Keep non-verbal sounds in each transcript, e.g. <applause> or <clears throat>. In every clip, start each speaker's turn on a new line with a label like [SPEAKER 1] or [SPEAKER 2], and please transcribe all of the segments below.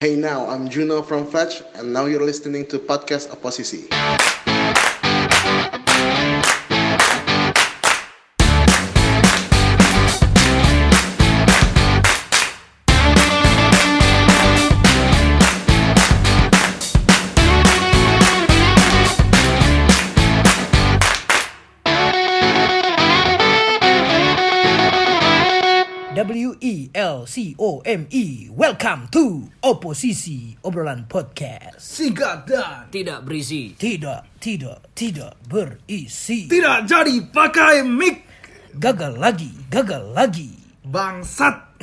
[SPEAKER 1] Hey now, I'm Juno from Fetch, and now you're listening to podcast Oposisi.
[SPEAKER 2] W E L C O M E. Welcome to Oposisi Obrolan Podcast.
[SPEAKER 3] singkat dan
[SPEAKER 4] tidak berisi.
[SPEAKER 2] Tidak, tidak, tidak berisi.
[SPEAKER 3] tidak jadi pakai mic
[SPEAKER 2] Gagal lagi, gagal lagi. <laughs>
[SPEAKER 3] bangsat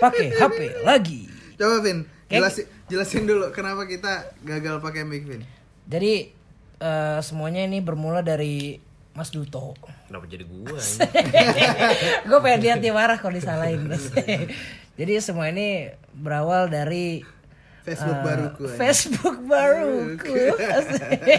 [SPEAKER 2] Pakai HP lagi.
[SPEAKER 3] coba Vin
[SPEAKER 2] Kayak-
[SPEAKER 3] jelasin jelasin dulu kenapa kita gagal pakai mic Vin
[SPEAKER 2] Jadi eh, semuanya ini bermula dari Mas Duto.
[SPEAKER 4] Kenapa jadi gua?
[SPEAKER 2] <laughs> Gue pengen lihat dia marah kalau disalahin. <laughs> Jadi semua ini berawal dari
[SPEAKER 3] Facebook
[SPEAKER 2] Eh,
[SPEAKER 3] baruku aja.
[SPEAKER 2] Facebook baruku.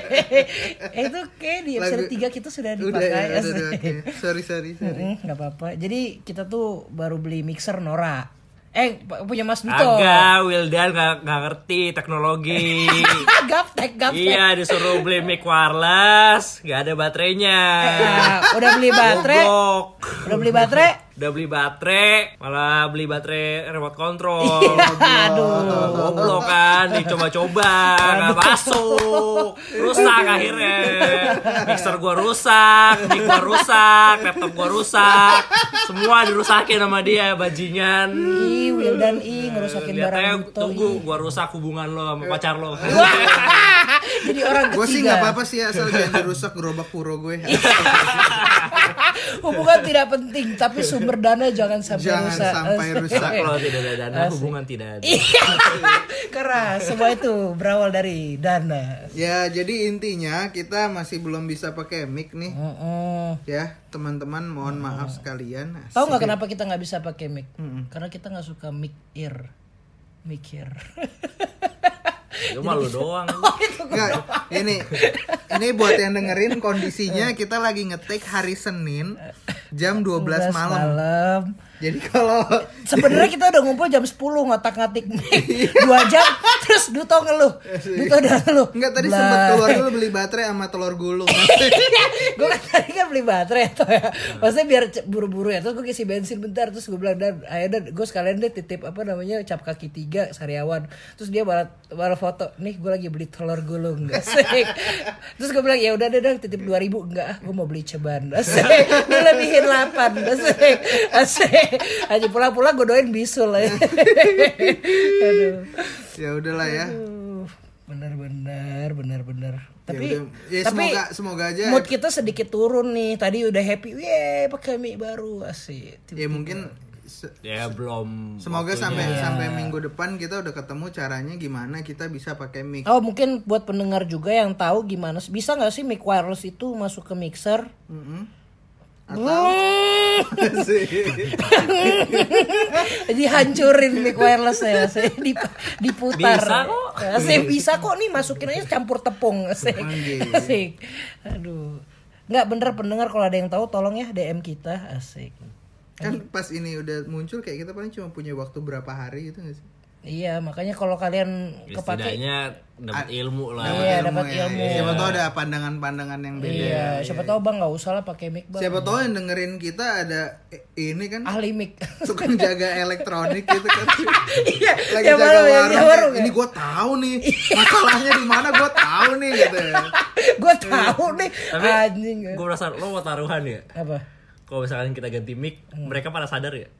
[SPEAKER 2] <laughs> itu kayak di episode 3
[SPEAKER 3] Lagu-
[SPEAKER 2] Iya, kita sudah
[SPEAKER 3] udah ya,
[SPEAKER 2] dipakai.
[SPEAKER 3] udah
[SPEAKER 2] asli.
[SPEAKER 3] dipakai. sorry sorry
[SPEAKER 2] <laughs>
[SPEAKER 3] sorry
[SPEAKER 2] Mm-mm, nggak apa-apa. Jadi kita tuh baru beli mixer Nora. Eh pa- punya Mas Duto. <laughs>
[SPEAKER 4] Agak Wildan nggak nggak ngerti teknologi.
[SPEAKER 2] Ah, gaptek, gaptek.
[SPEAKER 4] iya disuruh beli mic wireless, nggak ada baterainya.
[SPEAKER 2] Ah, <laughs> udah beli baterai.
[SPEAKER 4] Mogok.
[SPEAKER 2] Udah beli baterai.
[SPEAKER 4] Udah beli baterai, malah beli baterai remote control.
[SPEAKER 2] Iya. Aduh.
[SPEAKER 4] Goblok kan, dicoba-coba, nggak masuk, rusak akhirnya. Mixer gua rusak, mic gua rusak, laptop gua rusak, semua dirusakin sama dia bajingan.
[SPEAKER 2] Ih, Wildan ih ngerusakin barang gitu, iya.
[SPEAKER 4] Lihatnya
[SPEAKER 2] Duto.
[SPEAKER 4] tunggu
[SPEAKER 2] ih.
[SPEAKER 4] gua rusak hubungan lo sama pacar lo.
[SPEAKER 2] <laughs> Jadi orang ketiga.
[SPEAKER 3] gue sih nggak apa-apa sih ya, asal jangan dirusak gerobak puro gue
[SPEAKER 2] Iya, Hubungan tidak penting,
[SPEAKER 3] <laughs>
[SPEAKER 2] tapi sumber dana jangan sampai
[SPEAKER 3] Jangan
[SPEAKER 2] rusak. <laughs>
[SPEAKER 3] sampai
[SPEAKER 2] Asli.
[SPEAKER 3] rusak.
[SPEAKER 4] Kalau tidak ada dana
[SPEAKER 2] Eh. Asik.
[SPEAKER 4] hubungan tidak ada.
[SPEAKER 2] Iya, keras. Semua itu berawal dari dana.
[SPEAKER 3] ya jadi intinya kita masih belum bisa pakai mic nih
[SPEAKER 2] Mm-mm.
[SPEAKER 3] ya teman-teman mohon maaf sekalian
[SPEAKER 2] Tahu nggak kenapa kita nggak bisa pakai mic? Karena kita nggak suka mic ear, mic ear. <laughs>
[SPEAKER 4] Itu malu doang.
[SPEAKER 3] Nggak, ini ini buat yang dengerin kondisinya kita lagi ngetik hari Senin jam 12 malam. Jadi kalau
[SPEAKER 2] Sebenarnya kita udah ngumpul jam 10 ngotak ngatik
[SPEAKER 3] <laughs>
[SPEAKER 2] mic
[SPEAKER 3] Iya.
[SPEAKER 2] dua jam, terus Duto ngeluh, Duto udah ngeluh.
[SPEAKER 3] Enggak Eh, tadi sempet keluar dulu beli baterai sama telur gulung. <laughs>
[SPEAKER 2] gue kan tadi kan beli baterai atau ya maksudnya biar ce- buru-buru ya terus gue isi bensin bentar terus gue bilang dan ayo dan gue sekalian deh titip apa namanya cap kaki tiga sariawan terus dia balas balas foto nih gue lagi beli telur gulung <laughs> nggak sih terus gue bilang ya udah deh dan titip dua ribu enggak ah gue mau beli ceban <laughs> asik dia lebihin delapan asik asik aja pulang-pulang gue doain bisul
[SPEAKER 3] <laughs>
[SPEAKER 2] ya aduh
[SPEAKER 3] ya udahlah ya.
[SPEAKER 2] Uh, benar-benar benar-benar tapi
[SPEAKER 3] udah. Ya,
[SPEAKER 2] tapi
[SPEAKER 3] semoga- semoga aja.
[SPEAKER 2] mood kita sedikit turun nih tadi udah happy ye pakai mic baru asik Tiba-
[SPEAKER 3] Ya mungkin se-
[SPEAKER 4] Ya belum.
[SPEAKER 3] semoga
[SPEAKER 4] waktunya.
[SPEAKER 3] sampai
[SPEAKER 2] Iya.
[SPEAKER 3] sampai minggu depan kita udah ketemu caranya gimana kita bisa pakai mic.
[SPEAKER 2] oh mungkin buat pendengar juga yang tahu gimana bisa nggak sih mic wireless itu masuk ke mixer
[SPEAKER 3] Mm-mm. <laughs>
[SPEAKER 2] Hmm,
[SPEAKER 3] Sih.
[SPEAKER 2] <laughs> dihancurin mic wireless ya asik. Dip- diputar
[SPEAKER 4] Bisa kok.
[SPEAKER 2] Asik, bisa kok nih masukin aja campur tepung asik asik aduh nggak bener pendengar kalau ada yang tahu tolong ya dm kita asik
[SPEAKER 3] Kan pas ini udah muncul kayak kita paling cuma punya waktu berapa hari gitu gak sih?
[SPEAKER 2] Iya, makanya kalau kalian
[SPEAKER 4] Ya,
[SPEAKER 2] kepake
[SPEAKER 4] Setidaknya
[SPEAKER 3] Ah.
[SPEAKER 4] dapat ilmu lah.
[SPEAKER 2] Iya, dapat
[SPEAKER 3] ya.
[SPEAKER 2] ilmu.
[SPEAKER 3] Siapa tahu ada pandangan-pandangan yang beda.
[SPEAKER 2] Iya, siapa tahu Bang nggak usah lah pakai mic, Bang.
[SPEAKER 3] Siapa tahu yang dengerin kita ada eh, ini kan
[SPEAKER 2] Ahli mic.
[SPEAKER 3] tukang jaga elektronik gitu kan.
[SPEAKER 2] <laughs> Iya,
[SPEAKER 3] Lagi
[SPEAKER 2] yang
[SPEAKER 3] jaga
[SPEAKER 2] baru, yang- yang baru,
[SPEAKER 3] warung. eh.
[SPEAKER 2] kan?
[SPEAKER 3] Ini gue tahu nih masalahnya di mana gue tahu nih gitu.
[SPEAKER 2] Gue tahu
[SPEAKER 3] Iya.
[SPEAKER 2] nih
[SPEAKER 4] Tapi
[SPEAKER 2] anjing.
[SPEAKER 4] gue merasa lo mau taruhan ya.
[SPEAKER 2] Apa?
[SPEAKER 4] Kalau misalkan kita ganti mic,
[SPEAKER 2] Hmm.
[SPEAKER 4] mereka pada sadar ya.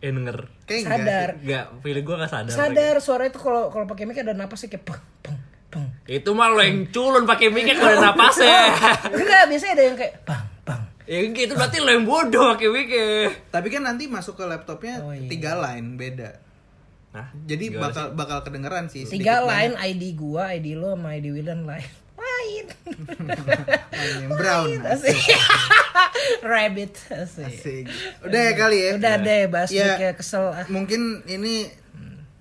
[SPEAKER 4] Eh denger.
[SPEAKER 3] Kayak enggak
[SPEAKER 2] Sadar.
[SPEAKER 3] sih.
[SPEAKER 4] Enggak, feeling gue gak sadar.
[SPEAKER 2] Sadar suara itu kalau kalau pakai mic ada napasnya kayak peng peng peng.
[SPEAKER 4] lagi. Itu mah lo yang culun pakai mic-nya kalau ada
[SPEAKER 2] <laughs>
[SPEAKER 4] napasnya.
[SPEAKER 2] Iya. Enggak, biasanya ada yang kayak bang bang.
[SPEAKER 4] ya gitu berarti lo yang bodoh pakai ya. mic-nya.
[SPEAKER 3] Tapi kan nanti masuk ke laptopnya
[SPEAKER 2] Oh, iya.
[SPEAKER 3] tiga line beda.
[SPEAKER 4] Nah,
[SPEAKER 3] Jadi
[SPEAKER 4] gimana
[SPEAKER 3] bakal bakal kedengeran sih. sedikit
[SPEAKER 2] Tiga line ID gua, ID lo sama ID Wildan lain. <laughs> Lain.
[SPEAKER 3] banget. Brown.
[SPEAKER 2] Asik. <laughs> Rabbit. Asik.
[SPEAKER 3] Asik. Udah ya kali ya.
[SPEAKER 2] Udah deh bahas
[SPEAKER 3] Ya.
[SPEAKER 2] mic-nya, kesel ah.
[SPEAKER 3] Mungkin ini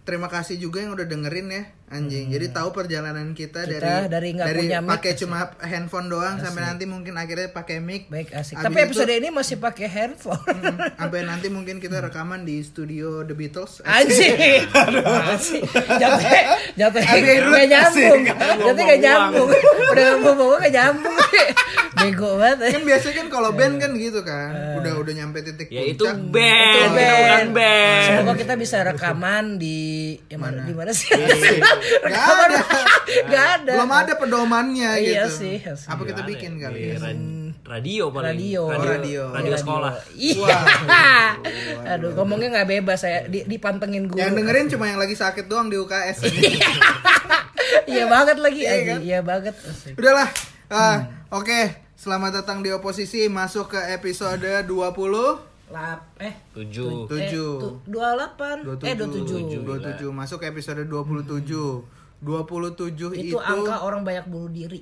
[SPEAKER 3] Terima kasih juga yang udah dengerin ya anjing. Jadi tahu perjalanan kita,
[SPEAKER 2] Hmm. Kita dari
[SPEAKER 3] dari
[SPEAKER 2] nggak punya mic
[SPEAKER 3] pakai
[SPEAKER 2] ke-
[SPEAKER 3] cuma handphone doang sampai nanti mungkin akhirnya pakai mic.
[SPEAKER 2] Baik asik.
[SPEAKER 3] Abis
[SPEAKER 2] Tapi
[SPEAKER 3] itu- hmm,
[SPEAKER 2] episode ini Hmm. masih pakai handphone.
[SPEAKER 3] sampai nanti mungkin kita rekaman di studio The Beatles. Eh,
[SPEAKER 2] Anjing. Anjing. Jatuh. Jatuh.
[SPEAKER 3] Abis itu-
[SPEAKER 2] Gak nyambung.
[SPEAKER 4] Asik, nggak
[SPEAKER 2] Jatuh gak
[SPEAKER 4] buang-buang.
[SPEAKER 2] nyambung. Udah bawa-bawa gak nyambung. <laughs> Bego banget.
[SPEAKER 3] kan biasanya kan
[SPEAKER 2] Ya,
[SPEAKER 3] kalau band kan gitu kan
[SPEAKER 2] Eh.
[SPEAKER 3] udah udah nyampe titik
[SPEAKER 4] Ya itu
[SPEAKER 3] puncak.
[SPEAKER 4] band,
[SPEAKER 2] Itu
[SPEAKER 4] kita
[SPEAKER 2] band.
[SPEAKER 4] bukan band.
[SPEAKER 2] Semoga kita bisa rekaman di ya mana di mana sih? <laughs>
[SPEAKER 3] Nggak ada.
[SPEAKER 2] Gak ada.
[SPEAKER 3] belum ada pedomannya
[SPEAKER 2] Iya
[SPEAKER 3] gitu
[SPEAKER 2] sih, iya sih.
[SPEAKER 3] apa kita
[SPEAKER 4] Gimana
[SPEAKER 3] bikin
[SPEAKER 4] ya?
[SPEAKER 3] kali
[SPEAKER 4] Di
[SPEAKER 3] ya
[SPEAKER 4] ra- Radio paling.
[SPEAKER 2] Radio.
[SPEAKER 4] Radio,
[SPEAKER 3] Oh, radio.
[SPEAKER 4] radio sekolah.
[SPEAKER 2] Iya. <laughs> Aduh, ngomongnya nggak bebas saya di, dipantengin guru.
[SPEAKER 3] yang dengerin cuma yang lagi sakit doang di UKS
[SPEAKER 2] <laughs>
[SPEAKER 3] ini
[SPEAKER 2] Iya banget lagi.
[SPEAKER 3] Iya kan?
[SPEAKER 2] anjing. Iya banget. Asik.
[SPEAKER 3] udahlah Ah, oke selamat datang di oposisi masuk ke episode 20
[SPEAKER 2] Lap eh
[SPEAKER 4] Tujuh.
[SPEAKER 3] Tujuh. Tujuh.
[SPEAKER 2] Eh, tu- 28 eh 27.
[SPEAKER 3] 27 masuk ke episode 27 27
[SPEAKER 2] Itu, angka orang banyak bunuh diri.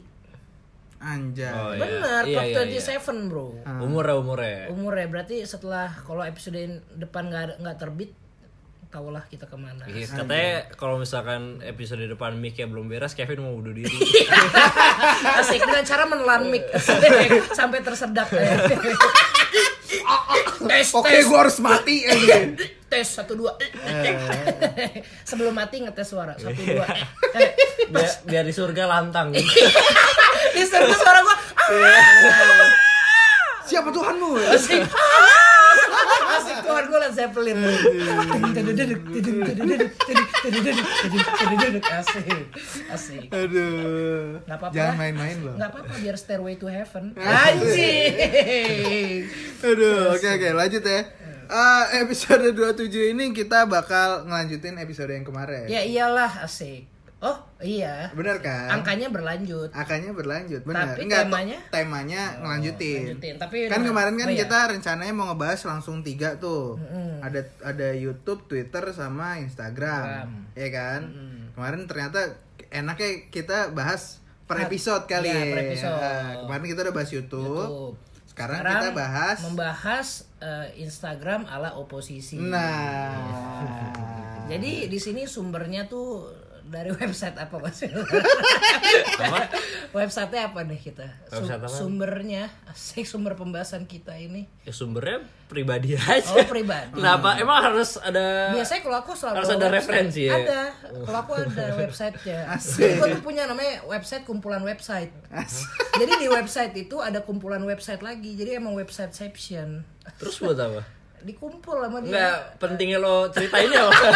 [SPEAKER 3] anjay
[SPEAKER 4] Oh, iya.
[SPEAKER 2] Bener,
[SPEAKER 4] Iya,
[SPEAKER 2] top
[SPEAKER 4] iya,
[SPEAKER 2] 27 bro.
[SPEAKER 4] Umurnya umurnya.
[SPEAKER 2] Umurnya berarti setelah kalau episode in- depan nggak ada- nggak terbit, tahulah kita kemana.
[SPEAKER 4] <laughs> Iya, Katanya kalau misalkan episode depan mic belum beres, Kevin mau bunuh diri.
[SPEAKER 2] Asik dengan cara menelan mic
[SPEAKER 4] Iya.
[SPEAKER 2] <laughs> sampai tersedak. eh. <laughs> tes,
[SPEAKER 3] oke
[SPEAKER 2] tes,
[SPEAKER 3] gua harus mati eh, gitu. anjing.
[SPEAKER 2] <laughs> tes satu dua.
[SPEAKER 4] Eh.
[SPEAKER 2] <laughs> Sebelum mati ngetes suara satu dua.
[SPEAKER 4] Iya.
[SPEAKER 2] Eh,
[SPEAKER 4] <laughs>
[SPEAKER 2] <laughs>
[SPEAKER 4] biar, biar di surga lantang.
[SPEAKER 2] Di sana suara gua Ah,
[SPEAKER 3] siapa Tuhanmu
[SPEAKER 2] <laughs> Asik. Asik Tuhan gue Led Zeppelin. Tadadaduk, tadadaduk, tadadaduk, tadadaduk. Asik. Asik.
[SPEAKER 3] aduh
[SPEAKER 2] Nggak apa-apa.
[SPEAKER 3] jangan main-main loh
[SPEAKER 2] Gak apa-apa biar Stairway to Heaven. Anjing.
[SPEAKER 3] Aduh, oke oke lanjut ya. Eh, episode 27 ini kita bakal ngelanjutin episode yang kemarin.
[SPEAKER 2] Ya iyalah asik. Oh iya.
[SPEAKER 3] Bener kan?
[SPEAKER 2] Angkanya berlanjut.
[SPEAKER 3] Angkanya berlanjut, bener.
[SPEAKER 2] Tapi
[SPEAKER 3] to-
[SPEAKER 2] temanya?
[SPEAKER 3] temanya ngelanjutin.
[SPEAKER 2] lanjutin. Tapi
[SPEAKER 3] kan
[SPEAKER 2] udah-
[SPEAKER 3] kemarin kan
[SPEAKER 2] oh, iya.
[SPEAKER 3] kita rencananya mau ngebahas langsung tiga tuh. Ada ada YouTube, Twitter, sama Instagram, ya kan? Kemarin ternyata enaknya kita bahas per episode kali
[SPEAKER 2] Iya,
[SPEAKER 3] ya.
[SPEAKER 2] per episode.
[SPEAKER 3] Eh, kemarin kita udah bahas YouTube.
[SPEAKER 2] YouTube.
[SPEAKER 3] Sekarang, kita bahas
[SPEAKER 2] membahas eh, Instagram ala oposisi.
[SPEAKER 3] Nah.
[SPEAKER 2] Jadi di sini sumbernya tuh dari <laughs> website apa
[SPEAKER 3] <laughs>
[SPEAKER 2] Mas? Websitenya apa nih kita? Sum-
[SPEAKER 4] Website apa?
[SPEAKER 2] Sumbernya, asik sumber pembahasan kita ini.
[SPEAKER 4] Ya, sumbernya pribadi aja.
[SPEAKER 2] Oh, pribadi.
[SPEAKER 4] Kenapa? Emang harus ada
[SPEAKER 2] Biasanya kalau aku selalu
[SPEAKER 4] Nah. Harus
[SPEAKER 2] bawa
[SPEAKER 4] ada
[SPEAKER 2] website.
[SPEAKER 4] referensi ya?
[SPEAKER 2] Ada. Kalau aku
[SPEAKER 4] <laughs>
[SPEAKER 2] ada websitenya. Jadi aku tuh punya namanya website kumpulan website. Jadi di website itu ada kumpulan website lagi. Jadi emang website section
[SPEAKER 4] terus buat apa?
[SPEAKER 2] dikumpul sama
[SPEAKER 4] Enggak
[SPEAKER 2] dia.
[SPEAKER 4] pentingnya lo ya. <laughs> ceritainnya apa?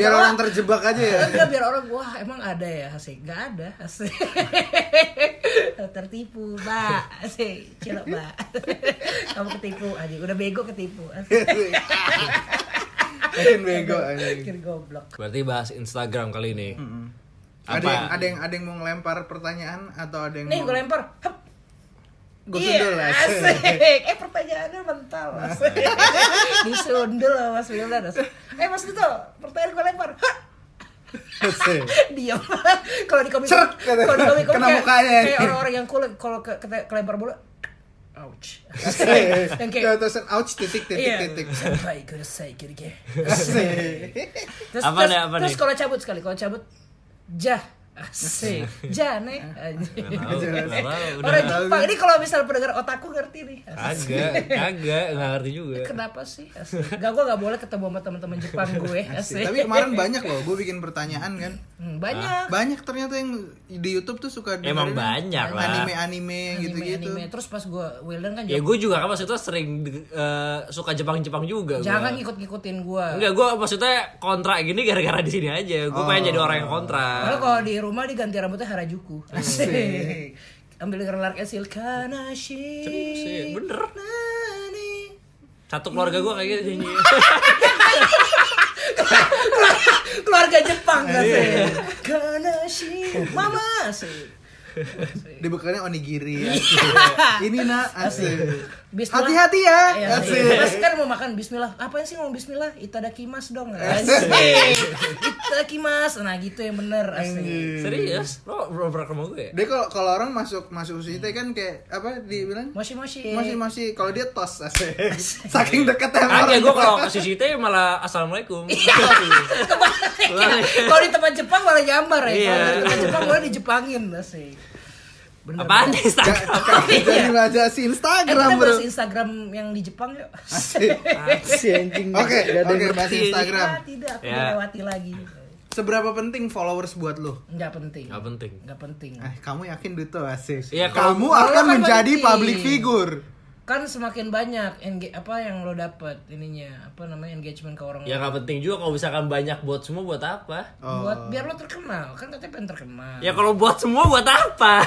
[SPEAKER 3] biar orang terjebak aja
[SPEAKER 2] <laughs>
[SPEAKER 3] ya
[SPEAKER 2] Enggak biar orang wah emang ada ya asik nggak ada asik <laughs> tertipu mbak asik cilok mbak <laughs> kamu ketipu aja udah bego ketipu asik
[SPEAKER 3] makin bego anjing.
[SPEAKER 2] Kira goblok
[SPEAKER 4] Berarti bahas Instagram kali ini. Apa?
[SPEAKER 3] ada yang ada yang ada yang mau ngelempar pertanyaan atau ada yang
[SPEAKER 2] nih
[SPEAKER 3] mau
[SPEAKER 2] gue lempar Hep.
[SPEAKER 3] Gua
[SPEAKER 2] Iya,
[SPEAKER 3] sundul, asik. Nah.
[SPEAKER 2] asik. Eh pertanyaannya mental asik. <laughs> Disundul sama Mas Wildan asik. Eh Mas Duto, pertanyaan gue lempar. Hah!
[SPEAKER 3] <laughs> Asik.
[SPEAKER 2] Diam. <laughs> kalau di komik
[SPEAKER 3] Cerk, kata.
[SPEAKER 2] kalau di komik
[SPEAKER 3] Kena mukanya.
[SPEAKER 2] kayak orang-orang yang cool kalau ke, ke- kelempar bola. Ouch. yang
[SPEAKER 3] Kalau
[SPEAKER 2] kayak
[SPEAKER 3] terusan ouch titik titik
[SPEAKER 2] Iya.
[SPEAKER 3] titik
[SPEAKER 2] Sampai ke saya kiri kayak.
[SPEAKER 3] Asik.
[SPEAKER 2] Terus,
[SPEAKER 4] Apa
[SPEAKER 2] terus,
[SPEAKER 4] nih, apa
[SPEAKER 2] terus
[SPEAKER 4] nih?
[SPEAKER 2] kalau cabut sekali, kalau cabut jah.
[SPEAKER 4] <laughs>
[SPEAKER 2] Asik. Jah nih. Anjing.
[SPEAKER 4] Tahu, nggak tahu, udah.
[SPEAKER 2] Orang Jepang ini kalau misal pendengar otakku ngerti nih. Asik.
[SPEAKER 4] Kagak, kagak, nggak ngerti juga.
[SPEAKER 2] <laughs> Kenapa sih? Asik. Gak gue gak boleh ketemu sama teman-teman
[SPEAKER 4] <laughs>
[SPEAKER 2] Jepang gue. Asik.
[SPEAKER 3] tapi kemarin banyak loh gue bikin pertanyaan kan
[SPEAKER 2] Hmm, banyak.
[SPEAKER 3] banyak ternyata yang di YouTube tuh suka
[SPEAKER 4] Emang banyak lah.
[SPEAKER 3] anime anime gitu gitu
[SPEAKER 2] Anime-anime. Terus pas gue Wildan kan
[SPEAKER 4] Ya
[SPEAKER 2] jawab,
[SPEAKER 4] gue juga kan maksudnya sering eh, suka Jepang-Jepang juga. gua.
[SPEAKER 2] jangan iya. ngikut-ngikutin gue.
[SPEAKER 4] Enggak, gue maksudnya kontra gini gara-gara di sini aja. Gue pengen jadi orang yang kontra.
[SPEAKER 2] Kalau kalau di rumah diganti rambutnya Harajuku. Asik. Ambil gerak esil kanashi.
[SPEAKER 4] Asik, bener.
[SPEAKER 2] Nani.
[SPEAKER 4] Satu keluarga gue kayak gitu nyanyi.
[SPEAKER 2] Keluarga Jepang
[SPEAKER 4] Iya.
[SPEAKER 2] kan sih. Kanashi. Mama sih.
[SPEAKER 3] dibekalnya onigiri
[SPEAKER 2] Iya.
[SPEAKER 3] asik.
[SPEAKER 2] <laughs>
[SPEAKER 3] ini nak asik
[SPEAKER 2] Bismillah.
[SPEAKER 3] hati-hati ya
[SPEAKER 2] Iya,
[SPEAKER 3] asik
[SPEAKER 2] Mas kan mau makan bismillah. Apa sih ngomong bismillah? Itadakimas dong. Asik. kaki mas nah gitu yang bener asli
[SPEAKER 4] <laughs> Serius? Lo berobrol ke rumah gue ya?
[SPEAKER 3] Dia kalau kalau orang masuk masuk situ kan kayak apa dibilang
[SPEAKER 2] moshi moshi
[SPEAKER 3] masih
[SPEAKER 2] <laughs>
[SPEAKER 3] masih kalau dia tos <laughs> asik saking deket sama <laughs>
[SPEAKER 4] Kagak,
[SPEAKER 3] orang
[SPEAKER 4] gue kalau ke CCTV malah Assalamualaikum
[SPEAKER 2] kalau di tempat Jepang malah nyambar ya
[SPEAKER 4] Iya.
[SPEAKER 2] kalau di tempat Jepang boleh dijepangin Eh, asli bener
[SPEAKER 4] Apaan nih Instagram?
[SPEAKER 3] <laughs> iya. jadi aja
[SPEAKER 2] Eh, kita
[SPEAKER 3] si Instagram bro
[SPEAKER 2] bahas Instagram yang di Jepang yuk. <laughs>
[SPEAKER 3] Asik.
[SPEAKER 5] si anjing
[SPEAKER 3] Oke,
[SPEAKER 5] Gak ada
[SPEAKER 3] oke,
[SPEAKER 5] yang-
[SPEAKER 3] bahas
[SPEAKER 2] Ah,
[SPEAKER 3] Instagram.
[SPEAKER 2] tidak, aku
[SPEAKER 4] Ya.
[SPEAKER 2] melewati lagi.
[SPEAKER 3] Seberapa penting followers buat lo?
[SPEAKER 2] Nggak penting.
[SPEAKER 4] Gak penting
[SPEAKER 2] Nggak penting.
[SPEAKER 3] Eh, kamu yakin Duto asik?
[SPEAKER 4] Iya, kalau-
[SPEAKER 3] kamu
[SPEAKER 2] kalau
[SPEAKER 3] akan
[SPEAKER 2] kan
[SPEAKER 3] menjadi
[SPEAKER 2] penting.
[SPEAKER 3] public figure.
[SPEAKER 2] Kan semakin banyak engage, apa yang lo dapat ininya apa namanya engagement ke orang
[SPEAKER 4] Ya gak penting juga kalau misalkan banyak buat semua buat apa?
[SPEAKER 2] buat biar lo terkenal kan katanya pengen terkenal
[SPEAKER 4] Ya kalau buat semua buat apa?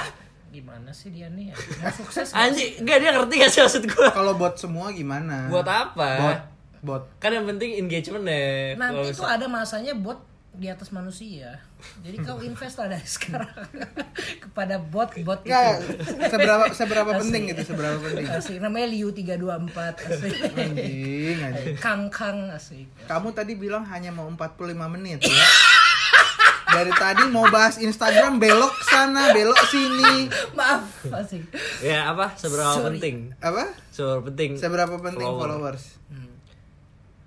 [SPEAKER 2] gimana sih dia nih ya? Mau
[SPEAKER 3] <laughs>
[SPEAKER 2] sukses nggak?
[SPEAKER 4] Anjing, gak dia ngerti gak sih maksud gue?
[SPEAKER 3] Kalau buat semua gimana?
[SPEAKER 4] Buat apa?
[SPEAKER 3] Bot, bot.
[SPEAKER 4] Kan yang penting engagement ya
[SPEAKER 2] nanti
[SPEAKER 4] Kalau
[SPEAKER 2] tuh ada masanya buat di atas manusia jadi kau invest lah dari sekarang <laughs> kepada bot bot itu
[SPEAKER 3] Nggak, seberapa seberapa penting gitu, seberapa penting.
[SPEAKER 2] asik namanya Liu 324 asik
[SPEAKER 3] Anjing, anjing.
[SPEAKER 2] Kang Kang asik
[SPEAKER 3] Kamu tadi bilang hanya mau 45 menit ya. Dari tadi mau bahas Instagram belok sana, belok sini.
[SPEAKER 2] maaf asik
[SPEAKER 4] Ya apa? Seberapa
[SPEAKER 2] Sorry.
[SPEAKER 4] penting?
[SPEAKER 3] Apa?
[SPEAKER 4] Seberapa penting?
[SPEAKER 3] Seberapa penting
[SPEAKER 4] Follower.
[SPEAKER 3] followers?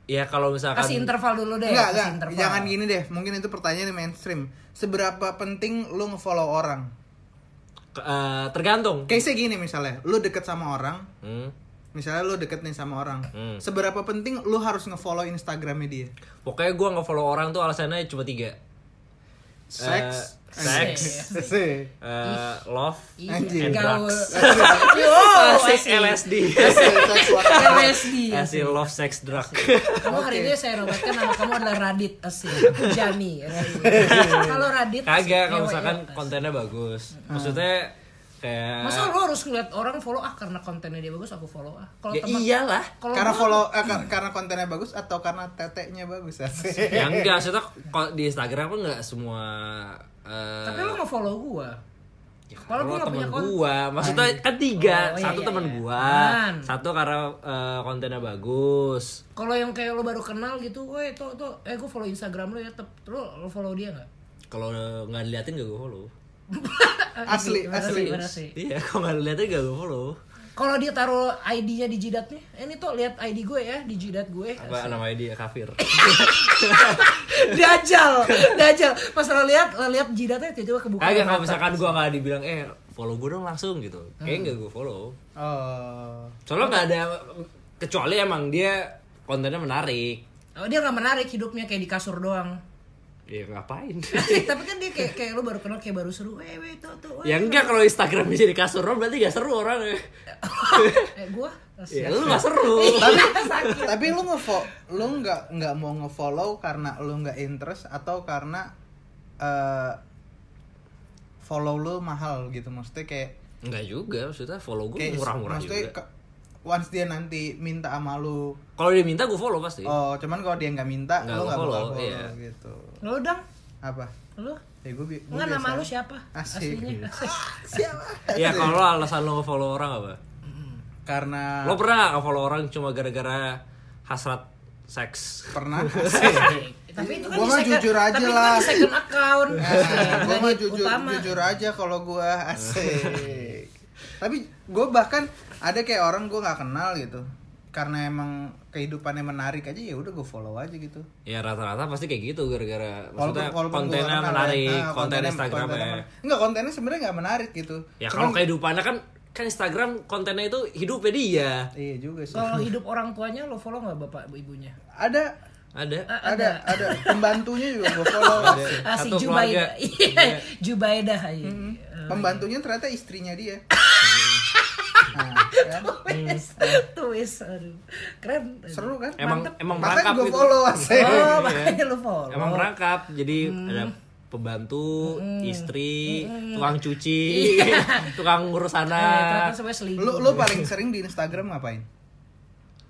[SPEAKER 4] Ya kalau misalkan
[SPEAKER 2] kasih interval dulu deh kasih
[SPEAKER 3] Enggak, enggak.
[SPEAKER 2] Iya, interval.
[SPEAKER 3] Jangan gitu. gini deh. Mungkin itu pertanyaan yang mainstream. Seberapa penting lu ngefollow orang?
[SPEAKER 4] eh, tergantung.
[SPEAKER 3] Kayak gini misalnya, lu deket sama orang,
[SPEAKER 4] Hmm.
[SPEAKER 3] misalnya lu deket nih sama orang.
[SPEAKER 4] Hmm.
[SPEAKER 3] Seberapa penting lu harus ngefollow Instagramnya dia?
[SPEAKER 4] Pokoknya gue nggak follow orang tuh alasannya cuma tiga.
[SPEAKER 3] Seks,
[SPEAKER 4] Eh, seks,
[SPEAKER 3] Sih.
[SPEAKER 4] eh, love, Oh,
[SPEAKER 2] Iya,
[SPEAKER 3] Anjing.
[SPEAKER 2] gaul
[SPEAKER 4] Drugs.
[SPEAKER 2] Yo,
[SPEAKER 4] asik
[SPEAKER 2] asik.
[SPEAKER 4] LSD,
[SPEAKER 3] Seks worker.
[SPEAKER 2] LSD
[SPEAKER 4] <laughs> asik love, sex,
[SPEAKER 2] <laughs>
[SPEAKER 4] drug.
[SPEAKER 2] Kamu hari ini saya nobatkan nama kamu adalah Radit
[SPEAKER 3] <laughs>
[SPEAKER 2] asik Jani asik Kalau Radit asik,
[SPEAKER 4] Kagak kalau
[SPEAKER 2] nyewa,
[SPEAKER 4] misalkan
[SPEAKER 2] nyewa, asik.
[SPEAKER 4] kontennya bagus. Maksudnya kayak
[SPEAKER 2] iya. Hmm. Masa lu harus ngeliat orang follow ah karena kontennya dia bagus aku follow ah. Kalau
[SPEAKER 4] ya,
[SPEAKER 2] teman
[SPEAKER 4] iyalah.
[SPEAKER 2] kalau
[SPEAKER 3] iya, Karena
[SPEAKER 2] gua-
[SPEAKER 3] follow eh, kar- karena kontennya bagus atau karena teteknya bagus <laughs>
[SPEAKER 2] Eh,
[SPEAKER 3] asik.
[SPEAKER 4] Ya enggak, maksudnya kalau di Instagram kan enggak semua eh,
[SPEAKER 2] Tapi lu nggak follow gua.
[SPEAKER 4] Ya,
[SPEAKER 2] Kalau gua
[SPEAKER 4] kalau
[SPEAKER 2] nggak punya
[SPEAKER 4] temen
[SPEAKER 2] konten.
[SPEAKER 4] gua, maksudnya kan tiga,
[SPEAKER 2] Oh, iya,
[SPEAKER 4] satu
[SPEAKER 2] iya,
[SPEAKER 4] temen
[SPEAKER 2] iya.
[SPEAKER 4] gua,
[SPEAKER 2] Apaan?
[SPEAKER 4] satu karena eh, kontennya bagus.
[SPEAKER 2] Kalau yang kayak lu baru kenal gitu, woi tuh tuh eh gua follow Instagram lu ya, tep. Lu, lu follow dia nggak?
[SPEAKER 4] Kalau nggak diliatin gak gue follow.
[SPEAKER 3] Asli,
[SPEAKER 2] Ah, gitu, Gimana sih,
[SPEAKER 3] asli.
[SPEAKER 2] gimana sih?
[SPEAKER 4] Iya, <laughs> kalau nggak diliatin gak gue follow.
[SPEAKER 2] Kalau dia taruh ID-nya di jidatnya, eh, ini tuh lihat ID gue ya di jidat gue.
[SPEAKER 4] Apa namanya dia <laughs> kafir.
[SPEAKER 2] <laughs> Dajal, dajal. Pas lo lihat, lo lihat jidatnya tiba-tiba kebuka.
[SPEAKER 4] Kagak kalau misalkan gue nggak dibilang eh follow gue dong langsung gitu. Kayaknya nggak gue follow.
[SPEAKER 3] Oh.
[SPEAKER 4] Soalnya nggak ada kecuali emang dia kontennya menarik.
[SPEAKER 2] Oh, dia nggak menarik hidupnya kayak di kasur doang. <laughs>
[SPEAKER 4] Ya ngapain?
[SPEAKER 2] Tapi kan dia kayak kayak lu baru kenal kayak baru seru. Eh, weh, tuh tuh. weh."
[SPEAKER 4] ya enggak kalau Instagram jadi kasur orang berarti gak seru orang.
[SPEAKER 2] Eh, gua
[SPEAKER 4] ya lu gak seru.
[SPEAKER 3] tapi tapi lu ngefo lu nggak nggak mau ngefollow karena lu nggak interest atau karena eh follow lu mahal gitu maksudnya kayak
[SPEAKER 4] Enggak juga, maksudnya follow gue
[SPEAKER 3] kayak
[SPEAKER 4] murah-murah
[SPEAKER 3] maksudnya
[SPEAKER 4] juga.
[SPEAKER 3] ke- once dia nanti minta sama lu
[SPEAKER 4] Kalau dia minta gue follow pasti.
[SPEAKER 3] oh cuman kalau dia nggak minta
[SPEAKER 4] Iya. Nggak
[SPEAKER 3] lu nggak bakal
[SPEAKER 4] follow,
[SPEAKER 3] follow
[SPEAKER 4] iya.
[SPEAKER 3] gitu
[SPEAKER 2] Lu dong,
[SPEAKER 3] apa
[SPEAKER 2] lu
[SPEAKER 3] ya gue, bi- gue
[SPEAKER 2] Enggak nama
[SPEAKER 3] biasa-
[SPEAKER 2] lu siapa?
[SPEAKER 3] Asik.
[SPEAKER 2] Aslinya.
[SPEAKER 3] siapa
[SPEAKER 4] Ya kalau alasan lo follow orang apa?
[SPEAKER 3] karena
[SPEAKER 4] Lo pernah nggak follow orang cuma gara-gara hasrat seks? <laughs>
[SPEAKER 3] pernah
[SPEAKER 4] Iya.
[SPEAKER 2] Asik. Tapi itu kan
[SPEAKER 3] Gua
[SPEAKER 2] di
[SPEAKER 3] mah
[SPEAKER 2] second-
[SPEAKER 3] jujur aja
[SPEAKER 2] tapi itu
[SPEAKER 3] lah.
[SPEAKER 2] kan di second
[SPEAKER 3] <laughs>
[SPEAKER 2] account.
[SPEAKER 3] gue
[SPEAKER 2] Bukan
[SPEAKER 3] mah
[SPEAKER 2] di Iya,
[SPEAKER 3] jujur
[SPEAKER 2] utama.
[SPEAKER 3] jujur aja kalau gue asik tapi gue bahkan ada kayak orang gue nggak kenal gitu karena emang kehidupannya menarik aja ya udah gue follow aja gitu
[SPEAKER 4] Ya rata-rata pasti kayak gitu gara-gara
[SPEAKER 3] Walaupun-
[SPEAKER 4] maksudnya
[SPEAKER 3] walaupun gua
[SPEAKER 4] kontennya
[SPEAKER 3] nggak kenal ya. Nah,
[SPEAKER 4] menarik, konten
[SPEAKER 3] kontennya-
[SPEAKER 4] Instagramnya.
[SPEAKER 3] kontennya menarik. Enggak, kontennya sebenarnya nggak menarik gitu.
[SPEAKER 4] Ya
[SPEAKER 3] Cuman-
[SPEAKER 4] kalau kehidupannya kan kan Instagram kontennya itu hidupnya dia.
[SPEAKER 3] Iya juga sih.
[SPEAKER 2] Kalau hidup orang tuanya lo follow nggak bapak ibunya?
[SPEAKER 3] Ada
[SPEAKER 4] Ada.
[SPEAKER 3] ada ada pembantunya juga gue follow.
[SPEAKER 2] Asik
[SPEAKER 4] Satu
[SPEAKER 2] Ah, Jubaida. <laughs>
[SPEAKER 4] keluarga. Mm-hmm.
[SPEAKER 2] Iya, Jubaida iya. aja.
[SPEAKER 3] Pembantunya ternyata istrinya dia. Nah,
[SPEAKER 4] <laughs>
[SPEAKER 3] kan?
[SPEAKER 2] Tuis, tuis, aduh. Keren.
[SPEAKER 3] Seru Iya. kan?
[SPEAKER 4] Emang emang
[SPEAKER 3] Makanya
[SPEAKER 4] merangkap
[SPEAKER 3] gue
[SPEAKER 4] gitu.
[SPEAKER 3] follow asik.
[SPEAKER 2] Oh, makanya lo follow. Eh,
[SPEAKER 4] Emang merangkap. Jadi ada pembantu, istri, tukang cuci, <laughs> tukang ngurus
[SPEAKER 2] Eh,
[SPEAKER 4] anak.
[SPEAKER 2] ternyata sebenarnya selingkuh.
[SPEAKER 3] Lu lu paling sering di Instagram ngapain?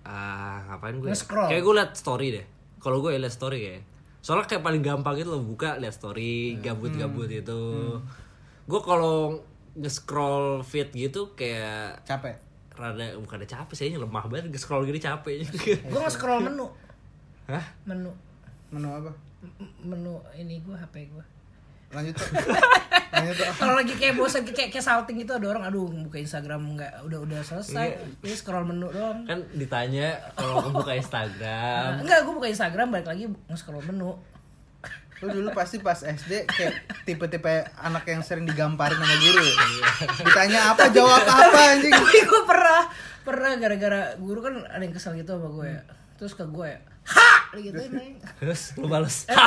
[SPEAKER 4] Ah, ngapain gue?
[SPEAKER 2] Nge-scroll.
[SPEAKER 4] Kayak gue liat story deh. Kalau gue ya liat story kayak. Soalnya kayak paling gampang itu lo buka liat
[SPEAKER 2] Hmm.
[SPEAKER 4] story, gabut-gabut itu. Gue kalau nge-scroll feed gitu kayak
[SPEAKER 3] Capek.
[SPEAKER 4] rada bukan capek sih
[SPEAKER 2] Eh.
[SPEAKER 4] lemah banget nge-scroll gini capek.
[SPEAKER 2] Gue nge-scroll menu.
[SPEAKER 4] Hah?
[SPEAKER 2] Menu.
[SPEAKER 3] Menu apa?
[SPEAKER 2] menu ini gue HP gue
[SPEAKER 3] Lanjut tuh. Lanjut tuh.
[SPEAKER 2] kalau lagi kayak bosan kayak kayak salting itu ada orang aduh buka Instagram nggak udah udah
[SPEAKER 3] Iya.
[SPEAKER 2] selesai ini scroll menu doang
[SPEAKER 4] Kan ditanya kalau aku buka
[SPEAKER 2] <laughs>
[SPEAKER 4] Instagram.
[SPEAKER 2] enggak gue buka Instagram balik lagi nge-scroll menu <laughs>
[SPEAKER 3] Lu dulu pasti pas SD kayak tipe-tipe anak yang sering digamparin sama guru. ya? Ditanya apa jawab apa anjing.
[SPEAKER 2] tapi gue pernah pernah gara-gara guru kan ada yang kesel gitu sama gue
[SPEAKER 3] Hmm.
[SPEAKER 2] terus ke gue ha gitu ini
[SPEAKER 3] <laughs>
[SPEAKER 4] Terus lu balas.
[SPEAKER 2] Eh,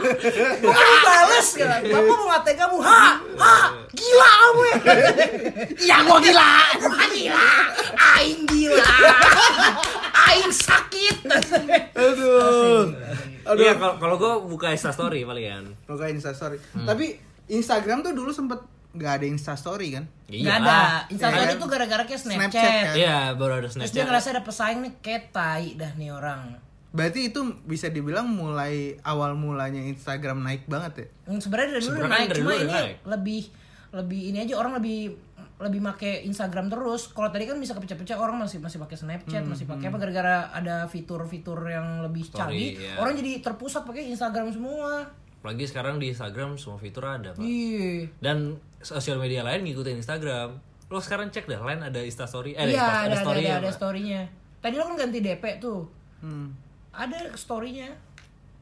[SPEAKER 2] bukan dibales gitu bapak mau ngatain kamu ha ha gila kamu ya <laughs> iya gue gila gue gila aing gila <laughs> aing sakit
[SPEAKER 3] Aduh. Aduh.
[SPEAKER 4] <laughs> Iya kalau kalau gue buka Insta story kan. palingan.
[SPEAKER 3] Moga instastory. Tapi Instagram tuh dulu sempet nggak ada instastory kan?
[SPEAKER 2] nggak
[SPEAKER 4] Iyalah.
[SPEAKER 2] ada Instagram
[SPEAKER 3] Iya.
[SPEAKER 2] itu gara-gara kayak Snapchat,
[SPEAKER 3] Snapchat, kan?
[SPEAKER 4] Iya, baru ada
[SPEAKER 2] terus dia
[SPEAKER 4] Snapchat.
[SPEAKER 2] ngerasa ada pesaing nih kayak tai dah nih orang
[SPEAKER 3] Berarti itu bisa dibilang mulai awal mulanya Instagram naik banget ya?
[SPEAKER 2] Hmm, sebenarnya dari dulu udah
[SPEAKER 4] Sebenarnya
[SPEAKER 2] naik,
[SPEAKER 4] dari
[SPEAKER 2] cuma
[SPEAKER 4] dulu
[SPEAKER 2] ini
[SPEAKER 4] udah naik.
[SPEAKER 2] lebih lebih ini aja orang lebih lebih make Instagram terus. Kalau tadi kan bisa kepecah-pecah orang masih masih pakai Snapchat, masih
[SPEAKER 4] Hmm,
[SPEAKER 2] pakai apa gara-gara ada fitur-fitur yang lebih canggih.
[SPEAKER 4] iya.
[SPEAKER 2] Orang jadi terpusat pakai Instagram semua.
[SPEAKER 4] Apalagi sekarang di Instagram semua fitur ada, Pak.
[SPEAKER 2] Iya.
[SPEAKER 4] Dan sosial media lain ngikutin Instagram. Lo sekarang cek deh, lain ada Insta story,
[SPEAKER 2] Iya,
[SPEAKER 4] eh Insta-
[SPEAKER 2] ada ada
[SPEAKER 4] story
[SPEAKER 2] ada,
[SPEAKER 4] ya,
[SPEAKER 2] ada
[SPEAKER 4] Pak.
[SPEAKER 2] story-nya. Tadi lo kan ganti DP tuh.
[SPEAKER 3] Hmm.
[SPEAKER 2] Ada story-nya.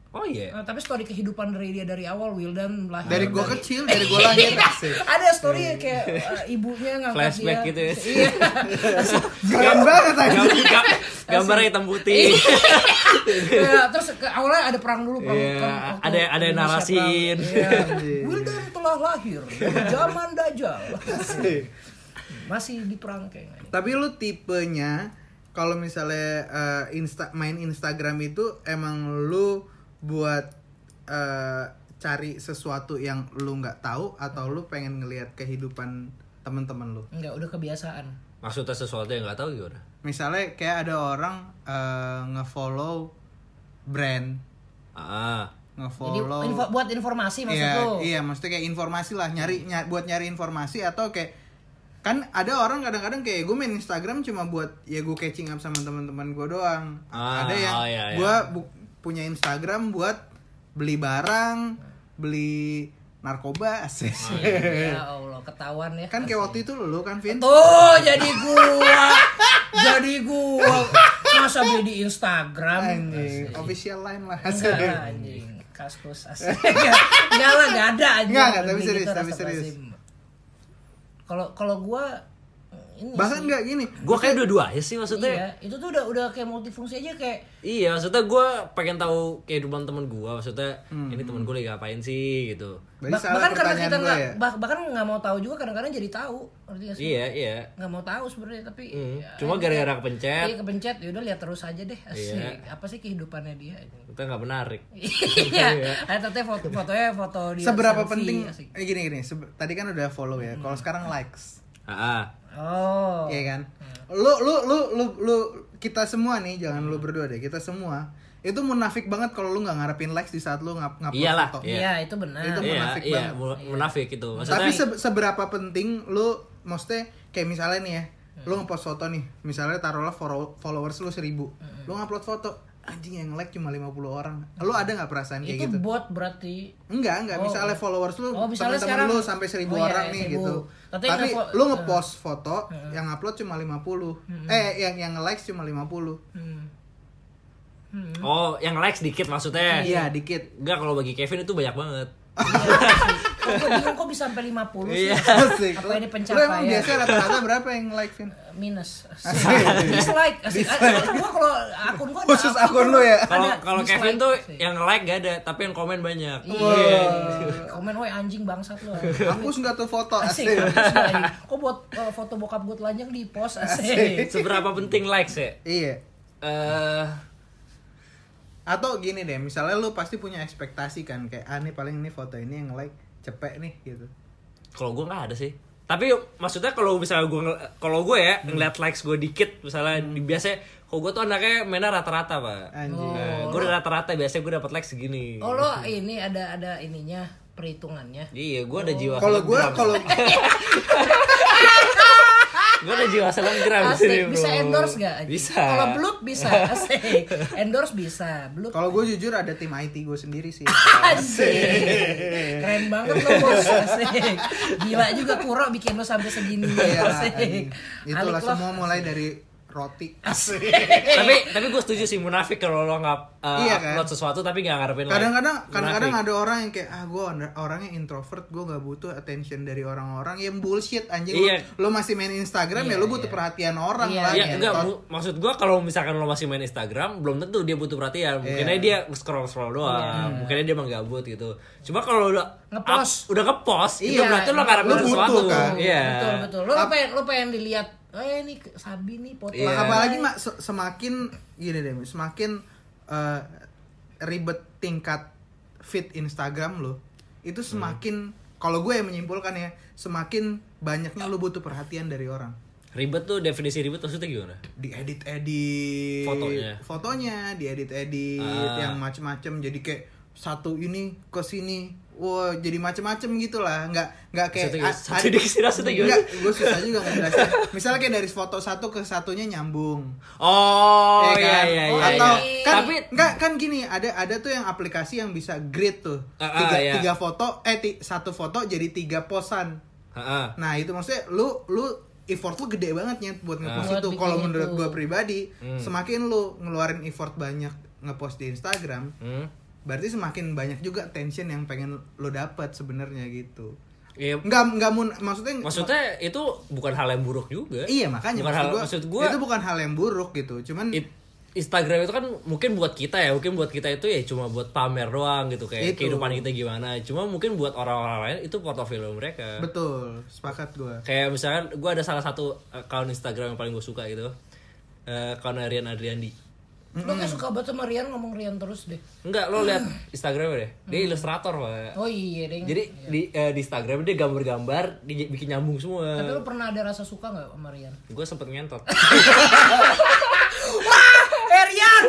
[SPEAKER 4] Oh iya.
[SPEAKER 2] Nah, tapi story kehidupan dari dia dari awal Wildan lahir.
[SPEAKER 3] Dari gua kecil, dari gua lahir sih.
[SPEAKER 2] ada story kayak eh, ibunya ngangkat
[SPEAKER 4] Flashback
[SPEAKER 2] dia.
[SPEAKER 4] gitu ya.
[SPEAKER 2] <laughs>
[SPEAKER 4] <laughs>
[SPEAKER 2] Iya.
[SPEAKER 3] Keren banget aja.
[SPEAKER 4] Gam- gam- Gambar hitam putih.
[SPEAKER 2] Iya, terus ke, awalnya ada perang dulu perang.
[SPEAKER 4] Iya,
[SPEAKER 2] kan waktu
[SPEAKER 4] ada- ada yang
[SPEAKER 2] Indonesia
[SPEAKER 4] narasin.
[SPEAKER 2] perang. Iya. Wildan telah lahir di zaman Dajjal. Masih di perang kayaknya.
[SPEAKER 3] Tapi lu tipenya kalau misalnya eh, insta main Instagram itu emang lu buat eh, cari sesuatu yang lu nggak tahu atau lu pengen ngelihat kehidupan teman-teman lu.
[SPEAKER 2] Enggak, udah kebiasaan.
[SPEAKER 4] Maksudnya sesuatu yang nggak tahu gimana?
[SPEAKER 3] Misalnya kayak ada orang eh, ngefollow brand,
[SPEAKER 4] Ah,
[SPEAKER 2] Jadi
[SPEAKER 3] ngefollow
[SPEAKER 2] info- buat informasi maksud Hmm.
[SPEAKER 3] Iya,
[SPEAKER 2] lu.
[SPEAKER 3] iya, maksudnya kayak informasi lah, nyari nya- buat nyari informasi atau kayak kan ada orang kadang-kadang kayak gue main Instagram cuma buat ya gue catching up sama teman-teman gue doang.
[SPEAKER 4] Ah,
[SPEAKER 3] ada yang
[SPEAKER 4] oh, iya, iya.
[SPEAKER 3] gue bu- punya Instagram buat beli barang, beli narkoba, <laughs> asik.
[SPEAKER 2] Ya Allah, ketahuan ya.
[SPEAKER 3] kan kayak waktu itu lu kan Vin.
[SPEAKER 2] Tuh jadi gua. jadi gua. Masa beli di Instagram?
[SPEAKER 3] Anjing, official line lah. asik.
[SPEAKER 2] Enggak lah, <laughs> anjing. Kaskus asik. <laughs> Enggak lah, enggak ada anjing.
[SPEAKER 3] Enggak, enggak, tapi
[SPEAKER 2] Gitu,
[SPEAKER 3] serius, tapi
[SPEAKER 2] astagfirullahaladzim.
[SPEAKER 3] serius.
[SPEAKER 2] Kalau kalau gua ini
[SPEAKER 3] <laughs> Bahkan
[SPEAKER 2] sih.
[SPEAKER 3] nggak gini.
[SPEAKER 4] gue kayak dua-duanya sih maksudnya.
[SPEAKER 2] Iya, itu tuh udah udah kayak multifungsi aja kayak
[SPEAKER 4] Iya, maksudnya gue pengen tahu kehidupan temen gue, maksudnya
[SPEAKER 2] Hmm,
[SPEAKER 4] ini temen gue lagi ngapain sih gitu.
[SPEAKER 3] Berarti
[SPEAKER 2] bah-
[SPEAKER 3] salah
[SPEAKER 2] bahkan karena
[SPEAKER 3] pertanyaan
[SPEAKER 2] kita
[SPEAKER 3] gue
[SPEAKER 2] nggak
[SPEAKER 3] ya.
[SPEAKER 2] bah- bahkan nggak mau tahu juga kadang-kadang jadi tahu ngerti nggak sih
[SPEAKER 4] Iya, iya.
[SPEAKER 2] nggak mau tahu sebenarnya tapi
[SPEAKER 4] Hmm.
[SPEAKER 2] ya,
[SPEAKER 4] Cuma gara-gara Iya. kepencet,
[SPEAKER 2] iya kepencet ya udah lihat terus aja deh asik. apa sih kehidupannya dia
[SPEAKER 4] <laughs> kita nggak menarik.
[SPEAKER 2] iya ada tete foto fotonya foto dia
[SPEAKER 3] Seberapa
[SPEAKER 2] selfie,
[SPEAKER 3] penting?
[SPEAKER 2] asik. Hmm.
[SPEAKER 3] Eh, gini gini. sebe- tadi kan udah follow ya. Kalau sekarang likes.
[SPEAKER 4] Ah, ah.
[SPEAKER 2] oh
[SPEAKER 3] Iya kan? Lu lu lu lu lu kita semua nih, jangan lu berdua deh, kita semua. Itu munafik banget kalau lu nggak ngarepin likes di saat lu ngap ngupload
[SPEAKER 4] Iyalah,
[SPEAKER 3] foto.
[SPEAKER 4] iya.
[SPEAKER 2] iya itu benar
[SPEAKER 3] Itu
[SPEAKER 4] iya,
[SPEAKER 3] munafik
[SPEAKER 4] iya,
[SPEAKER 3] banget.
[SPEAKER 4] mu- munafik gitu. Maksudnya,
[SPEAKER 3] Tapi se- seberapa penting lu maksudnya kayak misalnya nih ya,
[SPEAKER 2] Hmm.
[SPEAKER 3] lu ngepost foto nih, misalnya taruhlah follow- followers lu 1000.
[SPEAKER 2] Hmm.
[SPEAKER 3] Lu ngupload foto, anjing yang like cuma 50 orang. Lu ada nggak perasaan kayak
[SPEAKER 2] itu
[SPEAKER 3] gitu?
[SPEAKER 2] bot
[SPEAKER 3] <laughs>
[SPEAKER 2] berarti
[SPEAKER 3] Enggak, enggak. Misalnya followers lu,
[SPEAKER 2] Oh, misalnya sekarang-
[SPEAKER 3] teman-teman lu sampai seribu
[SPEAKER 2] Oh, iya,
[SPEAKER 3] orang nih
[SPEAKER 2] seribu.
[SPEAKER 3] gitu.
[SPEAKER 2] Tapi
[SPEAKER 3] Tapi,
[SPEAKER 2] nge-fo- Hmm.
[SPEAKER 3] lu ngepost foto yang upload cuma 50. Eh, yang yang nge-likes cuma 50.
[SPEAKER 2] hmm.
[SPEAKER 4] oh, yang likes dikit maksudnya.
[SPEAKER 3] Iya, dikit. <laughs>
[SPEAKER 4] Enggak kalau bagi Kevin itu banyak banget.
[SPEAKER 2] kok gue bingung kok bisa sampai 50 sih
[SPEAKER 3] Asik.
[SPEAKER 2] Apa ini
[SPEAKER 3] Lu emang
[SPEAKER 2] pencapaian?
[SPEAKER 3] biasa rata-rata berapa yang like, Vin? <laughs>
[SPEAKER 2] minus dislike asik. gua kalau akun gua ada
[SPEAKER 3] Khusus akun lu ya?
[SPEAKER 2] ada
[SPEAKER 4] Kalau kalau
[SPEAKER 2] dislike.
[SPEAKER 4] Kevin tuh
[SPEAKER 2] Asik.
[SPEAKER 4] yang like gak ada, tapi yang komen banyak.
[SPEAKER 2] iya komen woi anjing bangsat
[SPEAKER 3] <laughs>
[SPEAKER 2] lu
[SPEAKER 3] Hapus nggak tuh foto?
[SPEAKER 2] asik
[SPEAKER 3] Asik.
[SPEAKER 2] Terus gua lagi, kok buat eh, foto bokap gue telanjang di post asik
[SPEAKER 4] Iya. Seberapa penting likes ya?
[SPEAKER 3] Iya.
[SPEAKER 4] Eh,
[SPEAKER 3] Atau gini deh, misalnya lu pasti punya ekspektasi kan kayak ah nih paling ini foto ini yang like cepet nih gitu.
[SPEAKER 4] kalau gue nggak ada sih. Tapi maksudnya kalau misalnya gue kalau gue ya
[SPEAKER 2] Hmm.
[SPEAKER 4] ngeliat likes gue dikit, misalnya di biasanya kalau gue tuh anaknya mainnya rata-rata pak.
[SPEAKER 3] Anjing.
[SPEAKER 4] Eh, gue udah rata-rata biasanya gue dapat likes segini.
[SPEAKER 2] oh lo ini ada ada ininya perhitungannya
[SPEAKER 4] Iya, gue ada jiwa.
[SPEAKER 3] Kalau gua
[SPEAKER 4] selebgram.
[SPEAKER 3] kalau
[SPEAKER 4] Gue ada jiwa selebgram di sini,
[SPEAKER 2] Asik,
[SPEAKER 4] bro.
[SPEAKER 2] bisa endorse gak?
[SPEAKER 4] Bisa.
[SPEAKER 2] Kalau bluk bisa,
[SPEAKER 3] <laughs>
[SPEAKER 2] asik. Endorse bisa, bluk.
[SPEAKER 3] Kalau gue jujur ada tim IT gue sendiri
[SPEAKER 2] <laughs>
[SPEAKER 3] sih.
[SPEAKER 2] Asik. Keren banget lo
[SPEAKER 3] <laughs>
[SPEAKER 2] bos, asik. Gila juga Kuro bikin lo sampai segini,
[SPEAKER 3] Iya,
[SPEAKER 2] asik.
[SPEAKER 3] itulah
[SPEAKER 2] Alik lo.
[SPEAKER 3] semua mulai dari roti.
[SPEAKER 4] tapi tapi gue setuju sih munafik kalau lo nggak uh,
[SPEAKER 3] Iya, kan?
[SPEAKER 4] upload sesuatu tapi nggak ngarepin like.
[SPEAKER 3] kadang-kadang kadang-kadang
[SPEAKER 4] Munafik.
[SPEAKER 3] ada orang yang kayak ah gue orangnya introvert gue nggak butuh attention dari orang-orang yang bullshit anjing Lu-
[SPEAKER 4] Iya.
[SPEAKER 3] lu, masih main Instagram ya lu butuh perhatian orang
[SPEAKER 2] Iya,
[SPEAKER 3] lah
[SPEAKER 4] Iya,
[SPEAKER 2] Kayak
[SPEAKER 4] enggak,
[SPEAKER 3] ngentot.
[SPEAKER 4] mu- maksud gua kalau misalkan lo masih main Instagram, belum tentu dia butuh perhatian. Mungkin
[SPEAKER 3] Iya.
[SPEAKER 4] aja dia scroll-scroll doang, mungkin aja dia emang gabut gitu. Cuma kalau udah
[SPEAKER 2] Ngepost.
[SPEAKER 4] up- udah ngepost, itu
[SPEAKER 3] Iya,
[SPEAKER 4] berarti lo
[SPEAKER 3] lu
[SPEAKER 4] ngarepin
[SPEAKER 3] butuh,
[SPEAKER 4] sesuatu.
[SPEAKER 3] kan?
[SPEAKER 4] Iya.
[SPEAKER 2] Betul, betul. Lo, lo pengen, lo pengen dilihat, eh ini Sabi nih foto.
[SPEAKER 4] Iya.
[SPEAKER 3] apalagi mak se- semakin gini deh semakin eh, ribet tingkat feed Instagram lo itu semakin
[SPEAKER 4] Hmm.
[SPEAKER 3] kalau gue yang menyimpulkan ya semakin banyaknya lu butuh perhatian dari orang
[SPEAKER 4] Ribet tuh definisi ribet maksudnya gimana?
[SPEAKER 3] diedit edit
[SPEAKER 4] Fotonya.
[SPEAKER 3] fotonya diedit edit
[SPEAKER 4] Ah.
[SPEAKER 3] yang macem-macem jadi kayak satu ini ke sini wah jadi macem-macem gitulah nggak nggak kayak
[SPEAKER 4] Satu-
[SPEAKER 3] a-
[SPEAKER 4] satu
[SPEAKER 3] ada-
[SPEAKER 4] di sini, satu di-
[SPEAKER 3] Nggak, gue susah juga ngejelasin
[SPEAKER 4] <laughs>
[SPEAKER 3] misalnya kayak dari foto satu ke satunya nyambung
[SPEAKER 4] Oh,
[SPEAKER 3] Ya
[SPEAKER 4] iya
[SPEAKER 3] kan?
[SPEAKER 4] iya iya.
[SPEAKER 3] atau
[SPEAKER 4] iya.
[SPEAKER 3] kan
[SPEAKER 4] tapi
[SPEAKER 3] nggak kan gini ada ada tuh yang aplikasi yang bisa grid tuh
[SPEAKER 4] Ah, ah,
[SPEAKER 3] tiga,
[SPEAKER 4] iya.
[SPEAKER 3] tiga foto eh ti- satu foto jadi tiga posan
[SPEAKER 4] Heeh.
[SPEAKER 3] Nah itu maksudnya lu lu effort lu gede banget nyet
[SPEAKER 4] Ah.
[SPEAKER 3] buat ngepost
[SPEAKER 2] Buat
[SPEAKER 3] itu.
[SPEAKER 2] bikin
[SPEAKER 3] Kalau
[SPEAKER 2] itu.
[SPEAKER 3] menurut gua pribadi,
[SPEAKER 4] Hmm.
[SPEAKER 3] semakin lu ngeluarin effort banyak ngepost di Instagram,
[SPEAKER 4] Hmm.
[SPEAKER 3] berarti semakin banyak juga tension yang pengen lu dapat sebenarnya gitu.
[SPEAKER 4] Iya,
[SPEAKER 3] Enggak enggak mun maksudnya
[SPEAKER 4] maksudnya itu bukan hal yang buruk juga.
[SPEAKER 3] iya makanya
[SPEAKER 4] bukan
[SPEAKER 3] maksud,
[SPEAKER 4] hal-
[SPEAKER 3] gua,
[SPEAKER 4] maksud gua
[SPEAKER 3] itu bukan hal yang buruk gitu. Cuman
[SPEAKER 4] It- Instagram itu kan mungkin buat kita ya, mungkin buat kita itu ya cuma buat pamer doang gitu kayak
[SPEAKER 3] Itu.
[SPEAKER 4] kehidupan kita gimana. Cuma mungkin buat orang-orang lain itu portofolio mereka.
[SPEAKER 3] betul, sepakat gua.
[SPEAKER 4] Kayak misalkan gue ada salah satu akun Instagram yang paling gue suka gitu. Eh akun Rian Adriandi.
[SPEAKER 2] Lo kayak suka banget sama Rian ngomong Rian terus deh.
[SPEAKER 4] Enggak, lo
[SPEAKER 2] <clears throat>
[SPEAKER 4] lihat Instagramnya deh. Dia ilustrator, Pak.
[SPEAKER 2] Hmm. Oh iya, ding.
[SPEAKER 4] Jadi di eh, di Instagram dia gambar-gambar dibikin nyambung
[SPEAKER 2] Tapi
[SPEAKER 4] semua.
[SPEAKER 2] lo pernah ada rasa suka gak sama
[SPEAKER 3] <laughs>
[SPEAKER 2] Rian?
[SPEAKER 4] Gue sempet ngentot.
[SPEAKER 2] Eh Rian!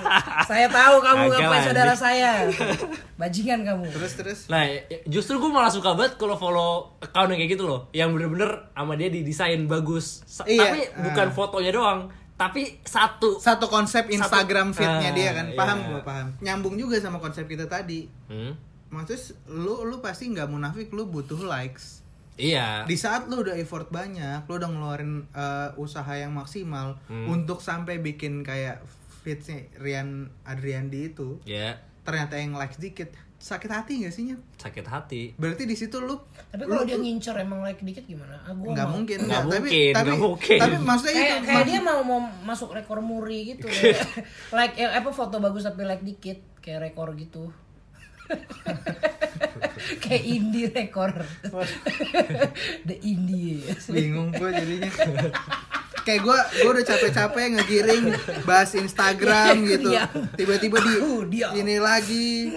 [SPEAKER 2] <laughs> saya tahu kamu
[SPEAKER 4] Agak
[SPEAKER 2] ngapain
[SPEAKER 4] lanjut.
[SPEAKER 2] saudara saya.
[SPEAKER 4] <laughs>
[SPEAKER 2] Bajingan kamu.
[SPEAKER 3] Terus terus
[SPEAKER 4] Nah, justru gue malah suka banget kalau follow account yang kayak gitu loh, yang bener-bener sama dia didesain bagus. Sa-
[SPEAKER 3] Iya,
[SPEAKER 4] Tapi bukan fotonya doang, tapi satu.
[SPEAKER 3] satu konsep Instagram feed-nya
[SPEAKER 4] Ah,
[SPEAKER 3] dia kan paham
[SPEAKER 4] iya.
[SPEAKER 3] gua paham. Nyambung juga sama konsep kita tadi.
[SPEAKER 4] Hmm?
[SPEAKER 3] Maksudnya lu lu pasti nggak munafik lu butuh likes.
[SPEAKER 4] Iya.
[SPEAKER 3] di saat lu udah effort banyak, lu udah ngeluarin uh, usaha yang maksimal
[SPEAKER 4] Hmm.
[SPEAKER 3] untuk sampai bikin kayak fitsnya Rian Adriandi itu,
[SPEAKER 4] Ya,
[SPEAKER 3] ternyata yang like sedikit, sakit hati gak sih Nyet?
[SPEAKER 4] sakit hati.
[SPEAKER 3] Berarti di situ lu
[SPEAKER 2] Tapi kalau dia ngincer emang like dikit gimana? Ah, gua
[SPEAKER 3] nggak
[SPEAKER 2] mau.
[SPEAKER 3] mungkin,
[SPEAKER 4] Nggak
[SPEAKER 3] nggak.
[SPEAKER 4] mungkin,
[SPEAKER 3] tapi,
[SPEAKER 4] nggak
[SPEAKER 3] tapi,
[SPEAKER 4] mungkin.
[SPEAKER 3] tapi maksudnya itu,
[SPEAKER 2] Kayak, kayak
[SPEAKER 3] ma-
[SPEAKER 2] dia mau mau masuk rekor muri gitu. ya. <laughs> like eh, apa foto bagus tapi like dikit kayak rekor gitu. <laughs> kayak indie rekor. The indie.
[SPEAKER 3] bingung gue jadinya. kayak gue, gue udah capek-capek ngegiring bahas Instagram
[SPEAKER 2] Iya,
[SPEAKER 3] gitu,
[SPEAKER 2] diam.
[SPEAKER 3] tiba-tiba
[SPEAKER 2] <laughs>
[SPEAKER 3] di
[SPEAKER 2] Uh, diam.
[SPEAKER 3] ini lagi.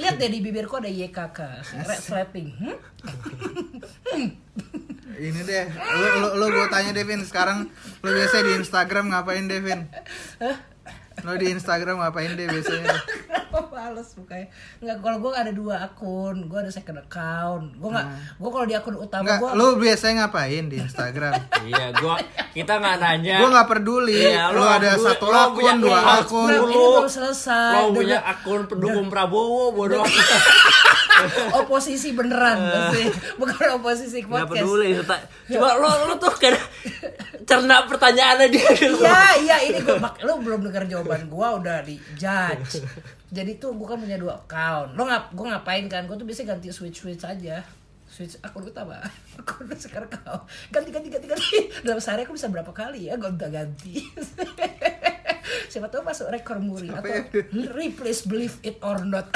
[SPEAKER 2] Lihat deh di bibirku ada YKK, red slapping. Hmm? <laughs>
[SPEAKER 3] Ini deh, lu lu, lu gue tanya Devin sekarang lu biasanya di Instagram ngapain Devin? Lu di Instagram ngapain deh biasanya?
[SPEAKER 2] Kenapa males mukanya? Enggak, kalau gue ada dua akun, gue ada second account. Gue nggak, gue kalau di akun utama
[SPEAKER 3] Enggak,
[SPEAKER 2] gue
[SPEAKER 3] lu biasanya ngapain di Instagram?
[SPEAKER 4] iya,
[SPEAKER 3] <laughs>
[SPEAKER 4] gua kita nggak nanya.
[SPEAKER 3] Gue nggak peduli,
[SPEAKER 4] Iya,
[SPEAKER 3] lu
[SPEAKER 4] lu-
[SPEAKER 3] ada
[SPEAKER 4] lu-
[SPEAKER 3] satu
[SPEAKER 4] lu
[SPEAKER 3] akun,
[SPEAKER 4] punya
[SPEAKER 3] dua
[SPEAKER 4] account.
[SPEAKER 3] akun.
[SPEAKER 2] Nah, ini
[SPEAKER 4] lu-
[SPEAKER 2] belum selesai.
[SPEAKER 4] Lo
[SPEAKER 2] Udah-
[SPEAKER 4] punya akun pendukung Prabowo bodoh.
[SPEAKER 2] <laughs>
[SPEAKER 3] <laughs>
[SPEAKER 2] oposisi beneran pasti. bukan oposisi ke
[SPEAKER 4] Nggak
[SPEAKER 2] podcast
[SPEAKER 4] peduli.
[SPEAKER 3] <laughs>
[SPEAKER 4] ta- Coba lo lo tuh kayak cerna pertanyaannya dia gitu.
[SPEAKER 2] iya iya ini gue mak lo belum dengar jawaban gue udah di judge jadi tuh gue kan punya dua account lo ngap gue ngapain kan gue tuh biasanya ganti switch switch aja switch akun utama <laughs> akun sekarang kau ganti ganti ganti ganti <laughs> dalam sehari aku bisa berapa kali ya gue udah ganti <laughs> siapa tahu masuk rekor muri atau replace believe it or not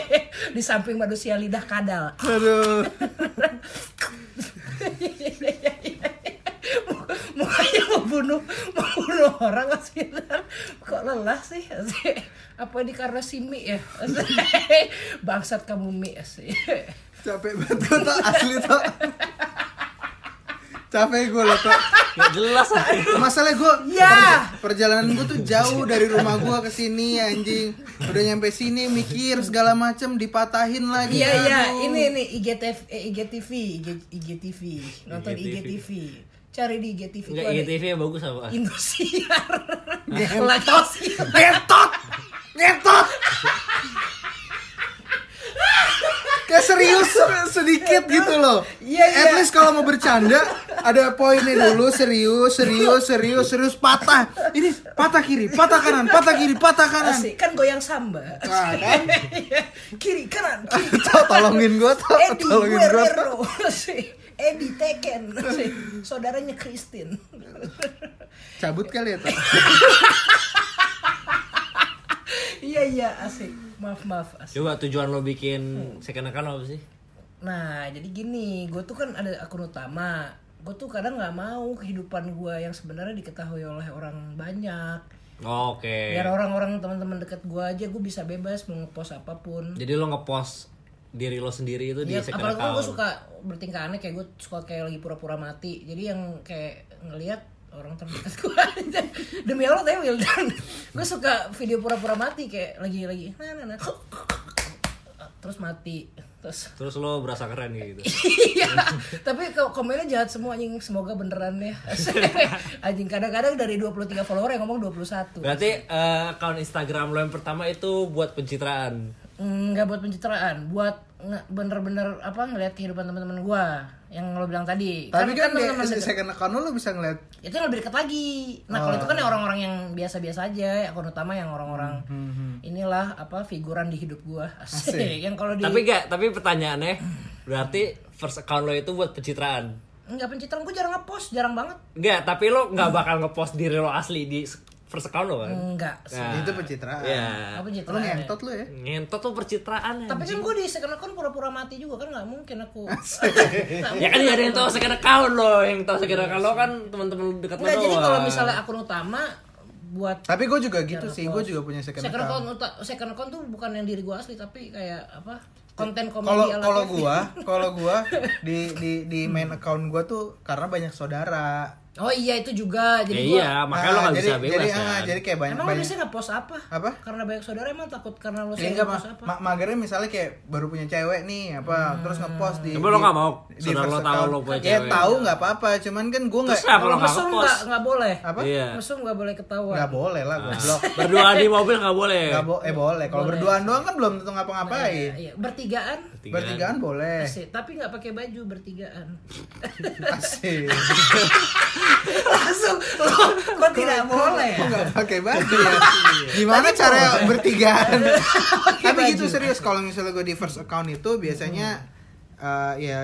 [SPEAKER 2] <laughs> di samping manusia lidah kadal
[SPEAKER 3] Aduh,
[SPEAKER 2] mukanya mau bunuh mau bunuh orang Mas Firdan kok lelah sih Asik. apa ini karena si Mi ya <laughs> Asik. bangsat kamu Mi Iya, sih
[SPEAKER 3] capek banget gue tuh asli tuh. capek gue lo tuh.
[SPEAKER 4] Nggak
[SPEAKER 3] <laughs>
[SPEAKER 4] jelas lah.
[SPEAKER 3] Masalahnya gue
[SPEAKER 2] Ya.
[SPEAKER 3] perjalanan gue tuh jauh dari rumah gue ke sini anjing. Udah nyampe sini mikir segala macem dipatahin lagi.
[SPEAKER 2] iya iya
[SPEAKER 3] aduh.
[SPEAKER 2] ini ini IGTV eh, IGTV IG, IGTV nonton
[SPEAKER 4] IGTV.
[SPEAKER 2] IGTV cari di IGTV itu
[SPEAKER 4] Enggak,
[SPEAKER 2] ada
[SPEAKER 4] IGTV yang bagus apa?
[SPEAKER 2] Indosiar Laktosiar
[SPEAKER 3] Ngetot! Ngetot! Kayak serius sedikit gitu loh.
[SPEAKER 2] Iya,
[SPEAKER 3] At
[SPEAKER 2] iya.
[SPEAKER 3] least kalau mau bercanda ada poinnya dulu serius, serius, serius, serius patah. Ini patah kiri, patah kanan, patah kiri, patah kanan.
[SPEAKER 2] Asik, kan goyang samba
[SPEAKER 3] Nah, kan?
[SPEAKER 2] <laughs> kiri kanan
[SPEAKER 3] <laughs>
[SPEAKER 2] kiri
[SPEAKER 3] Tau, tolongin gua, tau,
[SPEAKER 2] Edi
[SPEAKER 3] tolongin gua. tau.
[SPEAKER 2] Guerrero <laughs> Asik. Edi Teken Asik. saudaranya Christine
[SPEAKER 3] Cabut kali ya, Tau.
[SPEAKER 2] <laughs> iya iya asik maaf maaf asik
[SPEAKER 4] Coba tujuan lo bikin second account apa sih?
[SPEAKER 2] nah jadi gini gue tuh kan ada akun utama gue tuh kadang nggak mau kehidupan gue yang sebenarnya diketahui oleh orang banyak
[SPEAKER 4] Oh, Oke.
[SPEAKER 2] biar orang-orang teman-teman dekat gue aja gue bisa bebas mau ngepost apapun
[SPEAKER 4] Jadi lo ngepost diri lo sendiri itu di
[SPEAKER 2] Iya,
[SPEAKER 4] second
[SPEAKER 2] apalagi kan gue
[SPEAKER 4] account.
[SPEAKER 2] suka bertingkah aneh kayak gue suka kayak lagi pura-pura mati. Jadi yang kayak ngelihat orang terdekat <laughs> gue aja. Demi Allah tapi Wildan. gue suka video pura-pura mati kayak lagi lagi nah nah nah. Terus mati. Terus <laughs>
[SPEAKER 4] Terus lo berasa keren gitu.
[SPEAKER 2] iya tapi ko- komennya jahat semua anjing semoga beneran ya <laughs> anjing kadang-kadang dari 23 follower yang ngomong 21
[SPEAKER 4] Berarti eh, account Instagram lo yang pertama itu buat pencitraan.
[SPEAKER 2] Mm, nggak buat pencitraan buat nge- bener-bener apa ngelihat kehidupan teman-teman gue yang lo bilang tadi
[SPEAKER 3] Tapi kan di
[SPEAKER 2] teman-teman gitu.
[SPEAKER 3] di
[SPEAKER 2] deket-
[SPEAKER 3] second account lu bisa ngeliat
[SPEAKER 2] itu yang lebih dekat lagi nah kalau itu kan yang orang-orang yang biasa-biasa aja akun utama yang orang-orang
[SPEAKER 3] Hmm,
[SPEAKER 2] inilah apa figuran di hidup gua asik, <laughs> yang kalau di
[SPEAKER 4] Tapi gak, tapi pertanyaannya berarti first account lo itu buat pencitraan.
[SPEAKER 2] nggak pencitraan gua jarang ngepost jarang banget
[SPEAKER 4] Enggak, tapi lo nggak bakal ngepost diri lo asli di first account lo kan?
[SPEAKER 2] enggak
[SPEAKER 4] Nah,
[SPEAKER 3] Itu pencitraan.
[SPEAKER 4] Iya.
[SPEAKER 2] apa
[SPEAKER 3] Lu
[SPEAKER 2] pencitraan ya?
[SPEAKER 3] ngentot lu ya.
[SPEAKER 4] Ngentot lo pencitraan.
[SPEAKER 2] tapi kan
[SPEAKER 4] anjing.
[SPEAKER 2] gua di second account pura-pura mati juga kan nggak mungkin
[SPEAKER 3] <laughs>
[SPEAKER 2] aku Nah,
[SPEAKER 4] ya kan gak ada yang tahu second account lo, yang tahu second account lo kan teman-teman lo dekat lo
[SPEAKER 2] nggak jadi kalau
[SPEAKER 4] doang.
[SPEAKER 2] misalnya akun utama buat
[SPEAKER 3] Tapi gue juga gitu sih, gue juga punya second
[SPEAKER 2] second
[SPEAKER 3] account.
[SPEAKER 2] account uta- second account tuh bukan yang diri gua asli tapi kayak apa konten gitu. komedi
[SPEAKER 3] Kalau
[SPEAKER 2] ala
[SPEAKER 3] kalau
[SPEAKER 2] TV.
[SPEAKER 3] gua, kalau
[SPEAKER 2] <laughs>
[SPEAKER 3] gua di di di main account gua tuh karena banyak saudara.
[SPEAKER 2] oh iya itu juga
[SPEAKER 4] Ya
[SPEAKER 2] jadi gua
[SPEAKER 4] iya, makanya lo
[SPEAKER 3] Nah,
[SPEAKER 4] gak
[SPEAKER 3] jadi,
[SPEAKER 4] bisa bebas
[SPEAKER 3] jadi,
[SPEAKER 4] kan.
[SPEAKER 3] ah, jadi kayak banyak
[SPEAKER 2] emang lo
[SPEAKER 3] banyak.
[SPEAKER 2] biasanya nggak post apa?
[SPEAKER 3] Apa?
[SPEAKER 2] Karena banyak saudara emang takut karena lo
[SPEAKER 3] Ya,
[SPEAKER 2] sering
[SPEAKER 3] enggak
[SPEAKER 2] post
[SPEAKER 3] ma-
[SPEAKER 2] apa?
[SPEAKER 3] ma- magernya misalnya kayak baru punya cewek nih apa terus ngepost di
[SPEAKER 4] Tapi lo
[SPEAKER 3] di-
[SPEAKER 4] nggak mau
[SPEAKER 3] di
[SPEAKER 4] saudara lo
[SPEAKER 3] first
[SPEAKER 4] tahu
[SPEAKER 3] account.
[SPEAKER 4] lo punya
[SPEAKER 3] ya
[SPEAKER 4] cewek.
[SPEAKER 3] tahu nggak apa-apa cuman kan gue nggak
[SPEAKER 4] Terus apa lo
[SPEAKER 2] Kalau
[SPEAKER 4] gak
[SPEAKER 2] mesum
[SPEAKER 4] ngepost?
[SPEAKER 2] nggak nggak boleh.
[SPEAKER 3] apa
[SPEAKER 4] Iya.
[SPEAKER 2] Mesum nggak boleh ketahuan.
[SPEAKER 3] nggak boleh lah
[SPEAKER 4] Ah.
[SPEAKER 3] goblok
[SPEAKER 4] Berdua di mobil gak boleh.
[SPEAKER 3] nggak bo- eh boleh kalau berduaan doang kan belum tentu ngapa-ngapain
[SPEAKER 2] Iya, bertigaan.
[SPEAKER 4] Bertigaan.
[SPEAKER 3] bertigaan
[SPEAKER 2] <laughs>
[SPEAKER 3] boleh
[SPEAKER 2] Asik, tapi nggak pakai baju
[SPEAKER 3] <laughs>
[SPEAKER 2] bertigaan.
[SPEAKER 3] asik
[SPEAKER 2] Langsung lo kok tidak boleh. Iya,
[SPEAKER 3] Kok nggak pakai baju ya? Gimana cara bertigaan? Tapi gitu serius kalau misalnya gue di first account itu biasanya eh, ya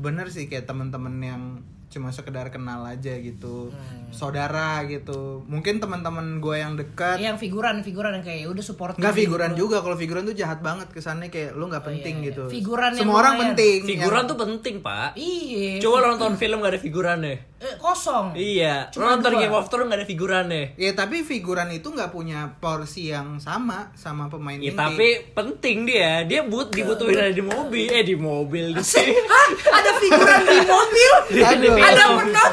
[SPEAKER 3] bener sih kayak teman-teman yang cuma sekedar kenal aja gitu,
[SPEAKER 2] Hmm.
[SPEAKER 3] saudara gitu. Mungkin teman-teman gue yang dekat
[SPEAKER 2] Yang figuran, figuran yang kayak udah support.
[SPEAKER 3] nggak figuran juga kalau figuran tuh jahat banget kesannya kayak lu nggak penting
[SPEAKER 2] Oh,
[SPEAKER 3] gitu.
[SPEAKER 2] iya, Figuran yang
[SPEAKER 3] Semua orang
[SPEAKER 2] lumayan.
[SPEAKER 3] penting. ya kan?
[SPEAKER 4] Figuran tuh penting, Pak.
[SPEAKER 2] Iya.
[SPEAKER 4] Coba lo nonton film gak ada figurannya.
[SPEAKER 2] Eh, kosong.
[SPEAKER 4] Iya, lo
[SPEAKER 2] Cuma
[SPEAKER 4] nonton
[SPEAKER 2] dua.
[SPEAKER 4] Game of Thrones gak ada figurannya. Iya,
[SPEAKER 3] Ya tapi figuran itu nggak punya porsi yang sama sama pemain
[SPEAKER 4] Ya,
[SPEAKER 2] Iya,
[SPEAKER 3] inti.
[SPEAKER 4] tapi penting dia. Dia but dibutuhin ada di mobil. Eh di mobil di sini.
[SPEAKER 3] <laughs>
[SPEAKER 2] Hah? Ada figuran di mobil.
[SPEAKER 4] Iya.
[SPEAKER 3] Aduh.
[SPEAKER 2] ada penonton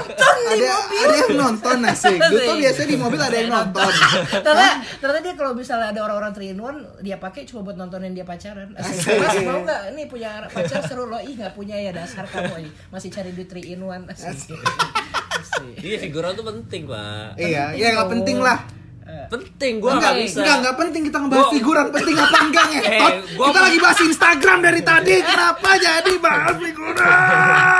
[SPEAKER 2] di
[SPEAKER 3] ada,
[SPEAKER 2] mobil.
[SPEAKER 3] ada yang nonton
[SPEAKER 4] <laughs>
[SPEAKER 3] asik gue tuh
[SPEAKER 2] Asik.
[SPEAKER 3] biasanya di mobil ada yang nonton
[SPEAKER 2] ternyata ternyata dia kalau misalnya ada orang-orang three in one dia pakai cuma buat nontonin dia pacaran Asik. mas mau nggak ini punya pacar seru loh ih nggak punya ya dasar kamu ini masih cari duit three in one Asik. Asik.
[SPEAKER 4] Iya, figuran tuh penting, Pak.
[SPEAKER 3] iya ya nggak penting lah
[SPEAKER 4] Penting Oh. gua
[SPEAKER 3] Iya. enggak
[SPEAKER 4] gak bisa.
[SPEAKER 3] enggak enggak penting kita ngebahas
[SPEAKER 4] Gua-
[SPEAKER 3] figuran penting apa enggak ngetot
[SPEAKER 4] <laughs> Eh, gua
[SPEAKER 3] kita
[SPEAKER 4] mau-
[SPEAKER 3] lagi bahas Instagram dari tadi kenapa jadi bahas
[SPEAKER 4] <laughs>
[SPEAKER 3] figuran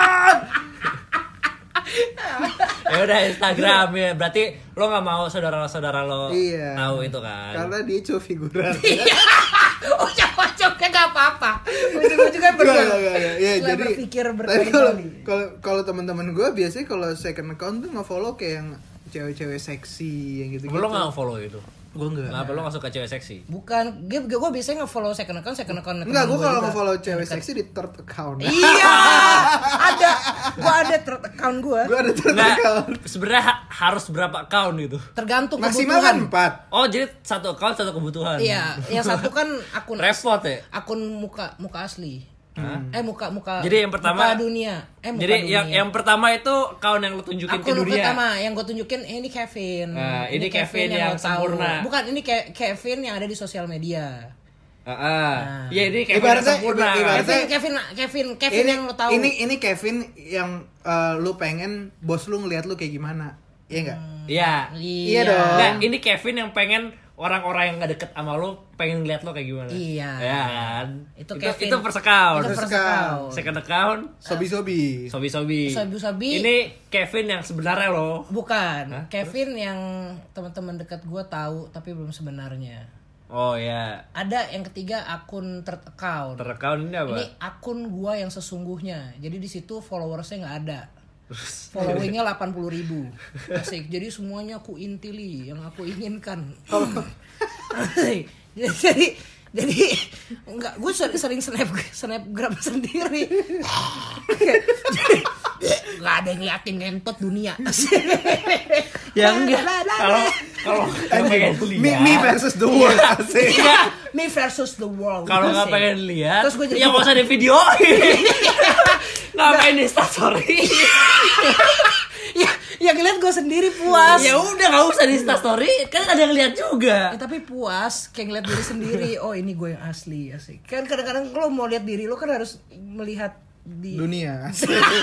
[SPEAKER 4] Ya udah Instagram ya. Berarti lo nggak mau saudara-saudara lo
[SPEAKER 3] Iya.
[SPEAKER 4] tahu itu kan. Iya,
[SPEAKER 3] karena dia cuma
[SPEAKER 4] <laughs>
[SPEAKER 3] figuran
[SPEAKER 2] oh coba coba nggak apa-apa ujung juga
[SPEAKER 3] Enggak,
[SPEAKER 2] berdua
[SPEAKER 3] enggak, enggak, enggak. Ya,
[SPEAKER 2] Setelah
[SPEAKER 3] jadi
[SPEAKER 2] berpikir
[SPEAKER 3] tapi kalau
[SPEAKER 2] berkali-kali
[SPEAKER 3] kalau kalau teman-teman gue biasanya kalau second account tuh nge-follow kayak yang cewek-cewek seksi yang gitu-gitu.
[SPEAKER 4] Lo nggak follow itu.
[SPEAKER 3] Gue enggak.
[SPEAKER 4] Kenapa lo nggak suka cewek seksi?
[SPEAKER 2] bukan gue gue biasanya nge-follow second account second account
[SPEAKER 3] Enggak,
[SPEAKER 2] temen
[SPEAKER 3] gue kalau
[SPEAKER 2] juga.
[SPEAKER 3] nge-follow cewek seksi di third account.
[SPEAKER 2] iya ada gue ada third account gue
[SPEAKER 3] gue ada third
[SPEAKER 4] Nah,
[SPEAKER 3] account.
[SPEAKER 4] sebenarnya ha- harus berapa account gitu?
[SPEAKER 2] tergantung
[SPEAKER 3] Maksimal kan
[SPEAKER 2] kebutuhan
[SPEAKER 3] 4.
[SPEAKER 4] Oh, jadi satu account satu kebutuhan.
[SPEAKER 2] iya yang satu kan akun
[SPEAKER 4] Repot ya.
[SPEAKER 2] akun muka muka asli eh muka muka
[SPEAKER 4] Hmm. Jadi yang pertama-
[SPEAKER 2] muka dunia eh muka
[SPEAKER 4] Jadi
[SPEAKER 2] dunia
[SPEAKER 4] yang yang pertama itu account yang lo tunjukin
[SPEAKER 2] akun
[SPEAKER 4] ke dunia.
[SPEAKER 2] pertama yang gue tunjukin eh, ini Kevin
[SPEAKER 4] Nah, ini Kevin yang
[SPEAKER 2] lo tahu.
[SPEAKER 4] sempurna.
[SPEAKER 2] bukan ini Ke- Kevin yang ada di sosial media Nah.
[SPEAKER 4] Ah, Iya ini kayak
[SPEAKER 3] Ibaratnya-
[SPEAKER 4] sempurna.
[SPEAKER 3] ibaratnya-
[SPEAKER 2] Kevin, Kevin, Kevin, Kevin
[SPEAKER 3] ini,
[SPEAKER 2] yang lo tahu.
[SPEAKER 3] ini ini Kevin yang eh, lu pengen bos lu ngelihat lu kayak gimana iya nggak
[SPEAKER 2] Hmm.
[SPEAKER 4] Iya.
[SPEAKER 3] iya dong.
[SPEAKER 4] Nah, ini Kevin yang pengen orang-orang yang gak deket sama lo pengen ngeliat lo kayak gimana.
[SPEAKER 2] Iya.
[SPEAKER 4] Ya kan?
[SPEAKER 2] Itu Kevin.
[SPEAKER 4] Itu first account.
[SPEAKER 2] Itu first
[SPEAKER 3] First account.
[SPEAKER 2] account.
[SPEAKER 4] Second account.
[SPEAKER 3] sobi sobi
[SPEAKER 4] Sobi-sobi.
[SPEAKER 2] Sobi-sobi.
[SPEAKER 4] Ini Kevin yang sebenarnya lo.
[SPEAKER 2] Bukan, Kevin yang teman-teman dekat gue tahu tapi belum sebenarnya.
[SPEAKER 4] Oh ya.
[SPEAKER 2] Ada yang ketiga akun third account.
[SPEAKER 4] Third account ini apa?
[SPEAKER 2] Ini akun gua yang sesungguhnya. Jadi di situ followersnya nggak ada. Followingnya 80.000 ribu Asik Jadi semuanya aku intili Yang aku inginkan
[SPEAKER 4] <laughs>
[SPEAKER 2] Asik. <coughs> Jadi Jadi Enggak Gue sering snap Snapgram sendiri Gak ada yang ngeliatin ngentot dunia Asik.
[SPEAKER 4] Ya enggak. Kalau kalau nggak pengen
[SPEAKER 3] me, me
[SPEAKER 4] lihat.
[SPEAKER 3] versus the world
[SPEAKER 2] Iya.
[SPEAKER 3] asik
[SPEAKER 2] Me versus the world
[SPEAKER 4] Iya. Kalau nggak
[SPEAKER 2] Asik.
[SPEAKER 4] pengen lihat,
[SPEAKER 2] Terus gue jadi
[SPEAKER 4] ya nggak usah di video. Ngapain di story?
[SPEAKER 2] <laughs> Ya, Yang ngeliat gue sendiri puas
[SPEAKER 4] ya udah nggak usah di story, kan ada yang lihat juga.
[SPEAKER 2] Eh, tapi puas kayak ngeliat diri
[SPEAKER 4] <laughs>
[SPEAKER 2] sendiri oh ini gue yang asli asik kan kadang-kadang lo mau lihat diri lo kan harus melihat di
[SPEAKER 3] dunia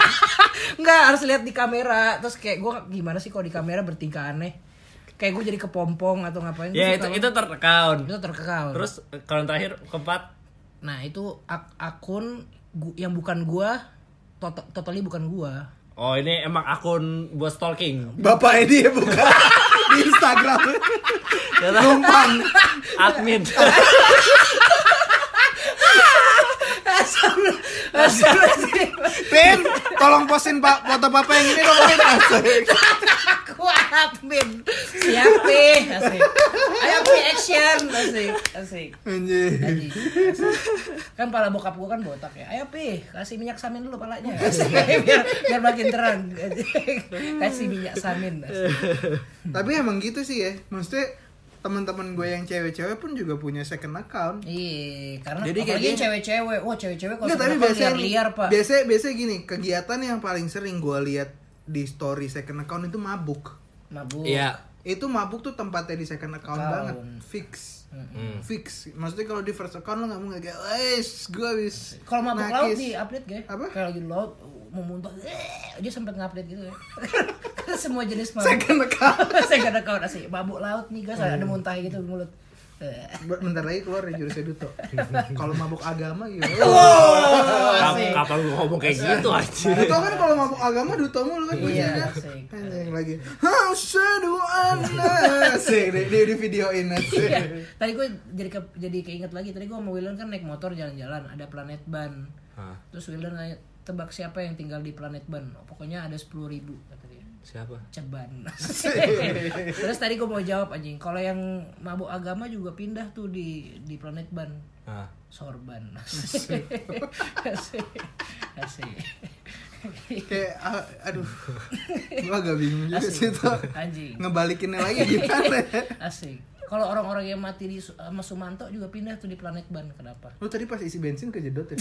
[SPEAKER 2] <laughs> nggak harus lihat di kamera terus kayak gue gimana sih kalau di kamera bertingkah aneh kayak gue jadi kepompong atau ngapain Gua suka
[SPEAKER 4] Ya itu
[SPEAKER 2] banget.
[SPEAKER 4] itu third account.
[SPEAKER 2] itu terkekau
[SPEAKER 4] Terus kalau yang terakhir keempat
[SPEAKER 2] nah itu ak- akun gu- yang bukan gue tot- totally bukan gue
[SPEAKER 4] <laughs> Oh ini emang akun buat stalking
[SPEAKER 3] bapak ini ya bukan di <laughs> Instagram
[SPEAKER 4] Numpang <laughs> Admin
[SPEAKER 3] Pin tolong postin pak foto bapak yang ini dong Pin asik
[SPEAKER 2] aku admin siap Pi. asik ayo Pi, action asik asik
[SPEAKER 3] Anjir.
[SPEAKER 2] kan pala bokap gua kan botak ya ayo pi kasih minyak samin dulu
[SPEAKER 3] <laughs>
[SPEAKER 2] palanya biar biar makin terang <laughs> kasih minyak samin
[SPEAKER 3] tapi emang gitu sih ya maksudnya teman-teman gue yang cewek-cewek pun juga punya second account
[SPEAKER 2] iya karena
[SPEAKER 3] Jadi
[SPEAKER 2] Jadi
[SPEAKER 3] kayak
[SPEAKER 2] apalagi
[SPEAKER 3] gini.
[SPEAKER 2] cewek-cewek wah cewek-cewek kalau
[SPEAKER 3] Nggak, tapi
[SPEAKER 2] sebenarnya
[SPEAKER 3] biasanya
[SPEAKER 2] liar liar pak
[SPEAKER 3] Biasanya biasanya gini, kegiatan yang paling sering gue lihat di story second account itu mabuk.
[SPEAKER 2] mabuk
[SPEAKER 4] Iya
[SPEAKER 3] Itu mabuk tuh tempatnya di second account
[SPEAKER 2] Account.
[SPEAKER 3] banget, fix. Fix. Maksudnya kalau di first account lo nggak mungkin kayak, "Wes, gue habis
[SPEAKER 2] kalau mabuk laut
[SPEAKER 3] nakis."
[SPEAKER 2] di update gak
[SPEAKER 3] Apa?
[SPEAKER 2] kalau lagi laut mau muntah eh, dia sempet ngupdate gitu ya Karena semua jenis mabuk
[SPEAKER 3] <laughs> second account.
[SPEAKER 2] <laughs> saya gak ada kawan asli mabuk laut nih guys ada muntah gitu di mulut Eh.
[SPEAKER 3] Be- Bentar lagi keluar ya jurus
[SPEAKER 2] <laughs>
[SPEAKER 3] Eduto. kalau mabuk agama gitu.
[SPEAKER 4] Kamu kapan lu ngomong kayak gitu anjir
[SPEAKER 3] Duto kan kalau mabuk agama Duto mulu kan
[SPEAKER 2] Iya,
[SPEAKER 3] kuncinya.
[SPEAKER 2] asik.
[SPEAKER 3] Anjing lagi. Asyhadu
[SPEAKER 2] <laughs>
[SPEAKER 3] anna. Asik, di, di, di videoin asik.
[SPEAKER 2] Iya. Tadi gue jadi ke, jadi keinget lagi. Tadi gue sama Wildan kan naik motor jalan-jalan. Ada Planet Ban.
[SPEAKER 4] Ah,
[SPEAKER 2] Terus Wildan nanya tebak siapa yang tinggal di Planet Ban. Oh, pokoknya ada sepuluh ribu kata dia.
[SPEAKER 4] Siapa?
[SPEAKER 2] Ceban. Terus tadi gue mau jawab anjing. Kalau yang mabuk agama juga pindah tuh di di Planet Ban.
[SPEAKER 4] Ah.
[SPEAKER 2] Sorban. <laughs> Asik. Asik. Asik.
[SPEAKER 3] kayak ah, aduh <laughs> gua agak bingung juga sih
[SPEAKER 2] Asik.
[SPEAKER 3] itu
[SPEAKER 2] Anjing.
[SPEAKER 3] ngebalikinnya lagi gimana ya?
[SPEAKER 2] Asik. Kalau orang-orang yang mati di Su- sama Sumanto juga pindah tuh di Planet Ban. Kenapa?
[SPEAKER 3] lu tadi pas isi bensin kejedot ya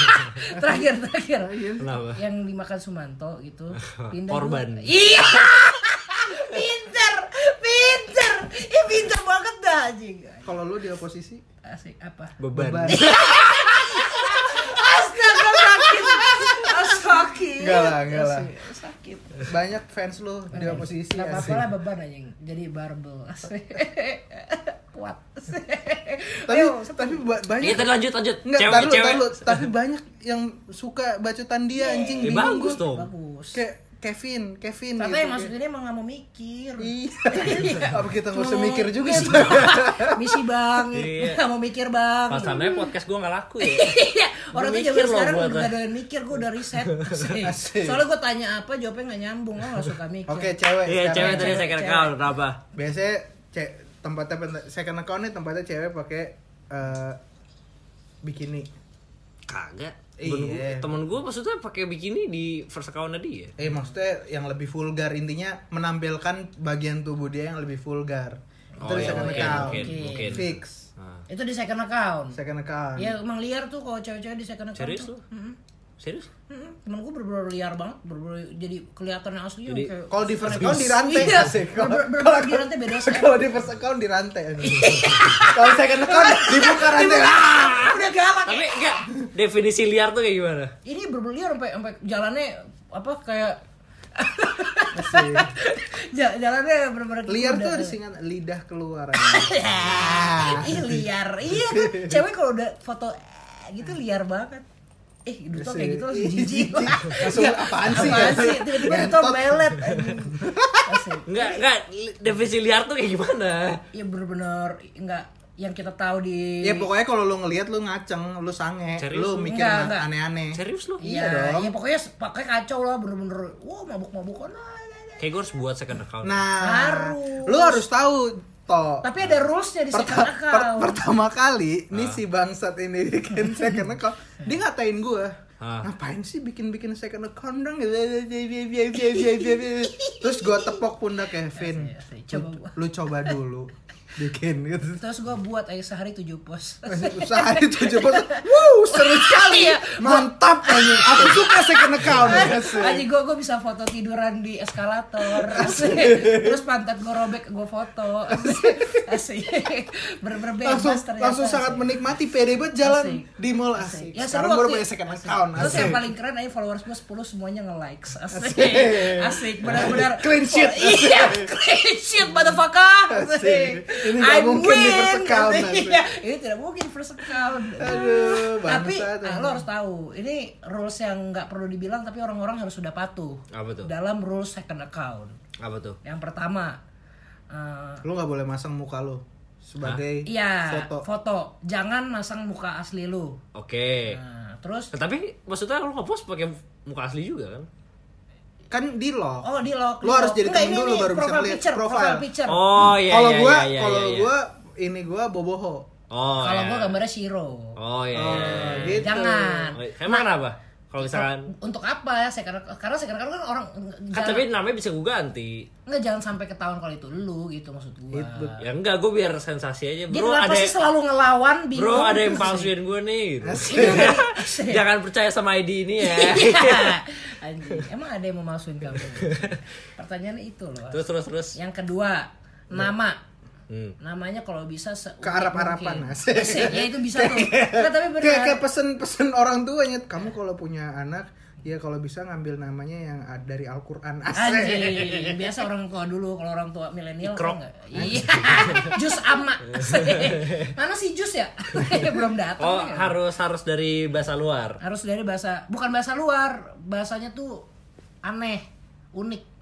[SPEAKER 2] <laughs> Terakhir, terakhir.
[SPEAKER 4] Kenapa?
[SPEAKER 2] yang dimakan Sumanto
[SPEAKER 4] <laughs>
[SPEAKER 2] gitu pindah dulu.
[SPEAKER 4] Korban.
[SPEAKER 2] iya <laughs> pinter pinter ya pinter banget dah anjing
[SPEAKER 3] kalau lu di oposisi
[SPEAKER 2] asik apa
[SPEAKER 4] Beban
[SPEAKER 3] beban
[SPEAKER 2] astaga sakit Oh, sakit
[SPEAKER 3] Enggak lah, enggak lah.
[SPEAKER 2] Asik, sakit
[SPEAKER 3] banyak fans lu di oposisi
[SPEAKER 2] Gak apa-apa
[SPEAKER 3] asik.
[SPEAKER 2] lah beban anjing jadi barbel asik <laughs> kuat asik.
[SPEAKER 3] tapi tapi ba- banyak
[SPEAKER 4] Iya
[SPEAKER 2] Gitu
[SPEAKER 4] tadi lanjut lanjut
[SPEAKER 3] Enggak, tar lu, tar
[SPEAKER 4] Cewek-cewek
[SPEAKER 3] lu. tapi banyak yang suka bacotan dia anjing
[SPEAKER 4] Ya,
[SPEAKER 3] bingung
[SPEAKER 4] Bagus
[SPEAKER 3] gua.
[SPEAKER 4] dong
[SPEAKER 2] bagus
[SPEAKER 3] kayak Kevin Kevin
[SPEAKER 2] Tapi
[SPEAKER 3] gitu.
[SPEAKER 2] yang maksudnya dia emang gak mau mikir
[SPEAKER 3] iya apa kita nggak usah
[SPEAKER 2] Mau
[SPEAKER 3] mikir juga
[SPEAKER 2] misi,
[SPEAKER 3] Bang?
[SPEAKER 2] misi bang
[SPEAKER 4] Iya.
[SPEAKER 2] Gak mau mikir bang
[SPEAKER 4] Pasalnya podcast gue gak laku ya
[SPEAKER 2] Iya, orang tuh zaman
[SPEAKER 4] Gua mikir loh
[SPEAKER 2] sekarang
[SPEAKER 4] gua
[SPEAKER 2] udah
[SPEAKER 4] tuh.
[SPEAKER 2] ada yang mikir, gue udah riset. Asik.
[SPEAKER 3] <laughs> Asik.
[SPEAKER 2] Soalnya gue tanya apa, jawabnya nggak nyambung, lo nggak suka mikir.
[SPEAKER 3] oke cewek
[SPEAKER 4] Iya
[SPEAKER 3] sekarang.
[SPEAKER 4] cewek tadi saya kira kau Kenapa?
[SPEAKER 3] biasanya cek tempatnya pen- second account nih tempatnya cewek pakai eh, bikini
[SPEAKER 4] Kagak
[SPEAKER 3] Iya.
[SPEAKER 4] Temen- Temen gue maksudnya pakai bikini di first account dia
[SPEAKER 3] eh maksudnya yang lebih vulgar intinya menampilkan bagian tubuh dia yang lebih vulgar itu
[SPEAKER 4] Oh,
[SPEAKER 3] di
[SPEAKER 4] iya,
[SPEAKER 3] second
[SPEAKER 4] mungkin,
[SPEAKER 3] account
[SPEAKER 4] mungkin, mungkin.
[SPEAKER 3] fix
[SPEAKER 4] Ah.
[SPEAKER 2] Nah. Itu di second account.
[SPEAKER 3] second account
[SPEAKER 2] Iya. Ya emang liar tuh kalau cewek-cewek di second account.
[SPEAKER 4] Serius
[SPEAKER 2] tuh.
[SPEAKER 4] lu?
[SPEAKER 2] Mm-mm.
[SPEAKER 4] Serius?
[SPEAKER 2] Mm-mm, Temen gue bener-bener liar banget, bener-bener jadi kelihatannya aslinya
[SPEAKER 4] Jadi,
[SPEAKER 2] kayak
[SPEAKER 3] Kalau di first account di rantai
[SPEAKER 2] Iya,
[SPEAKER 3] asik. Kalau-
[SPEAKER 2] bener- bener-
[SPEAKER 3] kalau-
[SPEAKER 2] di rantai beda sekali.
[SPEAKER 3] <laughs> Kalau di first account di rantai. <laughs> Kalau second account dibuka rantai.
[SPEAKER 2] udah galak.
[SPEAKER 4] Tapi enggak definisi liar tuh kayak gimana?
[SPEAKER 2] Ini bener-bener liar sampai sampai jalannya apa kayak <laughs> Ja- jalannya bener-bener
[SPEAKER 3] Liar
[SPEAKER 2] udah-
[SPEAKER 3] tuh ada singkat lidah keluar.
[SPEAKER 4] <laughs>
[SPEAKER 2] <laughs> Ih liar. Iya tuh cewek kalau udah foto eh, gitu liar banget. Eh, Duto kayak gitu langsung
[SPEAKER 3] <laughs>
[SPEAKER 2] jijik.
[SPEAKER 3] Langsung,
[SPEAKER 2] <laughs> Nggak,
[SPEAKER 3] apaan sih?
[SPEAKER 2] Apaan sih? Tiba-tiba Duto
[SPEAKER 3] Ngentot.
[SPEAKER 2] melet. anjing. Asik.
[SPEAKER 4] Enggak, enggak li- definisi liar tuh kayak gimana?
[SPEAKER 2] Ya bener-bener enggak yang kita tahu di
[SPEAKER 3] Ya pokoknya kalau lu ngelihat lu ngaceng, lu sange,
[SPEAKER 4] Serius?
[SPEAKER 3] lu mikir
[SPEAKER 2] Enggak,
[SPEAKER 3] na-
[SPEAKER 2] enggak.
[SPEAKER 3] aneh-aneh.
[SPEAKER 4] Serius lo?
[SPEAKER 2] Iya,
[SPEAKER 3] dong.
[SPEAKER 2] Ya pokoknya pakai kacau lah bener-bener. Wah, mabuk-mabukan ah, iya, lah. lah, lah.
[SPEAKER 4] Kayak gue harus buat second account.
[SPEAKER 3] Nah,
[SPEAKER 2] Harus.
[SPEAKER 3] lu harus tahu toh.
[SPEAKER 2] Tapi ada rulesnya di
[SPEAKER 3] Perta-
[SPEAKER 2] second
[SPEAKER 3] <laughs> per-
[SPEAKER 2] account.
[SPEAKER 3] pertama kali nih si bangsat ini
[SPEAKER 2] <laughs>
[SPEAKER 3] bikin second account dia ngatain gue
[SPEAKER 4] Ah.
[SPEAKER 3] ngapain sih bikin-bikin second account dong terus gue tepok pundak Kevin
[SPEAKER 2] Ya, sih, ya, sih. Coba
[SPEAKER 3] lu, lu
[SPEAKER 2] <laughs>
[SPEAKER 3] coba dulu bikin gitu
[SPEAKER 2] Terus gua buat aja sehari 7 post.
[SPEAKER 3] sehari tujuh bos wow seru sekali
[SPEAKER 2] Iya.
[SPEAKER 3] mantap anjing aku suka second account
[SPEAKER 2] <laughs> Aja gue gue bisa foto tiduran di
[SPEAKER 3] <laughs>
[SPEAKER 2] eskalator, asik. terus pantat gue robek gue foto, <laughs> asik. asik. Bener-bener bebas
[SPEAKER 3] langsung
[SPEAKER 2] ternyata,
[SPEAKER 3] langsung
[SPEAKER 2] asik.
[SPEAKER 3] sangat menikmati pede banget jalan
[SPEAKER 2] Asik.
[SPEAKER 3] di mall asik,
[SPEAKER 2] Ya, seru
[SPEAKER 3] sekarang baru
[SPEAKER 2] waktu-
[SPEAKER 3] punya second account
[SPEAKER 2] Terus
[SPEAKER 3] asik.
[SPEAKER 2] yang paling keren aja followers gue 10 semuanya
[SPEAKER 3] <laughs>
[SPEAKER 2] nge-likes Asik
[SPEAKER 3] Asik.
[SPEAKER 2] Asik Benar-benar
[SPEAKER 3] Clean sheet,
[SPEAKER 2] Oh, Iya Clean sheet motherfucker
[SPEAKER 3] Asik.
[SPEAKER 2] Asik
[SPEAKER 3] Ini nggak
[SPEAKER 2] I
[SPEAKER 3] mungkin di
[SPEAKER 2] win.
[SPEAKER 3] first account,
[SPEAKER 2] Asik.
[SPEAKER 3] asik.
[SPEAKER 2] Iya, Ini tidak mungkin di first account
[SPEAKER 3] Aduh,
[SPEAKER 2] Tapi
[SPEAKER 3] bangsat,
[SPEAKER 2] ah,
[SPEAKER 3] emang.
[SPEAKER 2] lo harus tahu Ini rules yang nggak perlu dibilang Tapi orang-orang harus sudah patuh
[SPEAKER 4] Apa tuh?
[SPEAKER 2] Dalam rules second account
[SPEAKER 4] Apa tuh?
[SPEAKER 2] Yang pertama eh,
[SPEAKER 3] lu nggak boleh masang muka lu sebagai
[SPEAKER 2] Iya
[SPEAKER 3] foto.
[SPEAKER 2] foto Jangan masang muka asli lu
[SPEAKER 4] Oke.
[SPEAKER 2] Nah, Terus
[SPEAKER 4] Nah, tapi maksudnya lu nge-post pakai muka asli juga kan?
[SPEAKER 3] kan di lock
[SPEAKER 2] Oh di lock.
[SPEAKER 3] Lu
[SPEAKER 2] di
[SPEAKER 3] harus
[SPEAKER 2] lock.
[SPEAKER 3] jadi
[SPEAKER 2] Enggak,
[SPEAKER 3] temen
[SPEAKER 2] ini-
[SPEAKER 3] dulu
[SPEAKER 2] ini
[SPEAKER 3] baru bisa
[SPEAKER 2] profile
[SPEAKER 3] ngeliat.
[SPEAKER 2] picture,
[SPEAKER 3] Profile.
[SPEAKER 2] profile picture.
[SPEAKER 4] Oh iya
[SPEAKER 3] kalau
[SPEAKER 4] iya
[SPEAKER 3] gua
[SPEAKER 4] iya,
[SPEAKER 3] kalau
[SPEAKER 4] iya.
[SPEAKER 3] gua ini gua boboho
[SPEAKER 4] Oh,
[SPEAKER 2] Kalau
[SPEAKER 4] iya.
[SPEAKER 2] gua gambarnya Shiro.
[SPEAKER 4] Oh iya. iya,
[SPEAKER 3] Oh,
[SPEAKER 4] iya.
[SPEAKER 3] gitu.
[SPEAKER 2] Jangan.
[SPEAKER 4] Oh, Emang kenapa? Kalau misalkan
[SPEAKER 2] Untuk apa ya? Saya karena karena saya karena kan orang
[SPEAKER 4] kan
[SPEAKER 2] jangan,
[SPEAKER 4] tapi namanya bisa gue ganti.
[SPEAKER 2] enggak jangan sampai ketahuan kalau itu lu gitu maksud gua.
[SPEAKER 4] Ya enggak, gue biar sensasi aja.
[SPEAKER 2] Dia
[SPEAKER 4] Bro,
[SPEAKER 2] kenapa
[SPEAKER 4] ada
[SPEAKER 2] sih selalu ngelawan bingung?
[SPEAKER 4] Bro, ada yang palsuin gue nih. gitu.
[SPEAKER 2] Iya, asik.
[SPEAKER 4] Jangan percaya sama ID ini ya.
[SPEAKER 2] <laughs> <laughs> Iya. Anjing, emang ada yang mau masukin kamu? Pertanyaannya itu loh.
[SPEAKER 4] terus terus terus.
[SPEAKER 2] Yang kedua, nama.
[SPEAKER 4] Hmm.
[SPEAKER 2] Namanya kalau bisa se
[SPEAKER 3] Ke Arab-Arapan, asik.
[SPEAKER 2] Asik, ya itu bisa tuh. Enggak, tapi benar.
[SPEAKER 3] kayak kayak pesen-pesen <laughs> orang tuanya kamu kalau punya anak ya kalau bisa ngambil namanya yang ad- dari Al-Qur'an <laughs> asik
[SPEAKER 2] Anjing, <laughs> biasa orang tua dulu kalau orang tua milenial
[SPEAKER 4] Ikrok.
[SPEAKER 2] kan enggak. Iya. <laughs> Jus
[SPEAKER 4] <laughs>
[SPEAKER 2] ama. Mana sih jus ya? <laughs> Belum datang.
[SPEAKER 4] Oh,
[SPEAKER 2] ya.
[SPEAKER 4] harus harus dari bahasa luar.
[SPEAKER 2] Harus dari bahasa bukan bahasa luar, bahasanya tuh aneh, unik.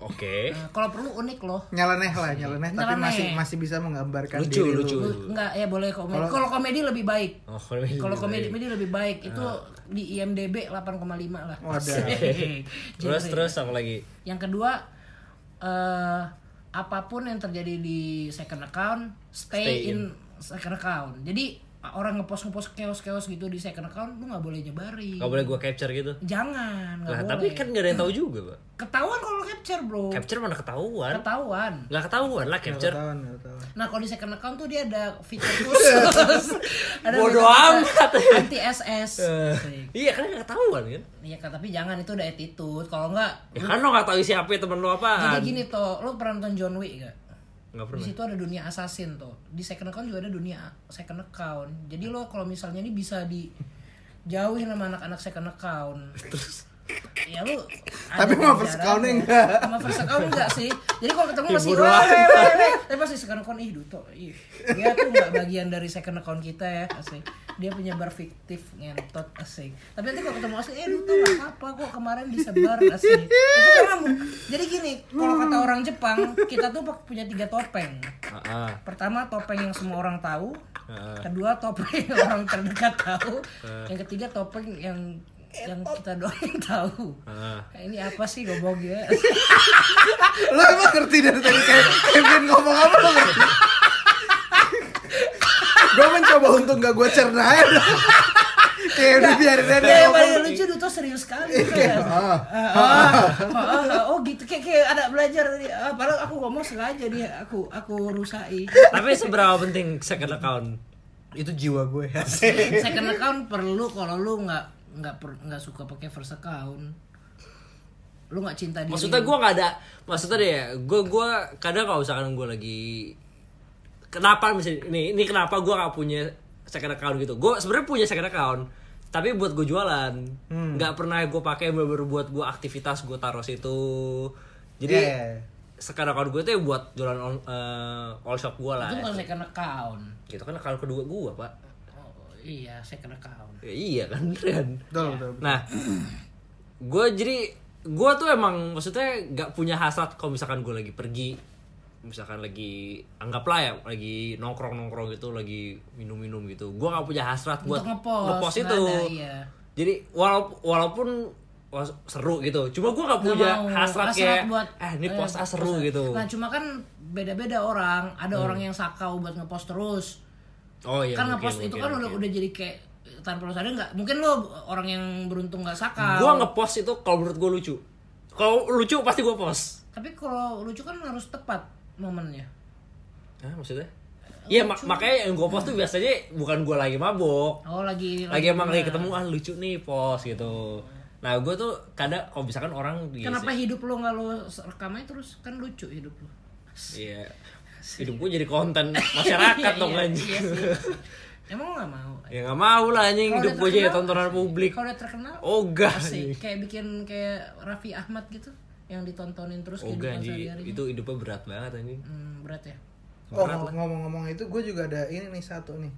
[SPEAKER 4] Oke.
[SPEAKER 2] Nah, kalau perlu unik loh.
[SPEAKER 3] nyeleneh lah nyeleneh tapi
[SPEAKER 2] Nyeleneh.
[SPEAKER 3] masih masih bisa menggambarkan
[SPEAKER 4] Lucu,
[SPEAKER 3] Kan diri lu.
[SPEAKER 4] lucu.
[SPEAKER 2] Lu- Enggak, ya boleh komedi. Kalau komedi lebih baik.
[SPEAKER 4] Oh, kalau ini
[SPEAKER 2] Kalau
[SPEAKER 4] lebih
[SPEAKER 2] komedi
[SPEAKER 4] baik.
[SPEAKER 2] komedi lebih baik. Itu
[SPEAKER 4] Ah.
[SPEAKER 2] di IMDb 8,5 lah. <laughs>
[SPEAKER 3] Waduh.
[SPEAKER 4] Terus
[SPEAKER 2] Genre.
[SPEAKER 4] terus apa lagi?
[SPEAKER 2] Yang kedua, eh apapun yang terjadi di second account, stay,
[SPEAKER 4] Stay in.
[SPEAKER 2] in. second account. Jadi orang ngepost ngepost chaos chaos gitu di second account, lu nggak boleh nyebarin.
[SPEAKER 4] Gak boleh gue capture gitu.
[SPEAKER 2] Jangan, nggak
[SPEAKER 4] Nah,
[SPEAKER 2] boleh.
[SPEAKER 4] tapi kan gak ada yang tahu juga, Pak.
[SPEAKER 2] ketahuan kalau capture bro.
[SPEAKER 4] Capture mana ketahuan?
[SPEAKER 2] Ketahuan.
[SPEAKER 4] Gak ketahuan lah
[SPEAKER 3] Nggak
[SPEAKER 4] capture.
[SPEAKER 3] ketahuan, nggak ketahuan.
[SPEAKER 2] Nah kalau di second account tuh dia ada fitur
[SPEAKER 4] <laughs>
[SPEAKER 2] khusus. ada fitur
[SPEAKER 4] Bodoh amat.
[SPEAKER 2] khusus, Anti
[SPEAKER 4] <laughs>
[SPEAKER 2] SS. Asik.
[SPEAKER 4] Iya, kan gak ketahuan kan?
[SPEAKER 2] Iya, tapi jangan itu udah attitude. Kalau nggak,
[SPEAKER 4] Ya kan lo gak tahu isi apa temen lo
[SPEAKER 2] jadi
[SPEAKER 4] apaan.
[SPEAKER 2] gini toh, lu pernah nonton John Wick gak? di
[SPEAKER 4] Gak pernah.
[SPEAKER 2] situ ada dunia assassin tuh di second account juga ada dunia second account jadi lo kalau misalnya ini bisa di jauhin sama anak-anak second account
[SPEAKER 3] <laughs>
[SPEAKER 2] terus ya lu ada
[SPEAKER 3] Tapi sama first
[SPEAKER 2] pelajarannya.
[SPEAKER 3] account-nya enggak.
[SPEAKER 2] sama first account enggak sih jadi kalau ketemu masih
[SPEAKER 4] bodo
[SPEAKER 2] wah,
[SPEAKER 4] amat.
[SPEAKER 2] weh, weh, weh. tapi masih second account ih duto ih dia tuh nggak bagian dari second account kita ya asik dia penyebar fiktif ngentot asik tapi nanti kalau ketemu asli eh duto nggak apa-apa kok kemarin disebar asik itu kan kamu jadi gini kalau kata orang Jepang kita tuh punya tiga topeng
[SPEAKER 3] Ah,
[SPEAKER 4] Heeh.
[SPEAKER 2] Pertama topeng yang semua orang tahu. Kedua topeng yang orang terdekat tahu. Yang ketiga topeng yang yang kita doang tahu.
[SPEAKER 4] Heeh.
[SPEAKER 2] Nah, ini apa sih gobok ya?
[SPEAKER 3] Lo emang ngerti dari tadi kayak Kevin ngomong apa <laughs> lo ngerti? gue mencoba untuk gak gue cerna ya <laughs> Kayak udah biarin aja dia
[SPEAKER 2] Ya, yang
[SPEAKER 3] ngomong.
[SPEAKER 2] paling lucu Duto serius sekali.
[SPEAKER 3] Kayak,
[SPEAKER 2] kan?
[SPEAKER 3] ah.
[SPEAKER 2] Ah, ah, ah, ah, oh gitu kayak, kayak ada belajar tadi. Ah, padahal aku ngomong sengaja dia aku aku rusai.
[SPEAKER 4] Tapi seberapa penting second account?
[SPEAKER 3] Itu jiwa gue <laughs>
[SPEAKER 2] Second account perlu kalau lu nggak nggak per- nggak suka pakai first account lu nggak cinta diri
[SPEAKER 4] maksudnya gue nggak ada maksudnya deh ya gue gue kadang kalau misalkan gue lagi kenapa misalnya ini ini kenapa gue nggak punya second account gitu gue sebenarnya punya second account tapi buat gue jualan nggak pernah gue pakai bener buat gue aktivitas gue taruh situ jadi
[SPEAKER 3] Yeah.
[SPEAKER 4] second account gue itu ya buat jualan on, eh, all shop gue lah
[SPEAKER 2] itu bukan second account
[SPEAKER 4] gitu kan account kedua gue pak
[SPEAKER 2] oh, iya second account
[SPEAKER 4] Ya iya kan <laughs> Ren.
[SPEAKER 3] Betul, betul.
[SPEAKER 4] Nah, gue jadi gue tuh emang maksudnya nggak punya hasrat kalau misalkan gue lagi pergi, misalkan lagi anggaplah ya lagi nongkrong nongkrong gitu, lagi minum minum gitu. Gue nggak punya hasrat buat
[SPEAKER 2] Untuk ngepost,
[SPEAKER 4] ngepost
[SPEAKER 2] nggak
[SPEAKER 4] itu.
[SPEAKER 2] ada, iya.
[SPEAKER 4] Jadi walaupun walaupun wah, seru gitu, cuma gue nggak
[SPEAKER 2] Nggak
[SPEAKER 4] punya
[SPEAKER 2] mau.
[SPEAKER 4] hasrat, kayak eh ini
[SPEAKER 2] eh,
[SPEAKER 4] post ah seru
[SPEAKER 2] post-
[SPEAKER 4] gitu. Hmm.
[SPEAKER 2] nah cuma kan beda-beda orang ada orang yang sakau buat ngepost terus
[SPEAKER 4] Oh iya.
[SPEAKER 2] kan
[SPEAKER 4] mungkin,
[SPEAKER 2] ngepost itu
[SPEAKER 4] mungkin,
[SPEAKER 2] kan udah
[SPEAKER 4] mungkin.
[SPEAKER 2] udah jadi kayak tanpa lu sadar nggak mungkin lo orang yang beruntung nggak sakau
[SPEAKER 4] Gue ngepost itu kalau menurut gue lucu. Kalau lucu pasti gue post.
[SPEAKER 2] tapi kalau lucu kan harus tepat momennya
[SPEAKER 4] Hah, maksudnya? Iya mak- makanya yang gue post tuh biasanya bukan gue lagi mabok,
[SPEAKER 2] oh lagi
[SPEAKER 4] lagi emang lagi ketemu ah lucu nih post gitu. Nah gue tuh kadang kalau misalkan orang di
[SPEAKER 2] kenapa hidup lo nggak lo rekamannya terus kan lucu hidup lo
[SPEAKER 4] Iya. Hidup gue jadi konten
[SPEAKER 2] <laughs>
[SPEAKER 4] masyarakat dong
[SPEAKER 2] Iya,
[SPEAKER 4] anjing.
[SPEAKER 2] iya sih. emang lo nggak mau
[SPEAKER 4] <laughs> Ya nggak mau lah anjing
[SPEAKER 2] Kalau
[SPEAKER 4] hidup
[SPEAKER 2] udah
[SPEAKER 4] gue jadi
[SPEAKER 2] terkenal,
[SPEAKER 4] tontonan publik.
[SPEAKER 2] kalau udah terkenal
[SPEAKER 4] Ogah
[SPEAKER 2] sih
[SPEAKER 4] anjing.
[SPEAKER 2] kayak bikin kayak Raffi Ahmad gitu yang ditontonin terus
[SPEAKER 4] Ogah
[SPEAKER 2] kehidupan
[SPEAKER 4] Oh, anjing
[SPEAKER 2] sehari-harinya
[SPEAKER 4] itu hidupnya berat banget anjing.
[SPEAKER 2] hmm, berat ya
[SPEAKER 3] Oh, ngom- ngomong-ngomong itu gue juga ada ini nih satu nih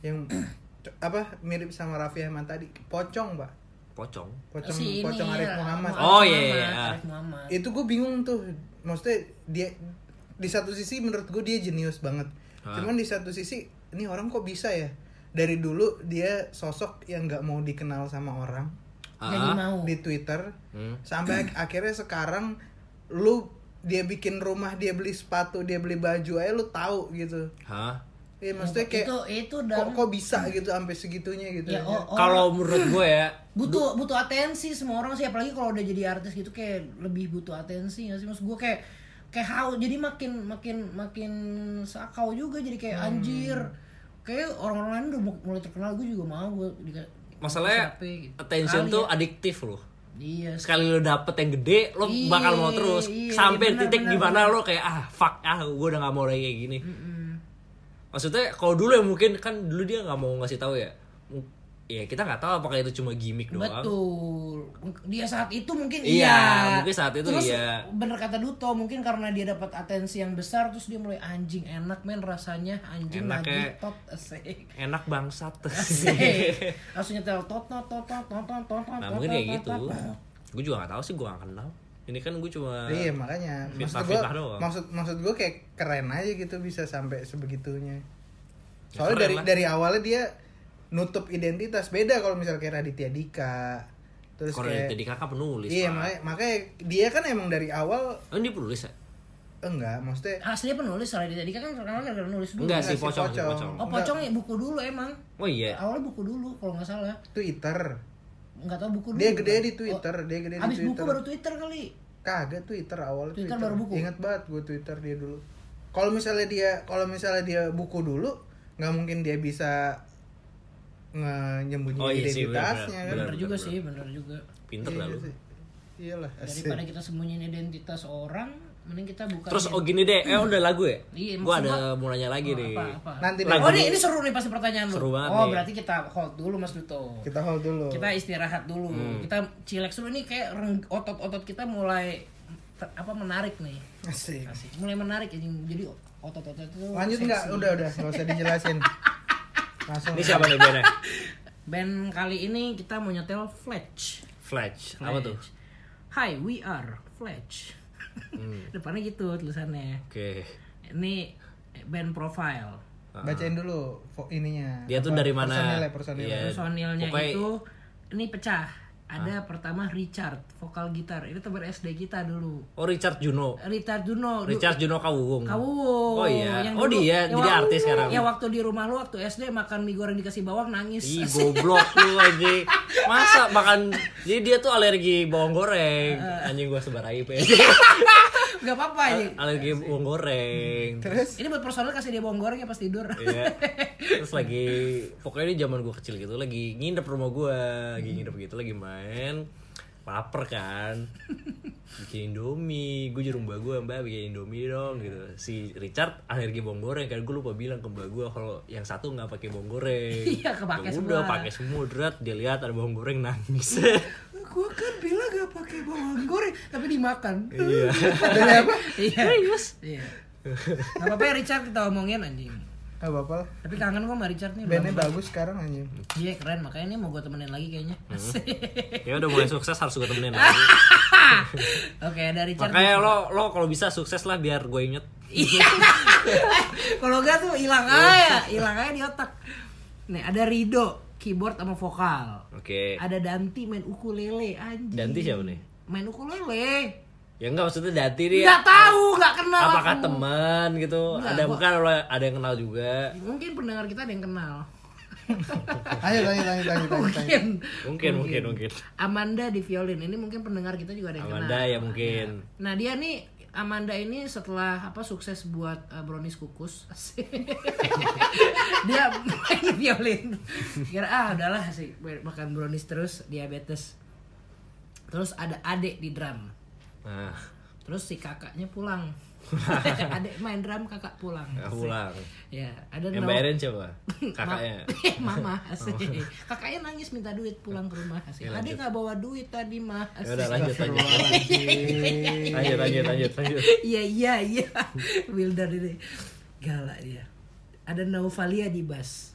[SPEAKER 3] yang <clears throat> co- apa mirip sama Raffi Ahmad tadi pocong pak
[SPEAKER 4] Pocong.
[SPEAKER 3] pocong
[SPEAKER 2] si ini ya,
[SPEAKER 3] pocong Arif
[SPEAKER 2] Ra-
[SPEAKER 3] Muhammad
[SPEAKER 4] Oh, iya, iya,
[SPEAKER 2] Muhammad,
[SPEAKER 4] iya.
[SPEAKER 2] Arif Muhammad
[SPEAKER 3] itu gue bingung tuh maksudnya dia di satu sisi menurut gue dia jenius banget cuman di satu sisi ini orang kok bisa ya dari dulu dia sosok yang nggak mau dikenal sama orang
[SPEAKER 2] jadi
[SPEAKER 4] Ah.
[SPEAKER 2] mau
[SPEAKER 3] di Twitter sampai ak- akhirnya sekarang lu dia bikin rumah dia beli sepatu dia beli baju aja lu tahu gitu
[SPEAKER 4] Hah?
[SPEAKER 3] Iya maksudnya kayak
[SPEAKER 2] Ya, itu itu
[SPEAKER 3] kok
[SPEAKER 2] dan
[SPEAKER 3] kok bisa gitu sampai segitunya gitu
[SPEAKER 2] ya oh, oh.
[SPEAKER 4] Kalau menurut gue ya
[SPEAKER 2] butuh butuh atensi semua orang sih apalagi kalau udah jadi artis gitu kayak lebih butuh atensi nggak sih maksud gue kayak kayak haus jadi makin makin makin sakau juga jadi
[SPEAKER 4] Hmm.
[SPEAKER 2] kayak anjir kayak orang-orang lain udah mu- mulai terkenal gue juga mau gue dika-
[SPEAKER 4] masalahnya
[SPEAKER 2] siapa gitu.
[SPEAKER 4] attention
[SPEAKER 2] Kali
[SPEAKER 4] tuh
[SPEAKER 2] ya.
[SPEAKER 4] adiktif loh.
[SPEAKER 2] iya
[SPEAKER 4] sekali lo dapet yang gede lo
[SPEAKER 2] Iya,
[SPEAKER 4] bakal mau terus
[SPEAKER 2] iya,
[SPEAKER 4] sampai
[SPEAKER 2] benar,
[SPEAKER 4] titik
[SPEAKER 2] benar,
[SPEAKER 4] gimana lo kayak ah fuck ah gue udah nggak mau lagi kayak gini maksudnya kalau dulu ya mungkin kan dulu dia nggak mau ngasih tahu ya M- ya kita nggak tahu apakah itu cuma gimmick doang
[SPEAKER 2] Betul. Dia saat itu mungkin
[SPEAKER 4] Iya,
[SPEAKER 2] iya.
[SPEAKER 4] mungkin saat itu
[SPEAKER 2] terus,
[SPEAKER 4] iya.
[SPEAKER 2] Bener kata Duto, mungkin karena dia dapat atensi yang besar terus dia mulai anjing enak men rasanya anjing
[SPEAKER 4] Enak
[SPEAKER 2] lagi
[SPEAKER 4] ya.
[SPEAKER 2] tot asik.
[SPEAKER 4] enak bangsat
[SPEAKER 2] <laughs> Asik. Langsung nyetel tot tot tot tot tot tot tot.
[SPEAKER 4] nah
[SPEAKER 2] tot,
[SPEAKER 4] mungkin
[SPEAKER 2] tot, <laughs>
[SPEAKER 4] kayak
[SPEAKER 2] tot,
[SPEAKER 4] gitu
[SPEAKER 2] tot.
[SPEAKER 4] gue juga nggak tahu sih gue nggak kenal ini kan gue cuma
[SPEAKER 3] Iya makanya maksud gue
[SPEAKER 4] fitnah doang.
[SPEAKER 3] maksud maksud gue kayak keren aja gitu bisa sampai sebegitunya.
[SPEAKER 4] Ya,
[SPEAKER 3] Soalnya
[SPEAKER 4] keren
[SPEAKER 3] dari
[SPEAKER 4] lah.
[SPEAKER 3] dari awalnya dia nutup identitas beda kalau misalnya kayak Raditya Dika terus
[SPEAKER 4] kalau
[SPEAKER 3] kayak
[SPEAKER 4] tadi kakak penulis
[SPEAKER 3] iya
[SPEAKER 4] Pak.
[SPEAKER 3] makanya, makanya dia kan emang dari awal
[SPEAKER 4] oh ini penulis ya
[SPEAKER 3] enggak maksudnya
[SPEAKER 2] Aslinya penulis soalnya dia tadi kan terkenal gara nulis dulu.
[SPEAKER 4] enggak
[SPEAKER 3] si
[SPEAKER 4] sih pocong, si
[SPEAKER 3] Pocong.
[SPEAKER 4] pocong.
[SPEAKER 2] Oh, pocong ya buku dulu emang.
[SPEAKER 4] oh iya
[SPEAKER 2] Awalnya buku dulu kalau nggak salah.
[SPEAKER 3] Twitter
[SPEAKER 2] Nggak tahu buku dulu.
[SPEAKER 3] dia gede
[SPEAKER 2] kan?
[SPEAKER 3] di Twitter dia gede di
[SPEAKER 2] Abis buku
[SPEAKER 3] Twitter
[SPEAKER 2] baru Twitter kali.
[SPEAKER 3] kagak Twitter awal
[SPEAKER 2] Twitter baru buku?
[SPEAKER 3] ingat banget gue Twitter dia dulu kalau misalnya dia kalau misalnya dia buku dulu nggak mungkin dia bisa nyembunyi
[SPEAKER 4] Oh, iya sih,
[SPEAKER 3] identitasnya
[SPEAKER 4] benar,
[SPEAKER 2] Bener
[SPEAKER 4] benar.
[SPEAKER 3] kan
[SPEAKER 2] juga sih, bener juga.
[SPEAKER 4] pinter
[SPEAKER 3] Iya
[SPEAKER 4] lah lu
[SPEAKER 3] sih. iyalah asik.
[SPEAKER 2] daripada kita sembunyiin identitas orang mending kita buka
[SPEAKER 4] terus oh gini deh eh udah lagu ya
[SPEAKER 2] Iya,
[SPEAKER 4] gue
[SPEAKER 2] maksud
[SPEAKER 4] ada mau nanya lagi nih
[SPEAKER 2] apa, apa?
[SPEAKER 3] nanti deh,
[SPEAKER 4] Lagu-
[SPEAKER 2] oh ini, ini seru nih pasti pertanyaan lu
[SPEAKER 4] Seru banget
[SPEAKER 2] oh
[SPEAKER 4] nih.
[SPEAKER 2] berarti kita hold dulu mas Duto
[SPEAKER 3] kita hold dulu
[SPEAKER 2] kita istirahat dulu
[SPEAKER 4] Hmm.
[SPEAKER 2] kita chillax dulu ini kayak reng- otot-otot kita mulai ter- apa menarik nih
[SPEAKER 3] asik
[SPEAKER 2] Asik. mulai menarik ya jadi otot-otot itu
[SPEAKER 3] lanjut
[SPEAKER 2] seksi.
[SPEAKER 3] nggak udah udah nggak usah dijelasin
[SPEAKER 4] <laughs>
[SPEAKER 3] langsung
[SPEAKER 4] Ini siapa nih ya? bandnya?
[SPEAKER 2] band kali ini kita mau nyetel Fletch
[SPEAKER 4] Flash. Apa tuh?
[SPEAKER 2] Fletch. Hi we are Fletch
[SPEAKER 4] Hmm.
[SPEAKER 2] <laughs> depannya gitu tulisannya
[SPEAKER 4] Oke.
[SPEAKER 2] ini band profile
[SPEAKER 3] bacain dulu fo- ininya
[SPEAKER 4] Dia tuh
[SPEAKER 3] Apa,
[SPEAKER 4] dari mana?
[SPEAKER 3] personilnya personilnya
[SPEAKER 4] Iya.
[SPEAKER 2] personilnya
[SPEAKER 4] Pokoknya-
[SPEAKER 2] itu ini pecah ada pertama Richard vokal gitar ini teman SD kita dulu
[SPEAKER 4] Oh Richard Juno.
[SPEAKER 2] Richard Juno du-
[SPEAKER 4] Richard Juno Kawung.
[SPEAKER 2] Eh, Kawung
[SPEAKER 4] Oh iya.
[SPEAKER 2] Yang
[SPEAKER 4] Oh
[SPEAKER 2] dulu-
[SPEAKER 4] dia
[SPEAKER 2] yang
[SPEAKER 4] jadi
[SPEAKER 2] wak-
[SPEAKER 4] artis sekarang.
[SPEAKER 2] ya waktu di rumah lu waktu SD makan mie goreng dikasih bawang nangis
[SPEAKER 4] Ih goblok lu aja. Masa makan jadi dia tuh alergi bawang goreng.
[SPEAKER 2] Eh,
[SPEAKER 4] Anjing gua sebar aib
[SPEAKER 2] <laughs>
[SPEAKER 4] ya.
[SPEAKER 2] <laughs> nggak
[SPEAKER 4] Ah,
[SPEAKER 2] apa-apa ini
[SPEAKER 4] alergi bawang goreng.
[SPEAKER 3] terus
[SPEAKER 2] ini buat personal kasih dia bawang goreng ya pas tidur
[SPEAKER 4] ah. Iya. terus lagi pokoknya di zaman gue kecil gitu lagi nginep rumah gue lagi nginep gitu lagi main lapar kan bikin indomie gue jurum mbak gue mbak bikin indomie dong gitu si Richard alergi bawang goreng kan gue lupa bilang ke mbak gue kalau yang satu nggak pakai bawang goreng
[SPEAKER 2] Iya, kepake
[SPEAKER 4] Ya udah
[SPEAKER 2] semua.
[SPEAKER 4] pakai semua drat dia lihat ada bawang goreng
[SPEAKER 2] <laughs>
[SPEAKER 4] nangis
[SPEAKER 2] <laughs> Gua kan bilang gak pakai bawang goreng, tapi dimakan. <laughs>
[SPEAKER 4] iya
[SPEAKER 3] Dari apa?
[SPEAKER 2] Iya. Iya. Gak apa-apa ya Richard kita omongin anjing.
[SPEAKER 3] Gak apa-apa lah.
[SPEAKER 2] Tapi kangen gua sama Richard nih.
[SPEAKER 3] Bandnya
[SPEAKER 2] udah-
[SPEAKER 3] bagus sekarang anjing.
[SPEAKER 2] Iya keren, makanya ini mau gua temenin lagi kayaknya.
[SPEAKER 4] ya udah mulai sukses harus gue temenin lagi
[SPEAKER 2] <laughs> Oke, dari Richard.
[SPEAKER 4] makanya lo lo kalau bisa sukses lah biar gue inget
[SPEAKER 2] Iya. Kalau enggak tuh hilang
[SPEAKER 4] Iya.
[SPEAKER 2] aja, hilang aja di otak. Nih, ada Rido keyboard sama vokal.
[SPEAKER 4] oke
[SPEAKER 2] Ada Danti main ukulele anjing.
[SPEAKER 4] Danti siapa nih
[SPEAKER 2] Main ukulele.
[SPEAKER 4] ya enggak maksudnya Dati dia
[SPEAKER 2] Enggak tahu, enggak kenal.
[SPEAKER 4] apakah
[SPEAKER 2] aku.
[SPEAKER 4] teman gitu
[SPEAKER 2] Enggak,
[SPEAKER 4] ada
[SPEAKER 2] gua-
[SPEAKER 4] bukan lo ada yang kenal juga
[SPEAKER 2] Mungkin pendengar kita ada yang kenal.
[SPEAKER 3] Ayo tanya tanya tanya tanya. tanya.
[SPEAKER 2] Mungkin.
[SPEAKER 4] mungkin mungkin mungkin
[SPEAKER 2] Amanda di violin. Ini mungkin pendengar kita juga ada yang kenal.
[SPEAKER 4] Amanda ya mungkin
[SPEAKER 2] Nah dia nih Amanda ini setelah apa sukses buat uh, brownies kukus, <laughs> dia main violin. Kira ah udahlah sih makan brownies terus diabetes. Terus ada adik di drum.
[SPEAKER 4] nah
[SPEAKER 2] Terus si kakaknya pulang. <laughs> adik main drum kakak pulang.
[SPEAKER 4] ya pulang
[SPEAKER 2] Ya ada
[SPEAKER 4] yang
[SPEAKER 2] Nau-
[SPEAKER 4] bayarin
[SPEAKER 2] <laughs>
[SPEAKER 4] siapa kakaknya
[SPEAKER 2] Ma- <laughs> Mama asik. Kakaknya nangis minta duit pulang ke rumah asik.
[SPEAKER 4] Ya, lanjut.
[SPEAKER 2] Adik nggak bawa duit tadi mah.
[SPEAKER 4] ya
[SPEAKER 2] asik.
[SPEAKER 4] udah lanjut lanjut lanjut lanjut lanjut lanjut
[SPEAKER 2] Iya iya iya. Wilder ini galak dia. Ada Naufalia di bass.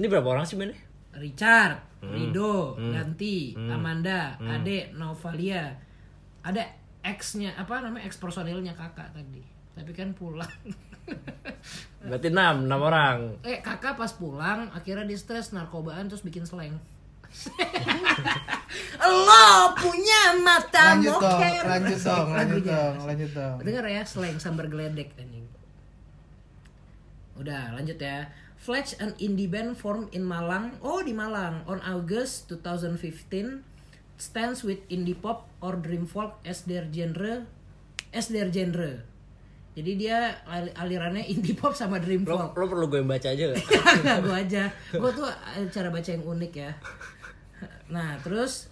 [SPEAKER 4] ini berapa orang sih mainnya
[SPEAKER 2] Richard, Rido, Ganti, Amanda, Ade, Naufalia. Ada ex-nya apa namanya ex personilnya kakak tadi. Tapi kan pulang. <laughs>
[SPEAKER 4] berarti enam enam orang
[SPEAKER 2] eh kakak pas pulang akhirnya di stres narkobaan terus bikin slang.
[SPEAKER 3] <laughs>
[SPEAKER 2] Lo punya mata
[SPEAKER 3] Lanjut dong,
[SPEAKER 2] moker.
[SPEAKER 3] lanjut dong, lanjut
[SPEAKER 2] Lagunya.
[SPEAKER 3] dong, lanjut dong.
[SPEAKER 2] Dengar ya slang sambar geledek anjing. Udah lanjut ya. Fletch an indie band formed in Malang. Oh di Malang on August 2015 stands with indie pop or dream folk as their genre as their genre. Jadi dia al- alirannya indie pop sama dream
[SPEAKER 4] lo,
[SPEAKER 2] folk.
[SPEAKER 4] lo perlu gue yang baca aja gak? <laughs>
[SPEAKER 2] Enggak gue aja. Gue tuh eh, cara baca yang unik ya. Nah terus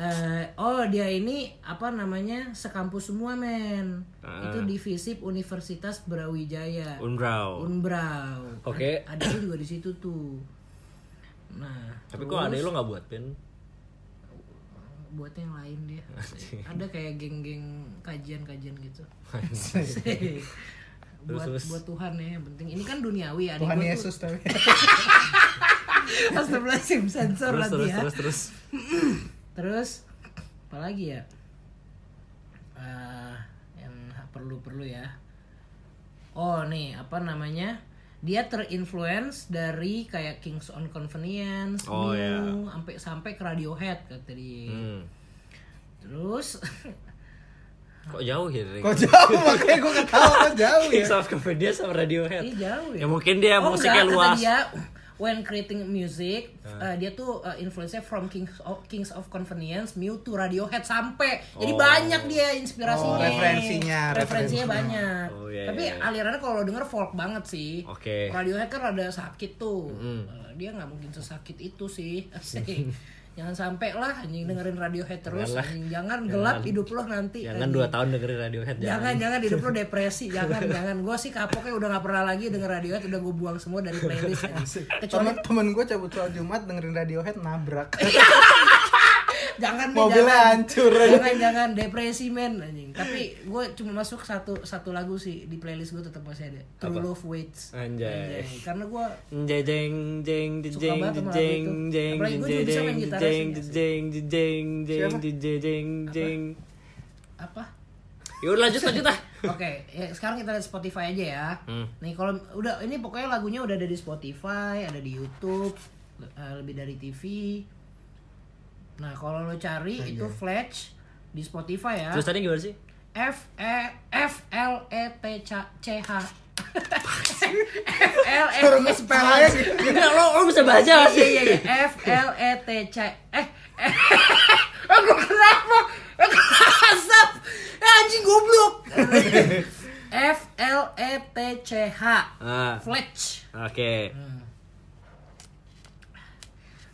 [SPEAKER 2] eh, oh dia ini apa namanya sekampus semua men.
[SPEAKER 4] Ah.
[SPEAKER 2] Itu divisi Universitas Brawijaya.
[SPEAKER 4] Unbrau
[SPEAKER 2] Unbrau.
[SPEAKER 4] Oke.
[SPEAKER 2] Ada lu juga di situ tuh. Nah.
[SPEAKER 4] tapi kok
[SPEAKER 2] terus
[SPEAKER 4] ada lo nggak buat pin
[SPEAKER 2] buat yang lain dia. Ada kayak geng-geng kajian-kajian gitu. <laughs> buat
[SPEAKER 4] terus.
[SPEAKER 2] buat Tuhan ya yang penting. Ini kan duniawi ada
[SPEAKER 3] Tuhan Yesus tapi.
[SPEAKER 2] <laughs> Astagfirullahaladzim sensor
[SPEAKER 4] terus
[SPEAKER 2] lagi
[SPEAKER 4] terus
[SPEAKER 2] ya.
[SPEAKER 4] terus terus
[SPEAKER 2] Terus apa lagi ya? Eh, yang perlu-perlu ya. Oh nih apa namanya? Dia terinfluence dari kayak Kings on Convenience,
[SPEAKER 4] Oh,
[SPEAKER 2] New,
[SPEAKER 4] ya.
[SPEAKER 2] sampai sampai ke Radiohead kata dia.
[SPEAKER 4] hmm.
[SPEAKER 2] Terus <laughs>
[SPEAKER 4] kok jauh ya dari
[SPEAKER 3] <laughs> Kok jauh makanya gue ketawa kok jauh
[SPEAKER 4] <laughs>
[SPEAKER 3] ya.
[SPEAKER 4] sama Comedia sama Radiohead
[SPEAKER 2] ini jauh ya.
[SPEAKER 4] ya mungkin dia
[SPEAKER 2] Oh,
[SPEAKER 4] musiknya
[SPEAKER 2] enggak, kata
[SPEAKER 4] luas Hmm.
[SPEAKER 2] dia, when creating music, eh, dia tuh eh, influence-nya from Kings of, Kings of Convenience, Mew to Radiohead sampai. Jadi
[SPEAKER 4] Oh.
[SPEAKER 2] banyak dia inspirasinya.
[SPEAKER 3] Oh, referensinya,
[SPEAKER 2] Referensinya
[SPEAKER 3] referensinya.
[SPEAKER 2] banyak.
[SPEAKER 4] Oh, iya,
[SPEAKER 2] Tapi
[SPEAKER 4] iya, iya.
[SPEAKER 2] alirannya kalau lo denger folk banget sih.
[SPEAKER 4] Oke.
[SPEAKER 2] Radiohead kan rada sakit tuh. Eh, dia nggak mungkin sesakit itu
[SPEAKER 4] <laughs>
[SPEAKER 2] sih. Asik. Jangan sampai lah anjing dengerin Radiohead terus.
[SPEAKER 4] Jangan lah.
[SPEAKER 2] anjing. Jangan gelap
[SPEAKER 4] Jangan.
[SPEAKER 2] hidup lo nanti.
[SPEAKER 4] jangan
[SPEAKER 2] anjing.
[SPEAKER 4] Iya, kan dua tahun dengerin Radiohead
[SPEAKER 2] Jangan,
[SPEAKER 4] jangan
[SPEAKER 2] jangan hidup lo depresi, jangan, jangan. Gue sih kapoknya udah gak pernah lagi denger Radiohead, udah gue buang semua dari playlist. ya. Kecuali,
[SPEAKER 3] Temen, temen gue cabut soal Jumat dengerin Radiohead
[SPEAKER 2] <laughs>
[SPEAKER 3] nabrak
[SPEAKER 2] jangan nih,
[SPEAKER 3] Mobilnya
[SPEAKER 2] jangan.
[SPEAKER 3] hancur
[SPEAKER 2] Jangan, jangan, depresi men anjing. Tapi gue cuma masuk satu satu lagu sih di playlist gue tetap masih ada. True
[SPEAKER 4] Apa?
[SPEAKER 2] Love Waits.
[SPEAKER 4] Anjay.
[SPEAKER 2] Anjay. Karena gue
[SPEAKER 4] jeng jeng jeng
[SPEAKER 2] Suka
[SPEAKER 4] jeng
[SPEAKER 2] banget sama lagu
[SPEAKER 4] jeng
[SPEAKER 2] itu.
[SPEAKER 4] jeng
[SPEAKER 2] Apalagi gua juga bisa main
[SPEAKER 4] jeng
[SPEAKER 2] gitar
[SPEAKER 4] jeng
[SPEAKER 2] aslinya sih.
[SPEAKER 4] jeng jeng jeng
[SPEAKER 3] Siapa?
[SPEAKER 4] jeng jeng jeng
[SPEAKER 2] apa?
[SPEAKER 4] yaudah lanjut lanjut ah
[SPEAKER 2] Oke, ya, sekarang kita lihat Spotify aja ya.
[SPEAKER 4] Hmm.
[SPEAKER 2] Nih kalau udah ini pokoknya lagunya udah ada di Spotify, ada di YouTube, le- eh, lebih dari TV. Nah, kalau lo cari itu Fletch di Spotify ya.
[SPEAKER 4] terus tadi gimana sih
[SPEAKER 2] F E F L E T C C
[SPEAKER 3] <laughs>
[SPEAKER 2] H. F L E
[SPEAKER 3] Suruh nge-spell aja gitu.
[SPEAKER 4] enggak lo lo bisa baca
[SPEAKER 2] Iya
[SPEAKER 4] nggak sih
[SPEAKER 2] iya iya. F L E T C eh eh, <laughs> aku kenapa? Aku asap. Eh, anjing
[SPEAKER 3] <laughs>
[SPEAKER 2] goblok. F L E T C H.
[SPEAKER 4] Ah,
[SPEAKER 2] Fletch.
[SPEAKER 4] Hmm. oke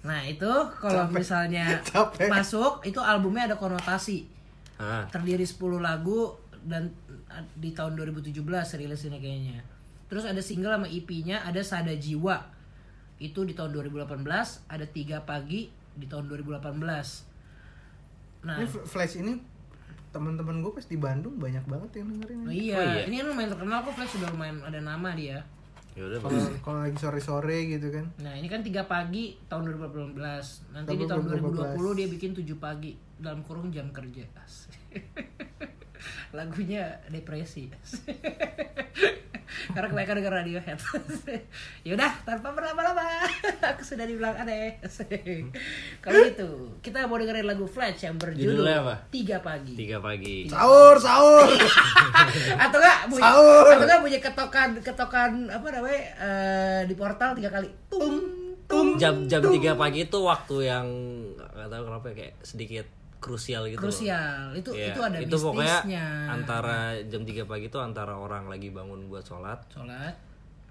[SPEAKER 2] Nah itu kalau misalnya
[SPEAKER 3] Capek.
[SPEAKER 2] masuk itu albumnya ada konotasi
[SPEAKER 4] Ah,
[SPEAKER 2] terdiri 10 lagu dan uh, di tahun 2017 rilisnya kayaknya. Terus ada single sama EP-nya ada Sada Jiwa itu di tahun 2018 ada tiga pagi di tahun 2018. Nah
[SPEAKER 3] Ini F- Flash ini teman-teman gue pas di Bandung banyak banget yang dengerin.
[SPEAKER 2] oh iya.
[SPEAKER 3] ini.
[SPEAKER 4] Oh iya.
[SPEAKER 2] ini kan lumayan terkenal kok Flash sudah lumayan ada nama dia.
[SPEAKER 4] yaudah
[SPEAKER 3] Kalau
[SPEAKER 4] bagus.
[SPEAKER 3] kalau lagi sore-sore gitu kan.
[SPEAKER 2] Nah ini kan tiga pagi tahun 2018 Nanti di tahun
[SPEAKER 3] 2018.
[SPEAKER 2] 2020 dia bikin 7 pagi Dalam kurung jam kerja <laughs> Asik. Lagunya depresi <laughs> Asik. Karena kebanyakan denger Radiohead Asik. <laughs> Yaudah tanpa berlama-lama <laughs> Aku sudah dibilang aneh <laughs> Asik. Kalau gitu kita mau dengerin lagu Flash yang berjudul
[SPEAKER 4] Judulnya apa?
[SPEAKER 2] Tiga Pagi
[SPEAKER 4] Tiga pagi.
[SPEAKER 3] Sahur, sahur.
[SPEAKER 2] Atau enggak bunyi
[SPEAKER 3] Sahur.
[SPEAKER 2] Atau enggak bunyi ketokan Ketokan apa namanya eh, Di portal tiga kali Tung tung
[SPEAKER 4] Jam jam tiga pagi itu waktu yang nggak tahu kenapa ya, kayak sedikit krusial gitu. loh.
[SPEAKER 2] krusial itu
[SPEAKER 4] Iya,
[SPEAKER 2] itu ada
[SPEAKER 4] itu pokoknya
[SPEAKER 2] bisnisnya
[SPEAKER 4] antara jam 3 pagi itu antara orang lagi bangun buat sholat
[SPEAKER 2] sholat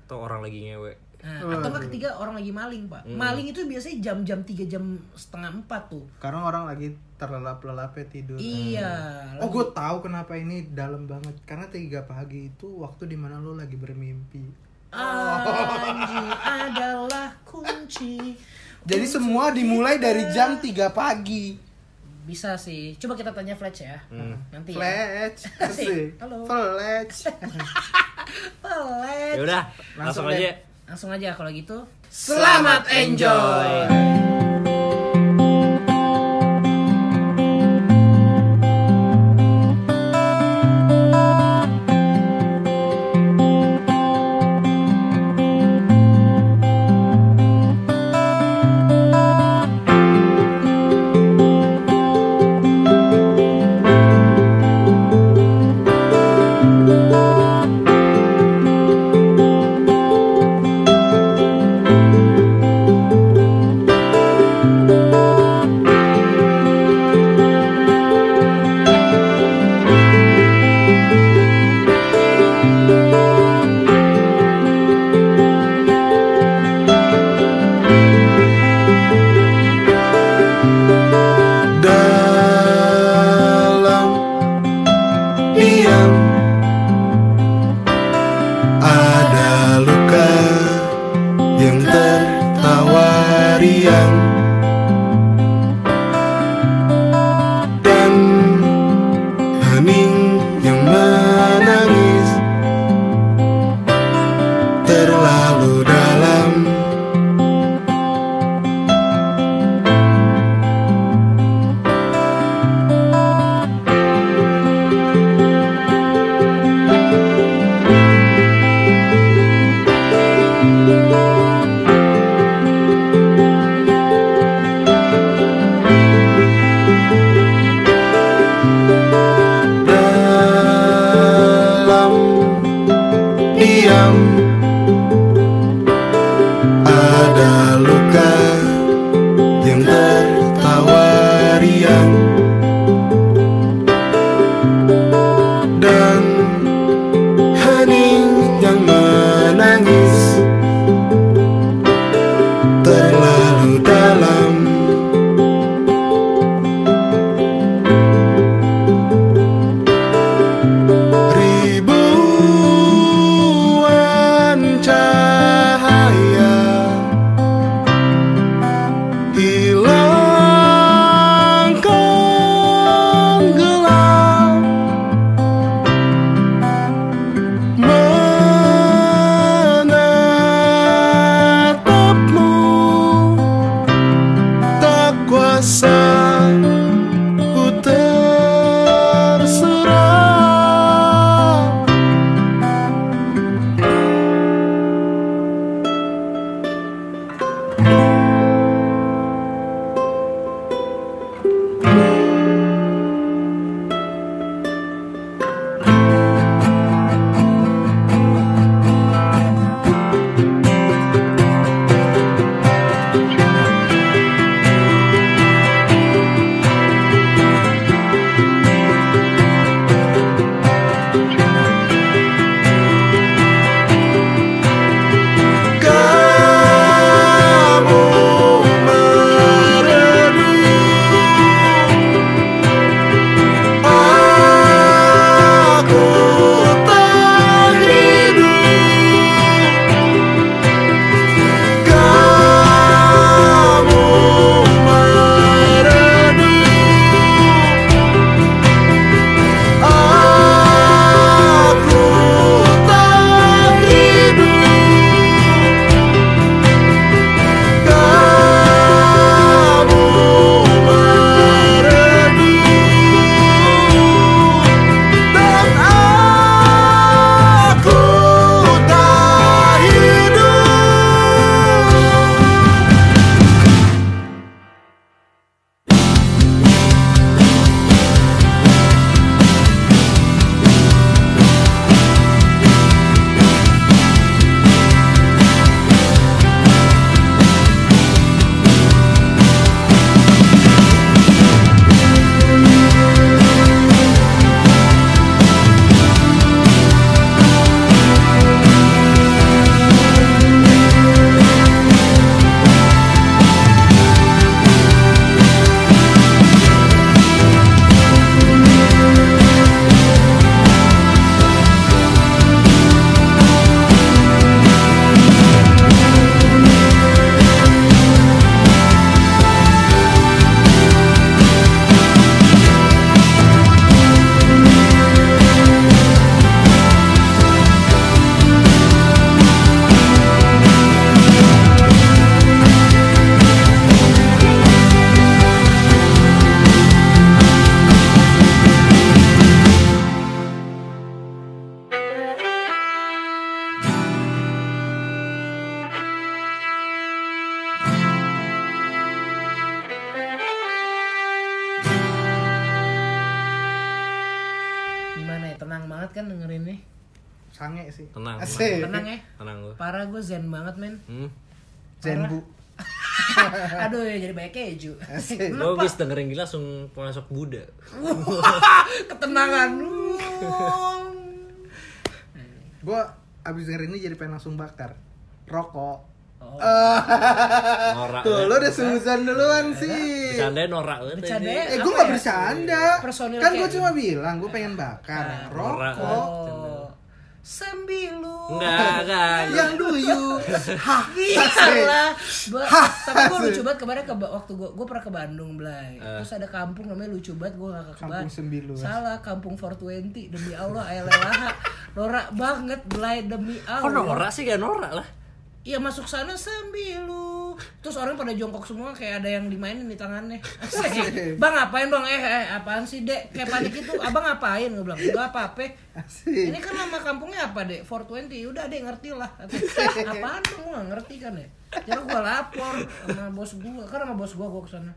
[SPEAKER 4] atau orang lagi ngewe
[SPEAKER 2] nah,
[SPEAKER 3] Oh.
[SPEAKER 2] atau enggak ketiga orang lagi maling pak
[SPEAKER 4] Hmm.
[SPEAKER 2] maling itu biasanya jam-jam tiga jam setengah empat tuh
[SPEAKER 3] Karena orang lagi terlelap-lelap ya
[SPEAKER 4] Hmm.
[SPEAKER 3] tidur.
[SPEAKER 2] iya
[SPEAKER 3] Oh gue tahu kenapa ini dalam banget karena tiga pagi itu waktu dimana lo lagi bermimpi.
[SPEAKER 2] anjing adalah kunci
[SPEAKER 3] Jadi
[SPEAKER 2] Iya,
[SPEAKER 3] semua dimulai dari jam 3 pagi.
[SPEAKER 2] bisa sih coba kita tanya Fletch ya
[SPEAKER 4] Hmm.
[SPEAKER 2] nanti ya.
[SPEAKER 3] Flash, asik.
[SPEAKER 2] Halo.
[SPEAKER 3] Flash.
[SPEAKER 2] Fletch
[SPEAKER 4] ya udah langsung,
[SPEAKER 3] Eh, Langsung
[SPEAKER 4] aja
[SPEAKER 3] deh.
[SPEAKER 2] langsung aja kalau gitu
[SPEAKER 3] Selamat enjoy.
[SPEAKER 6] dalam diam ada luka yang tertawa riang dan hening yang menangis terlalu dalam dalam diam ada luka yang tertawa riang dan hening yang menangis terlalu dalam ribuan cahaya hilangkan gelap menatapmu tak kuasa ku terserah
[SPEAKER 2] kan dengerin nih.
[SPEAKER 3] Sange sih.
[SPEAKER 4] Tenang,
[SPEAKER 3] Asik.
[SPEAKER 2] Tenang ya.
[SPEAKER 4] Tenang gue.
[SPEAKER 2] Parah gue zen banget men.
[SPEAKER 4] Hmm.
[SPEAKER 3] Zenbu.
[SPEAKER 2] Aduh ya jadi banyak keju.
[SPEAKER 3] Asik.
[SPEAKER 4] Lo habis dengerin gila langsung masuk Buddha.
[SPEAKER 2] Ketenangan. Wuuung.
[SPEAKER 3] Gue abis dengerin ini jadi pengen langsung bakar. Rokok.
[SPEAKER 2] Oh.
[SPEAKER 4] Norak.
[SPEAKER 3] Ah, Tuh,
[SPEAKER 4] kan?
[SPEAKER 3] lo udah suzan duluan sih.
[SPEAKER 4] Bercandanya norak banget. ini.
[SPEAKER 2] Bercandanya
[SPEAKER 3] Eh, gue
[SPEAKER 2] apa
[SPEAKER 3] gak
[SPEAKER 2] ya?
[SPEAKER 3] bercanda.
[SPEAKER 2] Personil
[SPEAKER 3] Kan
[SPEAKER 2] kayak-
[SPEAKER 3] gue
[SPEAKER 2] gitu. Nah,
[SPEAKER 3] cuma bilang, gue pengen bakar.
[SPEAKER 4] norak.
[SPEAKER 3] Rokok.
[SPEAKER 2] Oh. Sembilu.
[SPEAKER 3] Oh.
[SPEAKER 4] Enggak, enggak.
[SPEAKER 3] Yang
[SPEAKER 2] <laughs>
[SPEAKER 3] duyu. Hah. asik.
[SPEAKER 2] Iyalah. Gua- tapi gue lucu banget kemarin ke waktu gue gue pernah ke Bandung Blay. Terus ada kampung namanya lucu banget gue gak ke
[SPEAKER 3] Kampung Sembilu.
[SPEAKER 2] Salah kampung 420 demi Allah ayah lelaha. Norak banget Blay demi
[SPEAKER 4] Kok
[SPEAKER 2] Allah.
[SPEAKER 4] norak sih gak norak lah.
[SPEAKER 2] Iya masuk sana sembilu. Terus orang pada jongkok semua kayak ada yang dimainin di tangannya. Asik. bang ngapain bang? Eh, eh apaan sih dek? Kayak panik itu. Abang ngapain? Gue bilang enggak apa-apa.
[SPEAKER 3] Asik.
[SPEAKER 2] Ini kan nama kampungnya apa deh? 420. Udah deh ngerti lah. Kata, Apaan tuh gua nggak ngerti kan ya? Jadi gua lapor sama bos gua. Kan sama bos gua gua kesana.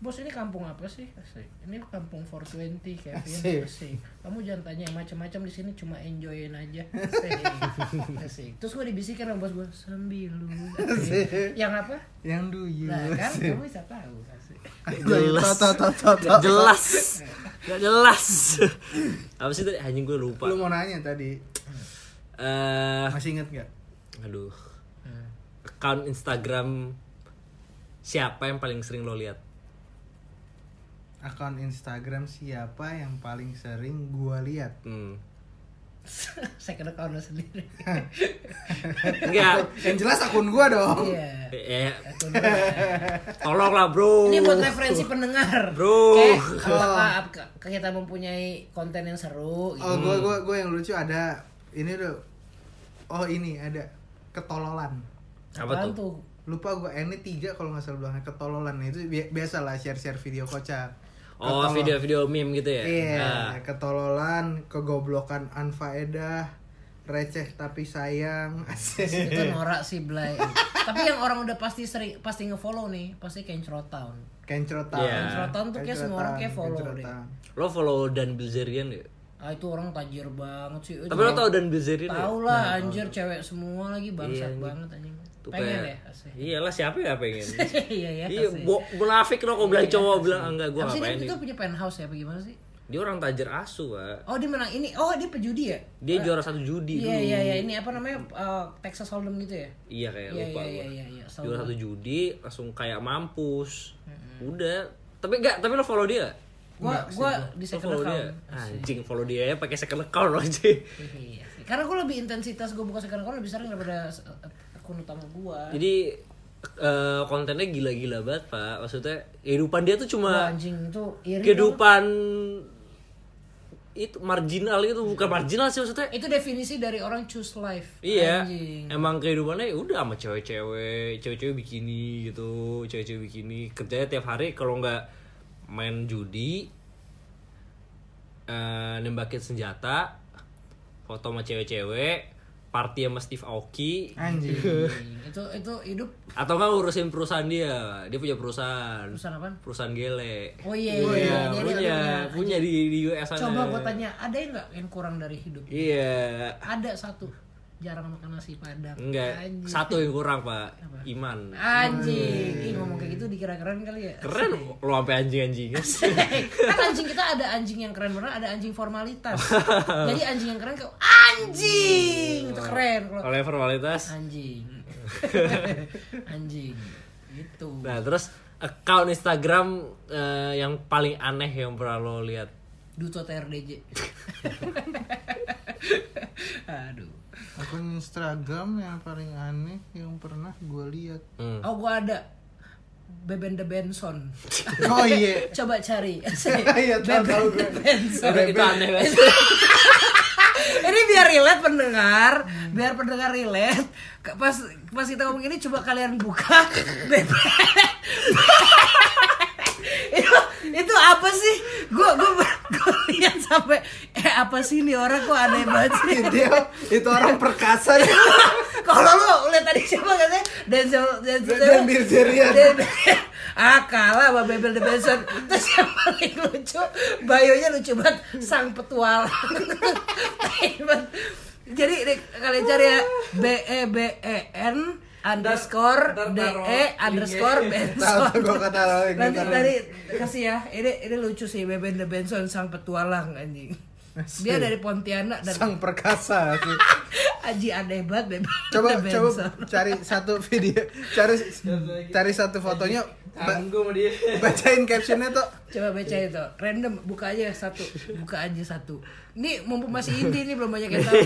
[SPEAKER 2] Bos ini kampung apa sih? Asik. Ini kampung 420 Kevin.
[SPEAKER 3] Asik.
[SPEAKER 2] Asik. Kamu jangan tanya yang macam-macam di sini cuma enjoyin
[SPEAKER 3] <laughs>
[SPEAKER 2] aja. Asik. Asik. Terus gua dibisikin sama bos gua sembilu. Asik.
[SPEAKER 3] Asik.
[SPEAKER 2] Yang apa?
[SPEAKER 3] Yang duyu.
[SPEAKER 2] Nah, kan
[SPEAKER 3] Asik.
[SPEAKER 2] kamu bisa tahu. Asik. <laughs>
[SPEAKER 3] iya,
[SPEAKER 4] Jelas.
[SPEAKER 3] Tot, tot, tot, tot.
[SPEAKER 4] Gak jelas. Gak jelas. <laughs> Apa sih tadi? Anjing gue lupa.
[SPEAKER 3] Lu mau nanya tadi.
[SPEAKER 4] Eh,
[SPEAKER 3] Masih inget gak?
[SPEAKER 4] aduh. Account Instagram siapa yang paling sering lo lihat?
[SPEAKER 3] Akun Instagram siapa yang paling sering gua lihat?
[SPEAKER 4] Hmm.
[SPEAKER 2] Saya kena kau
[SPEAKER 3] <laughs>
[SPEAKER 2] sendiri.
[SPEAKER 4] Enggak.
[SPEAKER 3] Eh, Yang jelas akun gua dong.
[SPEAKER 2] Iya.
[SPEAKER 4] Eh,
[SPEAKER 2] Akun gua.
[SPEAKER 4] tolonglah bro.
[SPEAKER 2] Ini buat referensi pendengar.
[SPEAKER 4] Bro.
[SPEAKER 2] Kayak apakah ap- kita mempunyai konten yang seru gitu.
[SPEAKER 3] Oh, gua
[SPEAKER 4] Hmm.
[SPEAKER 3] gua gua yang lucu ada ini tuh. Oh, ini ada ketololan.
[SPEAKER 4] Apa
[SPEAKER 2] Apaan
[SPEAKER 4] tuh?
[SPEAKER 3] Lupa gua ini tiga kalau nggak salah bilangnya ketololan itu bi- biasa lah share-share video kocak.
[SPEAKER 4] Oh,
[SPEAKER 3] Ketolol-
[SPEAKER 4] video-video meme gitu ya?
[SPEAKER 3] Iya,
[SPEAKER 4] Ah.
[SPEAKER 3] ketololan, kegoblokan anfaedah, receh tapi sayang. <laughs> Asik.
[SPEAKER 2] Itu norak sih Blay. Tapi yang orang udah pasti sering pasti ngefollow nih, pasti Kencrot Town.
[SPEAKER 3] Kencrotan.
[SPEAKER 4] Iya.
[SPEAKER 2] Kencrotan tuh kayak semua orang kayak follow
[SPEAKER 3] kencrotan.
[SPEAKER 4] Lo follow Dan Bilzerian ya?
[SPEAKER 2] Ah itu orang tajir banget sih.
[SPEAKER 4] Tapi lo tau Dan Bilzerian ya?
[SPEAKER 2] Tahu lah anjir cewek semua lagi bangsat
[SPEAKER 4] anjir.
[SPEAKER 2] banget anjing.
[SPEAKER 4] Iya, Tuh
[SPEAKER 2] Pengen
[SPEAKER 4] kayak-
[SPEAKER 2] ya asik. <laughs>
[SPEAKER 4] Iyalah siapa ya pengen?
[SPEAKER 2] Iya ya.
[SPEAKER 4] Iya,
[SPEAKER 2] asik.
[SPEAKER 4] bo- munafik lo kok bilang
[SPEAKER 2] Iya,
[SPEAKER 4] cowok bilang "Ah, enggak gua
[SPEAKER 2] Apa sih dia
[SPEAKER 4] ngapain
[SPEAKER 2] itu
[SPEAKER 4] nih.
[SPEAKER 2] punya penthouse ya apa gimana sih?
[SPEAKER 4] Dia orang tajir asu, Pak.
[SPEAKER 2] Oh dia menang ini. Oh dia pejudi ya?
[SPEAKER 4] Dia juara satu judi
[SPEAKER 2] Iya
[SPEAKER 4] dulu.
[SPEAKER 2] iya iya ini apa namanya eh, Texas Hold'em gitu ya?
[SPEAKER 4] Iya kayak
[SPEAKER 2] Iya,
[SPEAKER 4] lupa
[SPEAKER 2] iya,
[SPEAKER 4] gua.
[SPEAKER 2] iya, iya, iya.
[SPEAKER 4] Juara satu judi langsung kayak mampus. Udah. Tapi enggak, tapi lo follow dia? nggak?
[SPEAKER 2] Gua gua di
[SPEAKER 4] Lo
[SPEAKER 2] second
[SPEAKER 4] follow dia.
[SPEAKER 2] account.
[SPEAKER 4] Anjing, follow dia ya pakai second account lo anjing.
[SPEAKER 2] Iya sih. Karena gue lebih intensitas gue buka second account lebih sering daripada s- akun utama gue.
[SPEAKER 4] Jadi eh, kontennya gila-gila banget, Pak. Maksudnya kehidupan dia tuh cuma
[SPEAKER 2] Anjing itu iri. dong.
[SPEAKER 4] kehidupan itu marginal itu bukan marginal sih maksudnya
[SPEAKER 2] Itu definisi dari orang choose life.
[SPEAKER 4] iya
[SPEAKER 2] Anjing.
[SPEAKER 4] emang kehidupannya ya udah sama cewek-cewek cewek-cewek bikini gitu cewek-cewek bikini kerjanya tiap hari kalau nggak main judi eh, nembakin senjata foto sama cewek-cewek party sama Steve Aoki <laughs>
[SPEAKER 3] Anjing.
[SPEAKER 2] Anjing. itu itu hidup
[SPEAKER 4] atau nggak ngurusin perusahaan dia dia punya perusahaan
[SPEAKER 2] perusahaan apa?
[SPEAKER 4] perusahaan gele
[SPEAKER 2] Oh iya
[SPEAKER 4] Iya,
[SPEAKER 2] iya. iya. Jadi
[SPEAKER 4] punya
[SPEAKER 2] orangnya-
[SPEAKER 4] punya di di US sana
[SPEAKER 2] Coba gue tanya ada yang nggak yang kurang dari hidup?
[SPEAKER 4] Iya,
[SPEAKER 2] Ada satu jarang makan nasi padang.
[SPEAKER 4] enggak.
[SPEAKER 2] Anjing. Ah.
[SPEAKER 4] Satu yang kurang, Pak. Iman.
[SPEAKER 2] Anjing, Ih, ngomong kayak gitu dikira keren kali ya?
[SPEAKER 4] Hmm. Keren lo sampai anjing-anjingnya.
[SPEAKER 2] <laughs> kan anjing kita ada anjing yang keren bener ada anjing
[SPEAKER 4] <laughs>
[SPEAKER 2] formalitas jadi anjing yang keren kayak anjing
[SPEAKER 4] Hmm.
[SPEAKER 2] itu keren kalau
[SPEAKER 4] Kalau yang formalitas.
[SPEAKER 2] anjing <laughs> anjing Gitu. itu
[SPEAKER 4] Nah, terus account Instagram eh, yang paling aneh yang pernah lo lihat.
[SPEAKER 2] duto trdj <laughs> aduh
[SPEAKER 3] Akun Instagram yang paling aneh yang pernah gua
[SPEAKER 4] <laughs>
[SPEAKER 3] lihat.
[SPEAKER 4] Hmm.
[SPEAKER 2] oh gua ada Beben de Benson
[SPEAKER 3] <laughs> Oh iya.
[SPEAKER 2] <laughs> Coba cari
[SPEAKER 3] Iya, tahu, tahu
[SPEAKER 2] Beben de
[SPEAKER 3] gue.
[SPEAKER 2] Benson
[SPEAKER 4] Itu aneh
[SPEAKER 2] <laughs>
[SPEAKER 4] banget.
[SPEAKER 2] ini biar relate pendengar,
[SPEAKER 3] Hmm.
[SPEAKER 2] biar pendengar relate. Ke- Pas pas kita ngomong ini coba kalian
[SPEAKER 3] <laughs>
[SPEAKER 2] buka. <laughs> itu itu apa sih? Gua gua, gua lihat sampai eh apa sih ini orang kok aneh banget sih.
[SPEAKER 3] Dia <laughs> itu orang perkasa ya.
[SPEAKER 2] <laughs> Kalau lu lihat tadi siapa katanya Denzel Denzel
[SPEAKER 3] Dan Bilzerian.
[SPEAKER 2] Dan- ah kalah sama Bebel the Benson terus yang paling lucu bayonya lucu banget sang petualang <laughs> Tai banget. jadi di- kalian cari ya B E B E N underscore
[SPEAKER 4] Ntar- ntar
[SPEAKER 2] D
[SPEAKER 4] taruh
[SPEAKER 2] E underscore Benson
[SPEAKER 3] Tahu gua kata lo yang
[SPEAKER 2] nanti
[SPEAKER 3] gitu.
[SPEAKER 2] tadi kasih ya ini ini lucu sih Beben the Benson sang petualang anjing dia dari Pontianak dan
[SPEAKER 3] Sang perkasa
[SPEAKER 2] <laughs>
[SPEAKER 3] sih.
[SPEAKER 2] Aji aneh banget Beben
[SPEAKER 3] Coba
[SPEAKER 2] the
[SPEAKER 3] coba
[SPEAKER 2] Benson.
[SPEAKER 3] cari satu video, cari cari satu fotonya, ba-
[SPEAKER 4] Tanggung sama dia.
[SPEAKER 3] bacain captionnya tuh.
[SPEAKER 2] coba baca itu random buka aja satu buka aja satu ini mumpung masih indie nih belum banyak yang
[SPEAKER 3] <laughs>
[SPEAKER 2] tahu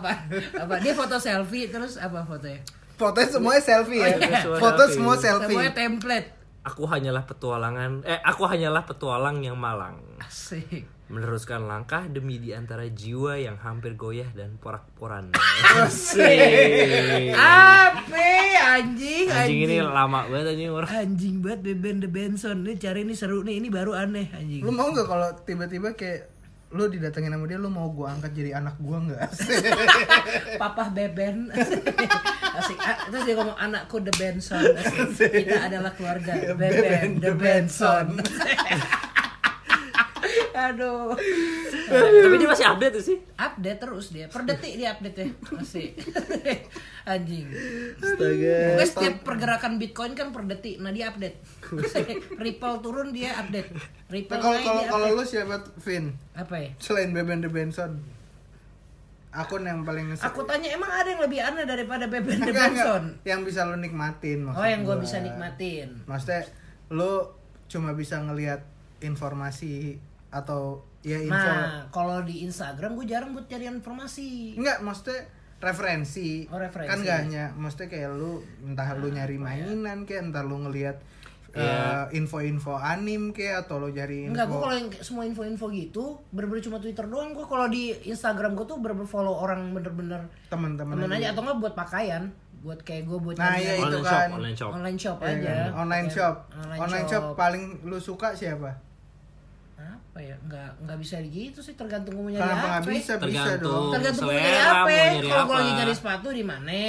[SPEAKER 2] apa apa dia foto selfie terus apa fotonya
[SPEAKER 3] Fotonya semuanya selfie
[SPEAKER 2] Oh,
[SPEAKER 3] ya.
[SPEAKER 4] iya.
[SPEAKER 3] Foto semua
[SPEAKER 2] semuanya
[SPEAKER 3] selfie.
[SPEAKER 2] template
[SPEAKER 4] Aku hanyalah petualangan, eh aku hanyalah petualang yang malang.
[SPEAKER 2] asik
[SPEAKER 4] Meneruskan langkah demi di antara jiwa yang hampir goyah dan
[SPEAKER 2] <laughs>
[SPEAKER 4] porak-poranda.
[SPEAKER 2] apa anjing
[SPEAKER 4] Anjing ini lama banget anjing orang.
[SPEAKER 2] <laughs> anjing banget Beben the Benson ini cari ini seru nih ini baru aneh anjing
[SPEAKER 3] Lu mau nggak kalau tiba-tiba kayak lu didatengin sama dia lu mau gua angkat jadi anak gua
[SPEAKER 2] <laughs>
[SPEAKER 3] nggak?
[SPEAKER 2] Papa Beben <laughs> asik Ah, terus dia ngomong anakku The
[SPEAKER 3] <laughs>
[SPEAKER 2] Benson Asik. kita adalah keluarga Beben The Benson <laughs> aduh
[SPEAKER 4] Tapi dia masih update sih.
[SPEAKER 2] update terus dia per detik dia update ya masih <laughs> anjing
[SPEAKER 3] Astaga.
[SPEAKER 2] Pokoknya setiap pergerakan Bitcoin kan per detik, nah dia
[SPEAKER 3] <laughs>
[SPEAKER 2] update. Ripple turun dia update. Ripple
[SPEAKER 3] Nah, Kalau
[SPEAKER 2] naik
[SPEAKER 3] kalau
[SPEAKER 2] dia
[SPEAKER 3] kalau
[SPEAKER 2] update.
[SPEAKER 3] lu siapa Vin?
[SPEAKER 2] apa ya?
[SPEAKER 3] Selain Beben the Benson. Akun yang paling
[SPEAKER 2] Aku tanya emang ada yang lebih aneh daripada Beben The
[SPEAKER 3] Enggak, enggak.
[SPEAKER 2] Benson?
[SPEAKER 3] yang bisa lu nikmatin maksud
[SPEAKER 2] Oh yang gue
[SPEAKER 3] gua.
[SPEAKER 2] bisa nikmatin.
[SPEAKER 3] Maksudnya lu cuma bisa ngelihat informasi atau ya info.
[SPEAKER 2] Nah, kalau di Instagram gue jarang buat cari informasi.
[SPEAKER 3] Enggak, maksudnya referensi.
[SPEAKER 2] Oh, referensi. Ah, iya.
[SPEAKER 3] Kan enggak hanya maksudnya kayak lu entah lu nyari mainan kayak entah lu ngelihat eh, info-info anim kayak atau lu nyari info.
[SPEAKER 2] Enggak, gue kalau yang kayak semua info-info gitu bener-bener cuma Twitter doang. Gue kalau di Instagram gue tuh bener-bener follow orang bener-bener
[SPEAKER 3] teman-teman
[SPEAKER 2] temen aja atau enggak buat pakaian, buat kayak gue buat
[SPEAKER 3] Nah,
[SPEAKER 2] nyari
[SPEAKER 3] iya,
[SPEAKER 2] nyari
[SPEAKER 3] itu
[SPEAKER 4] Online
[SPEAKER 3] kan.
[SPEAKER 4] shop, online shop.
[SPEAKER 2] online shop
[SPEAKER 3] Ya
[SPEAKER 2] aja.
[SPEAKER 3] kan? online
[SPEAKER 2] Kayak
[SPEAKER 3] shop.
[SPEAKER 2] Online,
[SPEAKER 3] shop.
[SPEAKER 2] shop.
[SPEAKER 3] paling lu suka siapa?
[SPEAKER 2] Apa ya? Enggak enggak bisa gitu sih tergantung gue mau nyari
[SPEAKER 3] Kenapa
[SPEAKER 2] apa.
[SPEAKER 3] nggak bisa? Bisa
[SPEAKER 4] Tergantung
[SPEAKER 3] dong.
[SPEAKER 2] Tergantung gue nyari
[SPEAKER 4] selera
[SPEAKER 2] apa.
[SPEAKER 4] mau nyari
[SPEAKER 2] Kalau gue lagi
[SPEAKER 4] apa.
[SPEAKER 2] nyari sepatu di mana?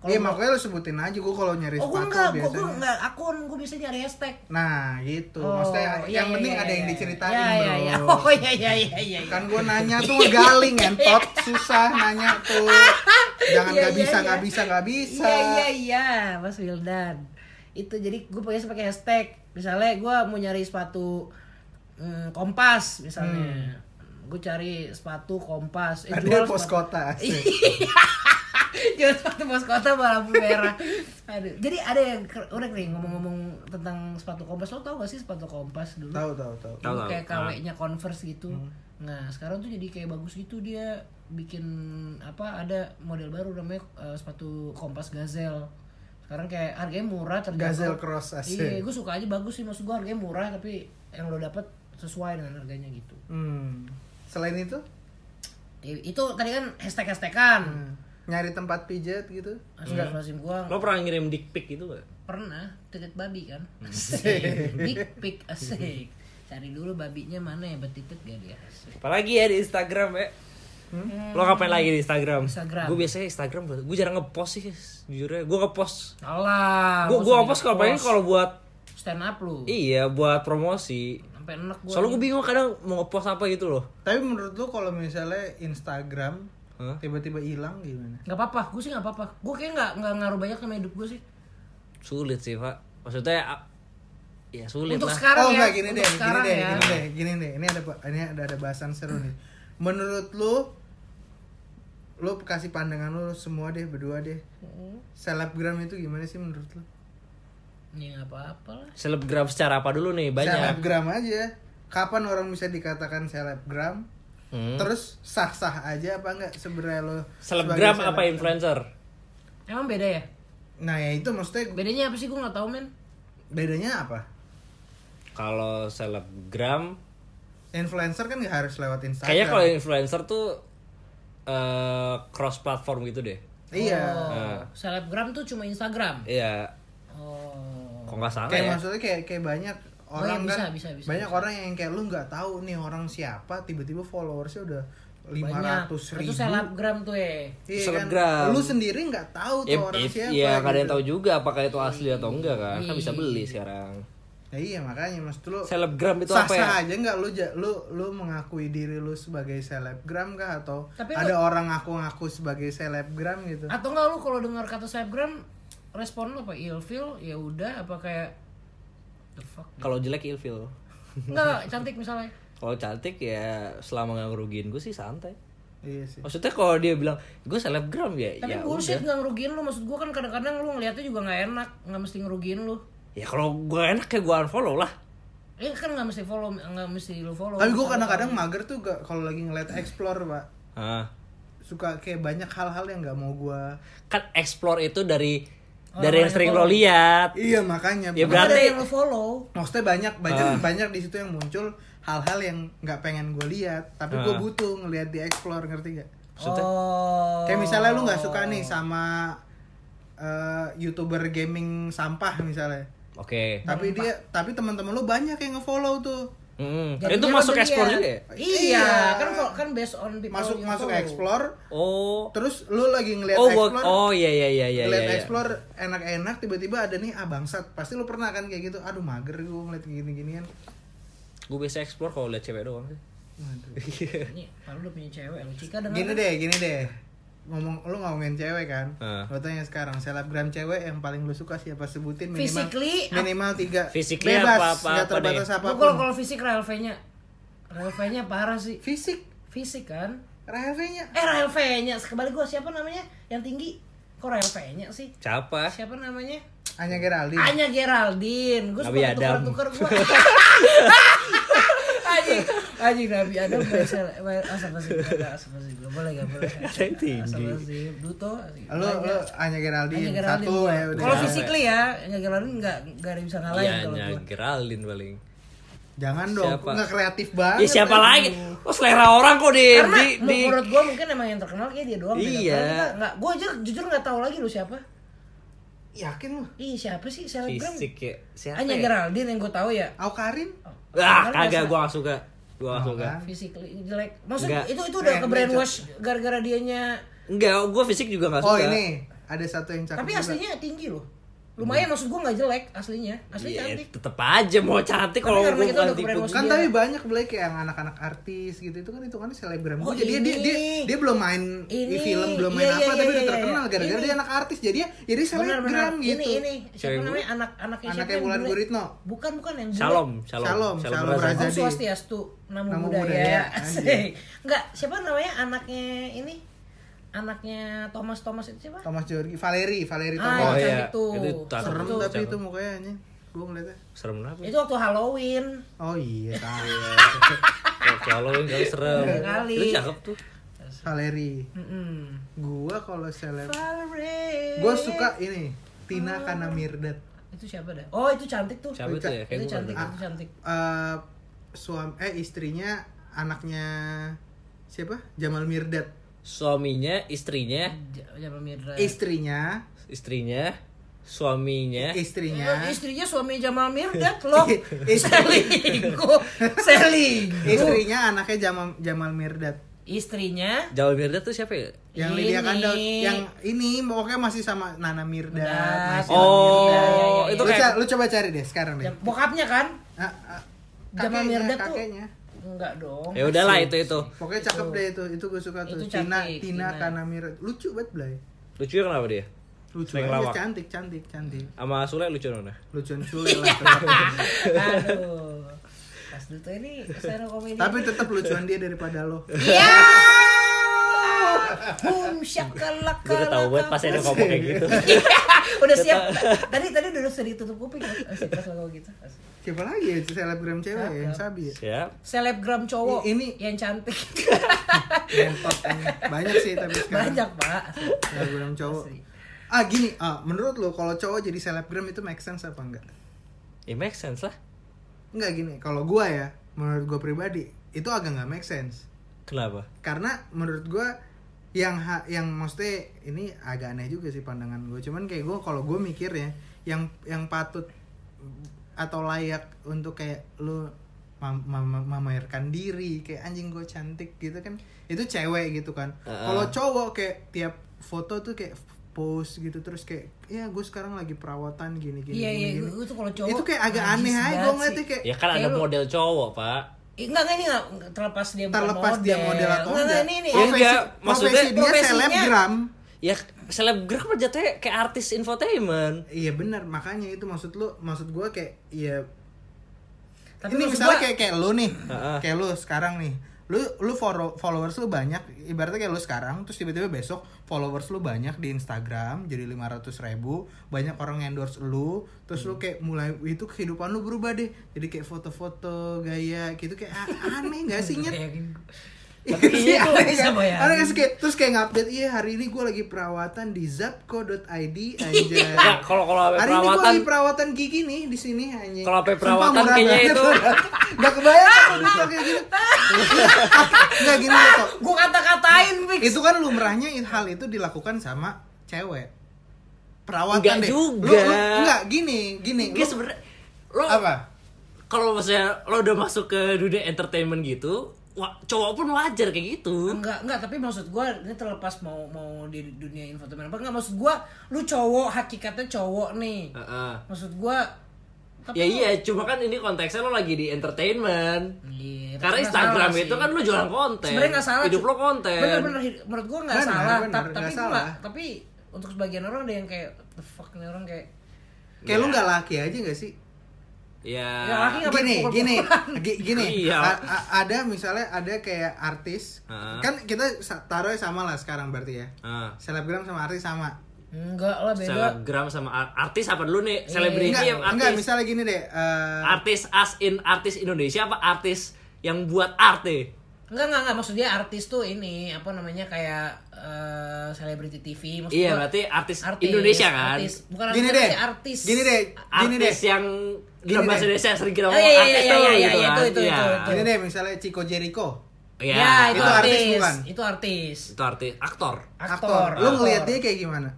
[SPEAKER 2] Kalau
[SPEAKER 3] Iya
[SPEAKER 2] gua-
[SPEAKER 3] makanya lu sebutin aja gue kalau nyari
[SPEAKER 2] Oh, gue
[SPEAKER 3] sepatu
[SPEAKER 2] enggak, gue
[SPEAKER 3] biasanya.
[SPEAKER 2] enggak akun, gue bisa nyari hashtag.
[SPEAKER 3] Nah gitu,
[SPEAKER 2] Oh,
[SPEAKER 3] maksudnya
[SPEAKER 2] iya,
[SPEAKER 3] yang
[SPEAKER 2] iya,
[SPEAKER 3] penting
[SPEAKER 2] iya,
[SPEAKER 3] ada yang
[SPEAKER 2] iya.
[SPEAKER 3] diceritain
[SPEAKER 2] Iya,
[SPEAKER 3] bro.
[SPEAKER 2] iya, iya. <laughs> Oh iya iya iya iya. iya.
[SPEAKER 3] Kan gue nanya tuh galing
[SPEAKER 2] <laughs>
[SPEAKER 3] entot, susah nanya tuh. Jangan
[SPEAKER 2] Iya,
[SPEAKER 3] nggak
[SPEAKER 2] iya,
[SPEAKER 3] bisa,
[SPEAKER 2] iya.
[SPEAKER 3] nggak bisa, nggak bisa.
[SPEAKER 2] Iya iya iya, Mas Wildan. Itu jadi gue biasa pakai hashtag. Misalnya gue mau nyari sepatu mm, kompas misalnya. Gue cari sepatu kompas. Eh,
[SPEAKER 3] Padahal
[SPEAKER 2] jual
[SPEAKER 3] Hmm.
[SPEAKER 2] Iya.
[SPEAKER 3] pos
[SPEAKER 2] sepatu-
[SPEAKER 3] kota. asik.
[SPEAKER 2] <laughs> Jual sepatu pos kota sama lampu merah. Aduh. Jadi ada yang udah nih ngomong-ngomong tentang sepatu kompas. Lo tau gak sih sepatu kompas dulu?
[SPEAKER 3] Tahu tahu tahu.
[SPEAKER 4] Tahu,
[SPEAKER 2] Dulu
[SPEAKER 4] tahu.
[SPEAKER 2] kayak
[SPEAKER 4] Ah. Hmm.
[SPEAKER 2] KW-nya Converse gitu. Nah, sekarang tuh jadi kayak bagus gitu dia bikin apa ada model baru namanya eh, sepatu kompas gazelle. Sekarang kayak harganya murah terjangkau.
[SPEAKER 3] Gazelle Cross, E. asik.
[SPEAKER 2] Iya, gue suka aja bagus sih maksud gue harganya murah tapi yang lo dapet sesuai dengan harganya gitu.
[SPEAKER 3] Hmm. Selain itu,
[SPEAKER 2] I- Itu tadi kan hashtag-hashtagan.
[SPEAKER 3] nyari tempat pijat gitu.
[SPEAKER 2] Astagfirullahaladzim gua
[SPEAKER 4] Lo pernah ngirim dick pic gitu gak?
[SPEAKER 2] pernah titik babi kan
[SPEAKER 3] <laughs>
[SPEAKER 4] Hmm.
[SPEAKER 2] asik big pick asik cari dulu babinya mana ya betitik gak dia asik
[SPEAKER 4] Apalagi ya di Instagram ya. Lo ngapain lagi di Instagram?
[SPEAKER 2] Instagram.
[SPEAKER 4] Gue biasanya Instagram, gue jarang ngepost sih, jujurnya. Gue ngepost.
[SPEAKER 2] Alah, gua
[SPEAKER 4] Gue gue
[SPEAKER 2] sudah
[SPEAKER 4] ngepost kalau pengen
[SPEAKER 2] Ah, ngepost.
[SPEAKER 4] kalau buat
[SPEAKER 2] stand up lu
[SPEAKER 4] iya buat promosi.
[SPEAKER 2] sampai enak gua
[SPEAKER 4] Soalnya gue bingung kadang mau ngepost apa gitu loh.
[SPEAKER 3] Tapi menurut lu kalau misalnya Instagram
[SPEAKER 4] Hah?
[SPEAKER 3] tiba-tiba hilang gimana?
[SPEAKER 2] nggak apa-apa gue sih nggak apa-apa gue kayak nggak nggak ngaruh banyak sama hidup gue sih
[SPEAKER 4] Sulit sih pak. Maksudnya a- ya sulit
[SPEAKER 2] untuk
[SPEAKER 4] lah.
[SPEAKER 2] sekarang
[SPEAKER 3] oh,
[SPEAKER 2] ya
[SPEAKER 3] enggak gini
[SPEAKER 2] untuk
[SPEAKER 3] deh, gini
[SPEAKER 2] sekarang
[SPEAKER 3] deh,
[SPEAKER 2] ya
[SPEAKER 3] gini deh, gini deh. Ini ada ini ada, ada bahasan seru nih. Menurut lu lu kasih pandangan lu semua deh berdua deh. Selebgram itu gimana sih menurut lu?
[SPEAKER 2] ya nggak apa-apa lah
[SPEAKER 4] Selebgram secara apa dulu nih banyak.
[SPEAKER 3] Selebgram aja. Kapan orang bisa dikatakan selebgram?
[SPEAKER 4] Hmm.
[SPEAKER 3] Terus sah-sah aja apa enggak sebenarnya lu?
[SPEAKER 4] Selebgram
[SPEAKER 3] sebagai
[SPEAKER 4] apa
[SPEAKER 3] seleb-
[SPEAKER 4] influencer?
[SPEAKER 2] emang beda ya
[SPEAKER 3] Nah, ya itu maksudnya
[SPEAKER 2] bedanya apa sih gue nggak tahu men
[SPEAKER 3] bedanya apa?
[SPEAKER 4] Kalau selebgram,
[SPEAKER 3] Influencer kan nggak harus lewat Instagram.
[SPEAKER 4] kayaknya kalau influencer tuh eh cross platform gitu deh.
[SPEAKER 3] Iya.
[SPEAKER 4] Ah.
[SPEAKER 2] oh, selebgram tuh cuma Instagram
[SPEAKER 4] Iya,
[SPEAKER 2] oh
[SPEAKER 4] kok nggak salah
[SPEAKER 3] kayak
[SPEAKER 4] ya.
[SPEAKER 3] maksudnya kayak kayak banyak orang
[SPEAKER 2] iya, bisa,
[SPEAKER 3] kan
[SPEAKER 2] bisa, bisa,
[SPEAKER 3] banyak
[SPEAKER 2] bisa.
[SPEAKER 3] orang yang kayak lu nggak tahu nih orang siapa tiba-tiba followersnya udah lima ratus
[SPEAKER 2] Itu
[SPEAKER 3] ribu
[SPEAKER 2] selebgram tuh ya.
[SPEAKER 3] Iya
[SPEAKER 4] Selebgram.
[SPEAKER 3] Lu sendiri nggak tahu tuh
[SPEAKER 4] Ya,
[SPEAKER 3] orang
[SPEAKER 4] if-
[SPEAKER 3] siapa.
[SPEAKER 4] ya nggak ada yang
[SPEAKER 3] gitu.
[SPEAKER 4] tahu juga apakah itu asli atau enggak kan. Kan bisa beli sekarang.
[SPEAKER 3] Ya iya makanya mas lu
[SPEAKER 4] Selebgram itu
[SPEAKER 3] sah
[SPEAKER 4] apa ya?
[SPEAKER 3] sah aja nggak lu ja- lu lu mengakui diri lu sebagai selebgram kah atau
[SPEAKER 2] Tapi lu- Ah.
[SPEAKER 3] ada orang ngaku-ngaku sebagai selebgram gitu?
[SPEAKER 2] Atau enggak lu kalau dengar kata selebgram respon lu apa? Ilfil ya udah apa kayak the
[SPEAKER 3] <laughs>
[SPEAKER 2] fuck.
[SPEAKER 4] Kalau jelek ilfil.
[SPEAKER 2] Enggak, cantik misalnya.
[SPEAKER 4] Kalau cantik ya selama nggak ngerugiin gue sih santai.
[SPEAKER 3] Iya sih.
[SPEAKER 4] Maksudnya kalau dia bilang gue selebgram ya
[SPEAKER 2] Tapi
[SPEAKER 4] ya
[SPEAKER 2] bullshit
[SPEAKER 4] udah.
[SPEAKER 2] nggak ngerugiin lu maksud gua kan kadang-kadang lu ngeliatnya juga nggak enak, nggak mesti ngerugiin lu.
[SPEAKER 4] Ya kalau gue enak ya gue unfollow lah.
[SPEAKER 2] Eh kan nggak mesti follow, nggak mesti lu follow.
[SPEAKER 3] Tapi gue kadang-kadang mager tuh gak- kalau lagi
[SPEAKER 4] <laughs>
[SPEAKER 3] ngeliat explore pak
[SPEAKER 4] Ah.
[SPEAKER 3] suka kayak banyak hal-hal yang nggak mau gua
[SPEAKER 4] Kan explore itu dari dari yang sering lo lihat.
[SPEAKER 3] iya makanya
[SPEAKER 4] Ya
[SPEAKER 2] Ada
[SPEAKER 4] berarti
[SPEAKER 2] yang lu follow.
[SPEAKER 3] maksudnya banyak banyak
[SPEAKER 4] Ah.
[SPEAKER 3] banyak di situ yang muncul hal-hal yang nggak pengen gue lihat tapi gue
[SPEAKER 4] Ah.
[SPEAKER 3] butuh ngelihat di explore ngerti gak
[SPEAKER 4] maksudnya
[SPEAKER 2] Oh.
[SPEAKER 3] kayak misalnya lu nggak suka
[SPEAKER 4] Oh.
[SPEAKER 3] nih sama eh, youtuber gaming sampah misalnya
[SPEAKER 4] Oke.
[SPEAKER 3] tapi dia tapi teman-teman lu banyak yang ngefollow tuh
[SPEAKER 4] Mm-mm.
[SPEAKER 2] Jadinya
[SPEAKER 4] Itu
[SPEAKER 2] lu
[SPEAKER 4] masuk
[SPEAKER 2] beli
[SPEAKER 4] explore
[SPEAKER 2] ya.
[SPEAKER 4] juga ya?
[SPEAKER 2] Iya,
[SPEAKER 3] Iya.
[SPEAKER 2] kan fo- kan based on people
[SPEAKER 3] masuk
[SPEAKER 2] you
[SPEAKER 3] masuk
[SPEAKER 2] follow.
[SPEAKER 3] explore
[SPEAKER 4] Oh.
[SPEAKER 3] terus lu lagi ngelihat
[SPEAKER 4] Oh, gua-
[SPEAKER 3] explore
[SPEAKER 4] oh iya iya iya iya
[SPEAKER 3] ngeliat
[SPEAKER 4] iya. iya.
[SPEAKER 3] explore enak-enak tiba-tiba ada nih ah bangsat pasti lu pernah kan kayak gitu aduh mager gue ngeliat kayak gini-ginian
[SPEAKER 4] Gue biasa explore kalau lihat cewek doang sih.
[SPEAKER 2] <laughs> Ini kalau udah punya cewek lu Cika dengan
[SPEAKER 3] gini deh gini deh ngomong lu ngomongin cewek kan
[SPEAKER 4] Ah.
[SPEAKER 3] lu tanya sekarang selebgram cewek yang paling lu suka siapa sebutin minimal
[SPEAKER 2] Physically,
[SPEAKER 3] minimal tiga
[SPEAKER 4] Physically
[SPEAKER 3] bebas
[SPEAKER 4] apa- apa-
[SPEAKER 3] nggak
[SPEAKER 4] apa
[SPEAKER 3] terbatas
[SPEAKER 4] deh?
[SPEAKER 2] Lu
[SPEAKER 3] apapun
[SPEAKER 2] kalau kalau fisik Rahel V-nya. Rahel V-nya parah sih.
[SPEAKER 3] fisik
[SPEAKER 2] Fisik kan?
[SPEAKER 3] rahasianya
[SPEAKER 2] Eh Rahel V-nya, sekebalik gua siapa namanya? Yang tinggi. Kok Rahel V-nya sih?
[SPEAKER 4] Siapa?
[SPEAKER 2] Siapa namanya?
[SPEAKER 3] hanya Geraldine
[SPEAKER 2] Anya Geraldine. Gue
[SPEAKER 4] Nabi
[SPEAKER 2] suka
[SPEAKER 4] Adam.
[SPEAKER 2] tuker-tuker gua.
[SPEAKER 4] <laughs>
[SPEAKER 2] Anjing, anjing Nabi Adam biasa. Astagfirullah, astagfirullah. Boleh gak
[SPEAKER 4] <laughs>
[SPEAKER 2] boleh?
[SPEAKER 4] yang tinggi.
[SPEAKER 2] Astagfirullah, Duto.
[SPEAKER 3] lu lu hanya Geraldine
[SPEAKER 2] Anya Geraldine.
[SPEAKER 3] satu
[SPEAKER 2] gua.
[SPEAKER 3] ya udah
[SPEAKER 2] Kalau fisikly ya, Anya Geraldine nggak nggak ada yang bisa ngalahin
[SPEAKER 4] Iya,
[SPEAKER 2] kalau
[SPEAKER 4] nya
[SPEAKER 2] gua.
[SPEAKER 4] Geraldine paling.
[SPEAKER 3] jangan dong
[SPEAKER 4] Siapa?
[SPEAKER 3] nggak kreatif banget
[SPEAKER 4] Ya siapa lagi? Oh selera orang kok di
[SPEAKER 2] Karena
[SPEAKER 4] Eh, di, di
[SPEAKER 2] menurut gue mungkin emang yang terkenal kayak dia doang.
[SPEAKER 4] Iya.
[SPEAKER 2] Nggak, gue aja jujur nggak tahu lagi lu siapa.
[SPEAKER 3] yakin lu
[SPEAKER 2] Ih siapa sih selebgram?
[SPEAKER 4] fisik ya. Siapa?
[SPEAKER 2] Hanya
[SPEAKER 4] ya?
[SPEAKER 2] Geraldine yang gue tahu ya.
[SPEAKER 3] Au Karin
[SPEAKER 2] Geraldine
[SPEAKER 4] Ah, kagak
[SPEAKER 2] biasa. Oh,
[SPEAKER 4] gua gak suka. Gua gak suka.
[SPEAKER 3] kan?
[SPEAKER 2] Physically jelek. Maksud
[SPEAKER 4] Nggak.
[SPEAKER 2] itu itu udah
[SPEAKER 3] Brand
[SPEAKER 2] ke brainwash gara-gara dianya.
[SPEAKER 4] Enggak, gua fisik juga gak suka. Iya,
[SPEAKER 3] oh ini ada satu yang cakep
[SPEAKER 2] Tapi
[SPEAKER 3] juga.
[SPEAKER 2] aslinya tinggi loh. Lumayan maksud gue nggak jelek aslinya. Asli
[SPEAKER 4] Ya,
[SPEAKER 2] cantik.
[SPEAKER 4] tetep aja mau cantik kalau
[SPEAKER 2] karena
[SPEAKER 4] gua
[SPEAKER 2] kita
[SPEAKER 4] bukan
[SPEAKER 2] udah
[SPEAKER 4] tipe
[SPEAKER 2] kebrand
[SPEAKER 4] gua.
[SPEAKER 3] kan
[SPEAKER 2] Iya.
[SPEAKER 3] tapi banyak Blake yang anak-anak artis gitu itu kan hitungannya selebgram
[SPEAKER 2] Oh,
[SPEAKER 3] Jadi dia, dia
[SPEAKER 2] ini.
[SPEAKER 3] dia dia belum main di
[SPEAKER 2] Ini.
[SPEAKER 3] film belum main
[SPEAKER 2] Iya, iya,
[SPEAKER 3] apa tapi
[SPEAKER 2] iya,
[SPEAKER 3] udah
[SPEAKER 2] iya,
[SPEAKER 3] terkenal
[SPEAKER 2] iya.
[SPEAKER 3] gara-gara
[SPEAKER 2] Ini.
[SPEAKER 3] dia anak artis jadi ya jadi
[SPEAKER 2] Benar
[SPEAKER 3] selebgram
[SPEAKER 2] benar.
[SPEAKER 3] gitu
[SPEAKER 2] Ini ini
[SPEAKER 4] Cewek
[SPEAKER 2] siapa
[SPEAKER 4] gue?
[SPEAKER 2] namanya anak anaknya siapa?
[SPEAKER 3] anaknya
[SPEAKER 2] yang
[SPEAKER 3] Wulan
[SPEAKER 2] bule?
[SPEAKER 3] Guritno
[SPEAKER 2] Bukan bukan yang bule.
[SPEAKER 4] Shalom, shalom.
[SPEAKER 3] Shalom, Shalom
[SPEAKER 2] Om
[SPEAKER 4] Razak.
[SPEAKER 3] Jadi-
[SPEAKER 2] Swastiastu, Namo
[SPEAKER 3] Namo
[SPEAKER 2] Buddhaya. <laughs>
[SPEAKER 3] Buddhaya, anjing.
[SPEAKER 2] Asik. Enggak, siapa namanya anaknya ini? Anaknya Thomas Thomas itu siapa?
[SPEAKER 3] Thomas Jorgi Valeri Valeri
[SPEAKER 2] Ah,
[SPEAKER 4] Oh,
[SPEAKER 3] Thomas
[SPEAKER 4] iya.
[SPEAKER 2] yang itu.
[SPEAKER 4] Itu tak-
[SPEAKER 3] serem
[SPEAKER 2] Itu.
[SPEAKER 3] tapi
[SPEAKER 4] Cakep.
[SPEAKER 3] itu mukanya anjing gue ngeliatnya
[SPEAKER 4] Serem kenapa? ya?
[SPEAKER 2] Itu waktu Halloween.
[SPEAKER 3] oh
[SPEAKER 2] <laughs>
[SPEAKER 3] iya tahu.
[SPEAKER 4] Kalau yang kali serem.
[SPEAKER 2] Iya kali.
[SPEAKER 4] Itu cakep tuh.
[SPEAKER 3] Valeri
[SPEAKER 2] Mm-mm.
[SPEAKER 3] gua kalau seleb
[SPEAKER 2] Valerie.
[SPEAKER 3] gua suka ini
[SPEAKER 2] Ah.
[SPEAKER 3] Tina Kanamirdad
[SPEAKER 2] Itu siapa dah? Oh, itu cantik tuh.
[SPEAKER 4] Siapa tuh ya? Kayak
[SPEAKER 2] Itu
[SPEAKER 4] gua
[SPEAKER 2] cantik,
[SPEAKER 4] pernah.
[SPEAKER 2] itu cantik.
[SPEAKER 3] Eh suami eh istrinya anaknya siapa Jamal Mirdad
[SPEAKER 2] Eh.
[SPEAKER 4] Suaminya, istrinya,
[SPEAKER 2] Ja- Jamal Mirdad.
[SPEAKER 3] istrinya
[SPEAKER 4] istrinya, suaminya.
[SPEAKER 2] Eh,
[SPEAKER 3] istrinya
[SPEAKER 2] istrinya suami Jamal <laughs> Mirdad loh.
[SPEAKER 3] Istri-
[SPEAKER 2] Selingkuh. Selingkuh.
[SPEAKER 3] istrinya anaknya Jamal Jamal Mirdad
[SPEAKER 2] Istrinya
[SPEAKER 4] Jawa Mirda tuh siapa ya?
[SPEAKER 3] yang
[SPEAKER 2] Ini.
[SPEAKER 3] Lydia Kandel yang ini pokoknya masih sama Nana Mirdad
[SPEAKER 2] Mirdad.
[SPEAKER 3] masih
[SPEAKER 4] Oh,
[SPEAKER 3] Nana Mirdad.
[SPEAKER 2] iya, iya,
[SPEAKER 4] itu
[SPEAKER 3] lu,
[SPEAKER 4] kayak
[SPEAKER 3] ca- lu coba cari deh sekarang deh
[SPEAKER 2] Jam- bokapnya kan?
[SPEAKER 3] Ah, ah,
[SPEAKER 2] Jamal
[SPEAKER 3] kakeknya,
[SPEAKER 2] Mirdad tuh-
[SPEAKER 3] kakeknya.
[SPEAKER 2] Enggak dong.
[SPEAKER 4] Ya udahlah itu itu.
[SPEAKER 3] pokoknya cakep deh itu itu gue suka tuh
[SPEAKER 2] Itu
[SPEAKER 3] Tina
[SPEAKER 2] cantik, Tina.
[SPEAKER 3] Tina Kana Mirdad lucu banget Blay
[SPEAKER 4] Lucunya ya kenapa dia?
[SPEAKER 3] lucu
[SPEAKER 4] Sering
[SPEAKER 3] banget
[SPEAKER 4] lawak.
[SPEAKER 3] cantik cantik cantik Iya.
[SPEAKER 4] Sama Sule lucu mana?
[SPEAKER 3] lucuan <laughs> cuy lah tetap.
[SPEAKER 2] Aduh. Mas Duto ini stand up comedy.
[SPEAKER 3] tapi tetap lucuan dia daripada lo
[SPEAKER 2] Iya. Boom syakalak.
[SPEAKER 4] Gue udah tahu banget pasti ada ngomong kayak <laughs> gitu.
[SPEAKER 2] Udah siap. Tadi tadi udah sudah ditutup kuping. Asik pas lo ngomong gitu. Asik.
[SPEAKER 3] siapa lagi ya selebgram cewek ya, yang sabi ya?
[SPEAKER 4] Siap.
[SPEAKER 2] Selebgram cowok
[SPEAKER 3] I- ini-
[SPEAKER 2] yang cantik
[SPEAKER 3] Mentok ini. banyak sih tapi sekarang
[SPEAKER 2] banyak pak. Asik.
[SPEAKER 3] selebgram cowok ah gini ah menurut lo kalau cowok jadi selebgram itu make sense apa enggak
[SPEAKER 4] Ya make sense lah.
[SPEAKER 3] enggak gini kalau gua ya menurut gua pribadi itu agak nggak make sense
[SPEAKER 4] Kenapa?
[SPEAKER 3] karena menurut gua yang ha- yang maksudnya ini agak aneh juga sih pandangan gue cuman kayak gua kalau gue mikir ya yang yang patut atau layak untuk kayak lu mem- mem- memamerkan diri kayak anjing gue cantik gitu kan itu cewek gitu kan kalau cowok kayak tiap foto tuh kayak post gitu terus kayak ya gue sekarang lagi perawatan gini gini
[SPEAKER 2] Iya,
[SPEAKER 3] gini,
[SPEAKER 2] iya,
[SPEAKER 3] gini."
[SPEAKER 2] gua- gua tuh kalau cowok
[SPEAKER 3] itu kayak agak
[SPEAKER 2] najis
[SPEAKER 3] aneh aja gue
[SPEAKER 2] banget
[SPEAKER 3] ngeliatnya
[SPEAKER 2] sih.
[SPEAKER 3] kayak
[SPEAKER 4] Ya kan ada
[SPEAKER 2] Kayak lu-
[SPEAKER 4] model cowok, Pak.
[SPEAKER 2] Eh, Enggak, enggak, ini enggak terlepas dia bukan
[SPEAKER 3] terlepas dia model atau
[SPEAKER 2] Enggak,
[SPEAKER 3] enggak
[SPEAKER 2] enggak, Nah, ini, ini.
[SPEAKER 4] Iya,
[SPEAKER 3] profesi,
[SPEAKER 4] enggak. Maksudnya-
[SPEAKER 3] profesi dia
[SPEAKER 2] profesinya-
[SPEAKER 3] selebgram
[SPEAKER 4] Ya selebgram aja teh kayak artis infotainment.
[SPEAKER 3] iya benar makanya itu maksud lu maksud gue kayak ya
[SPEAKER 2] Tapi
[SPEAKER 3] ini
[SPEAKER 2] maksud
[SPEAKER 3] misalnya
[SPEAKER 2] gua- <laughs>
[SPEAKER 3] kayak kayak lu nih
[SPEAKER 4] Heeh.
[SPEAKER 3] kayak lu sekarang nih lu lu follow- followers lu banyak ibaratnya kayak lu sekarang terus tiba-tiba besok followers lu banyak di Instagram jadi 500.000 ribu banyak orang endorse lu terus lu
[SPEAKER 2] Hmm.
[SPEAKER 3] kayak mulai itu kehidupan lu berubah deh jadi kayak foto-foto gaya gitu kayak a- aneh gak sih
[SPEAKER 2] <laughs>
[SPEAKER 3] nyet
[SPEAKER 2] Bayangin.
[SPEAKER 3] Tapi
[SPEAKER 2] iya, gua bisa
[SPEAKER 3] ya.
[SPEAKER 2] bayangin.
[SPEAKER 3] kayak terus kayak ngupdate iya hari ini gue lagi perawatan di zapco.id
[SPEAKER 2] <laughs>
[SPEAKER 3] aja.
[SPEAKER 2] Iya,
[SPEAKER 4] Ya, kalau kalau sampai
[SPEAKER 3] hari ini gue lagi
[SPEAKER 4] perawatan
[SPEAKER 3] perawatan gigi nih di sini anjing.
[SPEAKER 4] Kalau sampai
[SPEAKER 3] Sumpah,
[SPEAKER 4] perawatan
[SPEAKER 3] murah
[SPEAKER 4] kayaknya
[SPEAKER 3] banget. <laughs>
[SPEAKER 4] itu-
[SPEAKER 3] Gak kebayang kalau dulu kayak <laughs> gitu. Enggak gini loh, Tok.
[SPEAKER 2] Gua kata-katain, Fix.
[SPEAKER 3] Itu kan lumrahnya i- hal itu dilakukan sama cewek. Perawatan
[SPEAKER 4] Enggak
[SPEAKER 3] deh.
[SPEAKER 4] juga.
[SPEAKER 3] Lu, lu, enggak gini, gini.
[SPEAKER 4] Dia
[SPEAKER 3] Lu-
[SPEAKER 4] sebenarnya ya lo
[SPEAKER 3] apa?
[SPEAKER 4] kalau maksudnya lo udah masuk ke dunia entertainment gitu, wa- cowok pun wajar kayak gitu.
[SPEAKER 2] Enggak, enggak, tapi maksud gua ini terlepas mau mau di dunia infotainment apa enggak maksud gua lu cowok hakikatnya cowok nih.
[SPEAKER 3] Ah.
[SPEAKER 4] Heeh.
[SPEAKER 2] Maksud gua tapi
[SPEAKER 4] Ya
[SPEAKER 2] lu-
[SPEAKER 4] iya, cuma kan ini konteksnya lo lagi di entertainment.
[SPEAKER 2] Iya, tapi
[SPEAKER 4] Karena
[SPEAKER 2] nggak
[SPEAKER 4] Instagram
[SPEAKER 2] salah
[SPEAKER 4] itu
[SPEAKER 2] sih.
[SPEAKER 4] kan lo jualan konten.
[SPEAKER 2] sebenarnya nggak salah
[SPEAKER 4] Hidup
[SPEAKER 2] cu-
[SPEAKER 4] lo konten.
[SPEAKER 2] bener-bener hid- menurut gua nggak
[SPEAKER 3] Bener,
[SPEAKER 2] salah
[SPEAKER 3] bener,
[SPEAKER 2] tap-
[SPEAKER 3] nggak
[SPEAKER 2] tapi gua
[SPEAKER 3] salah.
[SPEAKER 2] nggak- tapi untuk sebagian orang ada yang kayak the fuck nih orang kayak
[SPEAKER 3] Kayak lu enggak laki aja gak sih?
[SPEAKER 4] Ya.
[SPEAKER 2] Ya, laki nggak
[SPEAKER 3] gini
[SPEAKER 2] boleh
[SPEAKER 3] gini
[SPEAKER 2] pukul-pukulan.
[SPEAKER 3] gi- gini
[SPEAKER 4] Iya.
[SPEAKER 3] A- a- ada misalnya ada kayak artis
[SPEAKER 4] Heeh.
[SPEAKER 3] kan kita sa- taruhnya sama lah sekarang berarti ya
[SPEAKER 4] Ah.
[SPEAKER 3] selebgram sama artis sama
[SPEAKER 2] enggak lah beda Iya,
[SPEAKER 4] Selebgram sama ar- artis apa dulu nih? Selebriti
[SPEAKER 3] enggak
[SPEAKER 4] yang artis.
[SPEAKER 3] enggak misalnya gini deh eh,
[SPEAKER 4] Artis as in artis Indonesia apa artis yang buat arte?
[SPEAKER 2] enggak enggak enggak maksud dia artis tuh ini apa namanya kayak eh, selebriti TV maksud
[SPEAKER 4] Iya,
[SPEAKER 2] gua-
[SPEAKER 4] berarti artis Indonesia kan?
[SPEAKER 2] artis. bukan artis,
[SPEAKER 3] gini deh
[SPEAKER 2] tapi artis
[SPEAKER 3] gini deh gini deh
[SPEAKER 4] Artis ya. yang
[SPEAKER 3] Gini
[SPEAKER 4] dalam bahasa
[SPEAKER 3] deh.
[SPEAKER 4] Indonesia sering kita
[SPEAKER 2] Oh,
[SPEAKER 4] ngomong
[SPEAKER 2] iya, iya,
[SPEAKER 4] artis
[SPEAKER 2] iya,
[SPEAKER 4] tuh
[SPEAKER 2] iya, iya,
[SPEAKER 4] gitu
[SPEAKER 2] iya,
[SPEAKER 4] kan.
[SPEAKER 2] itu, itu,
[SPEAKER 4] Iya.
[SPEAKER 2] itu.
[SPEAKER 3] gini deh misalnya Chico Jericho
[SPEAKER 4] Iya,
[SPEAKER 2] ya itu,
[SPEAKER 3] itu
[SPEAKER 2] artis,
[SPEAKER 3] artis bukan?
[SPEAKER 2] itu artis
[SPEAKER 4] itu artis aktor.
[SPEAKER 2] aktor,
[SPEAKER 3] lu
[SPEAKER 2] aktor.
[SPEAKER 3] ngeliat dia kayak gimana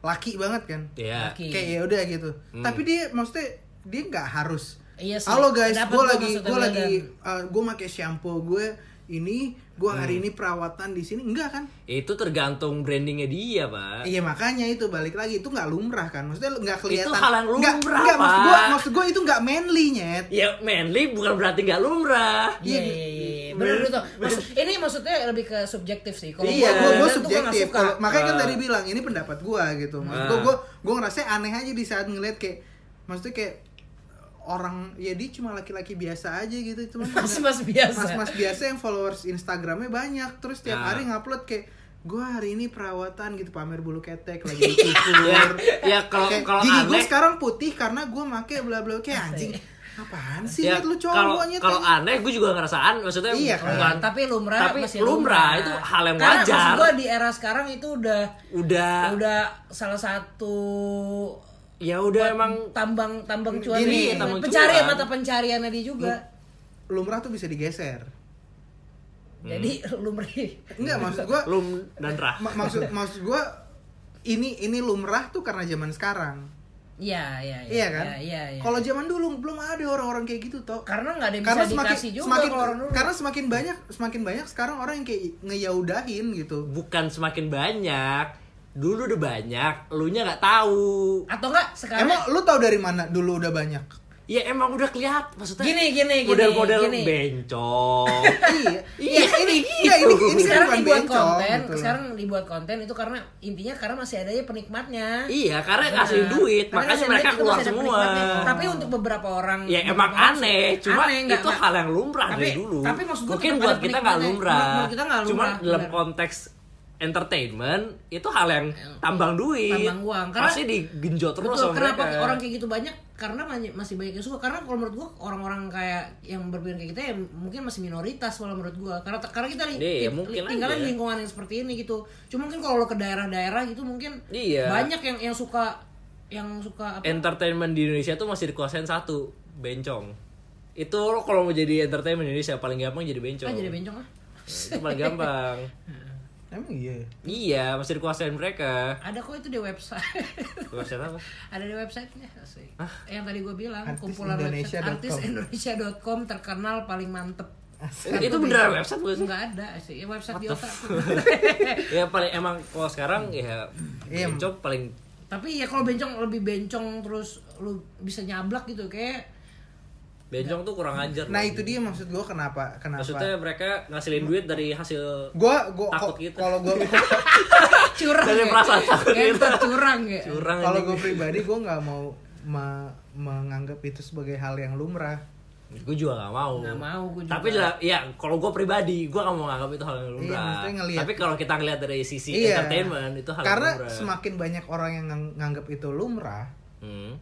[SPEAKER 3] laki banget kan
[SPEAKER 4] Iya. Hmm.
[SPEAKER 2] Laki.
[SPEAKER 3] kayak ya udah gitu tapi dia maksudnya dia nggak harus
[SPEAKER 2] Iya sih.
[SPEAKER 3] halo guys
[SPEAKER 2] Dapat
[SPEAKER 3] gue
[SPEAKER 2] gua
[SPEAKER 3] lagi
[SPEAKER 2] maksudnya
[SPEAKER 3] gue
[SPEAKER 2] lu
[SPEAKER 3] lagi gue pakai shampoo gue ini gue hari
[SPEAKER 4] Hmm.
[SPEAKER 3] ini perawatan di sini enggak kan
[SPEAKER 4] Itu tergantung brandingnya dia, Pak.
[SPEAKER 3] Iya makanya itu balik lagi itu nggak lumrah kan maksudnya lu nggak kelihatan
[SPEAKER 4] hal yang
[SPEAKER 3] Nggak-
[SPEAKER 4] lumrah,
[SPEAKER 3] nggak, maksud gue
[SPEAKER 4] Pak.
[SPEAKER 3] maksud gue itu nggak manly nyet
[SPEAKER 4] Ya, manly bukan berarti nggak lumrah.
[SPEAKER 2] Iya, iya, iya, iya. Bener, bener, tuh. Maksud, ini maksudnya lebih ke subjektif sih. Kalau
[SPEAKER 3] iya
[SPEAKER 2] gua-
[SPEAKER 3] gue gue
[SPEAKER 2] gua tuh gua nggak
[SPEAKER 3] subjektif
[SPEAKER 2] suka. Ah.
[SPEAKER 3] Kalau- makanya kan tadi bilang ini pendapat gue gitu maksud gue gue gue ngerasa aneh aja di saat ngeliat kayak maksudnya kayak orang ya dia cuma laki-laki biasa aja gitu cuman <laughs>
[SPEAKER 2] Mas-mas biasa. Ah.
[SPEAKER 3] mas-mas biasa yang followers Instagramnya banyak terus tiap
[SPEAKER 4] Nah.
[SPEAKER 3] hari ngupload kayak gue hari ini perawatan gitu pamer bulu ketek
[SPEAKER 2] <laughs>
[SPEAKER 3] lagi
[SPEAKER 2] Iya.
[SPEAKER 3] dicukur
[SPEAKER 4] ya kalau
[SPEAKER 3] Kayak,
[SPEAKER 4] kalau
[SPEAKER 3] gigi gue
[SPEAKER 4] aneh
[SPEAKER 3] sekarang putih karena gue make bla bla kayak anjing apaan sih
[SPEAKER 4] ya
[SPEAKER 3] Nyet, lu
[SPEAKER 4] kalau
[SPEAKER 3] cowoknya
[SPEAKER 4] kalau
[SPEAKER 2] ya.
[SPEAKER 4] aneh gue juga ngerasaan maksudnya
[SPEAKER 3] Iya,
[SPEAKER 4] bukan-
[SPEAKER 3] kan?
[SPEAKER 2] tapi lumrah
[SPEAKER 4] tapi
[SPEAKER 2] masih
[SPEAKER 4] lumrah, itu hal yang
[SPEAKER 2] Karena
[SPEAKER 4] wajar. Iya.
[SPEAKER 2] maksud gua di era sekarang itu udah
[SPEAKER 4] udah
[SPEAKER 2] udah salah satu
[SPEAKER 4] ya udah emang
[SPEAKER 2] tambang tambang cuan dia.
[SPEAKER 3] Gini,
[SPEAKER 4] tambang
[SPEAKER 2] pencarian
[SPEAKER 4] cuan.
[SPEAKER 2] mata pencariannya dia juga.
[SPEAKER 3] lumrah tuh bisa digeser
[SPEAKER 2] Jadi <laughs> lumrih.
[SPEAKER 3] enggak maksud gue
[SPEAKER 4] lum dan rah
[SPEAKER 3] maksud maksud gue ini ini lumrah tuh karena zaman sekarang
[SPEAKER 2] Iya, iya, iya.
[SPEAKER 3] iya kan
[SPEAKER 2] Iya, iya. iya.
[SPEAKER 3] kalau zaman dulu belum ada orang-orang kayak gitu toh
[SPEAKER 2] karena nggak ada yang
[SPEAKER 3] karena
[SPEAKER 2] bisa
[SPEAKER 3] semakin
[SPEAKER 2] dikasih juga
[SPEAKER 3] semakin
[SPEAKER 2] kalau orang dulu.
[SPEAKER 3] karena semakin banyak semakin banyak sekarang orang yang kayak ngeyaudahin gitu
[SPEAKER 4] bukan semakin banyak dulu udah banyak elunya nggak tahu
[SPEAKER 2] Atau enggak sekarang
[SPEAKER 3] emang lu tahu dari mana dulu udah banyak
[SPEAKER 4] ya emang udah kelihatan maksudnya
[SPEAKER 2] Gini, gini, gini,
[SPEAKER 4] model-model
[SPEAKER 2] gini. <laughs>
[SPEAKER 4] bencong
[SPEAKER 3] iya
[SPEAKER 4] Iya,
[SPEAKER 3] Iya, ini
[SPEAKER 4] gitu.
[SPEAKER 3] iya, ini ini
[SPEAKER 2] sekarang
[SPEAKER 3] bukan
[SPEAKER 2] dibuat
[SPEAKER 3] bencong,
[SPEAKER 2] konten,
[SPEAKER 3] gitu loh.
[SPEAKER 2] sekarang dibuat konten itu karena intinya karena masih ada aja penikmatnya.
[SPEAKER 4] iya karena ngasih
[SPEAKER 2] Nah,
[SPEAKER 4] duit
[SPEAKER 2] karena
[SPEAKER 4] makanya
[SPEAKER 2] ngasih
[SPEAKER 4] mereka
[SPEAKER 2] duit itu
[SPEAKER 4] keluar
[SPEAKER 2] masih ada
[SPEAKER 4] semua
[SPEAKER 2] penikmatnya. Tapi untuk beberapa orang
[SPEAKER 4] ya
[SPEAKER 2] beberapa
[SPEAKER 4] emang
[SPEAKER 2] orang
[SPEAKER 4] aneh
[SPEAKER 2] sih,
[SPEAKER 4] cuma
[SPEAKER 2] aneh, nggak,
[SPEAKER 4] itu
[SPEAKER 2] nggak.
[SPEAKER 4] hal yang lumrah dari
[SPEAKER 2] Tapi-
[SPEAKER 4] dulu
[SPEAKER 2] tapi maksud gua
[SPEAKER 4] mungkin
[SPEAKER 2] tetap
[SPEAKER 4] buat
[SPEAKER 2] ada
[SPEAKER 4] kita nggak
[SPEAKER 2] penikmatnya.
[SPEAKER 4] lumrah
[SPEAKER 2] Menurut kita nggak
[SPEAKER 4] cuma
[SPEAKER 2] lumrah,
[SPEAKER 4] dalam
[SPEAKER 2] bener. Ya,
[SPEAKER 4] konteks entertainment itu hal yang tambang duit
[SPEAKER 2] Tambang uang. Karena-
[SPEAKER 4] pasti digenjot terus
[SPEAKER 2] Betul,
[SPEAKER 4] sama
[SPEAKER 2] kenapa
[SPEAKER 4] mereka.
[SPEAKER 2] orang kayak gitu banyak? Karena many- masih banyak yang suka. Karena kalau menurut gua orang-orang kayak yang berpikir kayak kita ya mungkin masih minoritas kalau menurut gua. Karena karena kita li-
[SPEAKER 4] Iya,
[SPEAKER 2] li-
[SPEAKER 4] mungkin
[SPEAKER 2] tinggalnya
[SPEAKER 4] aja.
[SPEAKER 2] di lingkungan yang seperti ini gitu. Cuma mungkin kalau lo ke daerah-daerah gitu mungkin
[SPEAKER 4] Iya.
[SPEAKER 2] banyak yang yang suka yang suka apa?
[SPEAKER 4] entertainment di Indonesia tuh masih dikuasain satu bencong itu
[SPEAKER 2] Kan
[SPEAKER 4] lo
[SPEAKER 2] Oh,
[SPEAKER 4] kalau mau jadi entertainment Indonesia Nah, paling gampang jadi bencong
[SPEAKER 2] <laughs> Ah, jadi bencong ah.
[SPEAKER 4] itu paling gampang
[SPEAKER 3] Emang iya.
[SPEAKER 4] Iya, masih dikuasain mereka.
[SPEAKER 2] Ada kok itu di website. <laughs>
[SPEAKER 4] Kuasain apa?
[SPEAKER 2] ada di websitenya sih yang tadi gue bilang
[SPEAKER 3] Artis
[SPEAKER 2] kumpulan website
[SPEAKER 3] Indonesia dot com. Ah.
[SPEAKER 2] artisindonesia.com terkenal paling mantep
[SPEAKER 4] Eh, itu beneran website bukan sih?
[SPEAKER 2] nggak ada sih ya website di otak
[SPEAKER 4] ya paling emang kalau sekarang ya
[SPEAKER 2] Iya,
[SPEAKER 4] Bencong paling
[SPEAKER 2] <laughs> tapi ya kalau bencong lebih bencong terus lu bisa nyablak gitu kayak
[SPEAKER 4] Bencong tuh kurang ajar.
[SPEAKER 3] Nah
[SPEAKER 4] loh.
[SPEAKER 3] itu dia maksud gue kenapa kenapa.
[SPEAKER 4] Maksudnya mereka ngasilin duit dari hasil
[SPEAKER 3] gue gue
[SPEAKER 4] Takut gitu.
[SPEAKER 3] kalau
[SPEAKER 4] <laughs>
[SPEAKER 3] gue
[SPEAKER 2] curang
[SPEAKER 4] Dari perasaan takut
[SPEAKER 2] ya,
[SPEAKER 4] gitu.
[SPEAKER 2] curang ya
[SPEAKER 4] curang
[SPEAKER 3] kalau
[SPEAKER 4] ini.
[SPEAKER 3] gue pribadi gue nggak mau me- menganggap itu sebagai hal yang lumrah.
[SPEAKER 4] Gue juga gak mau.
[SPEAKER 2] Nggak mau, gua juga.
[SPEAKER 4] Tapi lah, ya kalau gue pribadi, gue gak mau nganggap itu hal yang lumrah.
[SPEAKER 3] Iya, maksudnya ngelihat- Iya.
[SPEAKER 4] Tapi kalau kita ngelihat dari sisi entertainment itu hal yang
[SPEAKER 3] Karena
[SPEAKER 4] lumrah.
[SPEAKER 3] semakin banyak orang yang ngang- nganggap itu lumrah,
[SPEAKER 4] Hmm.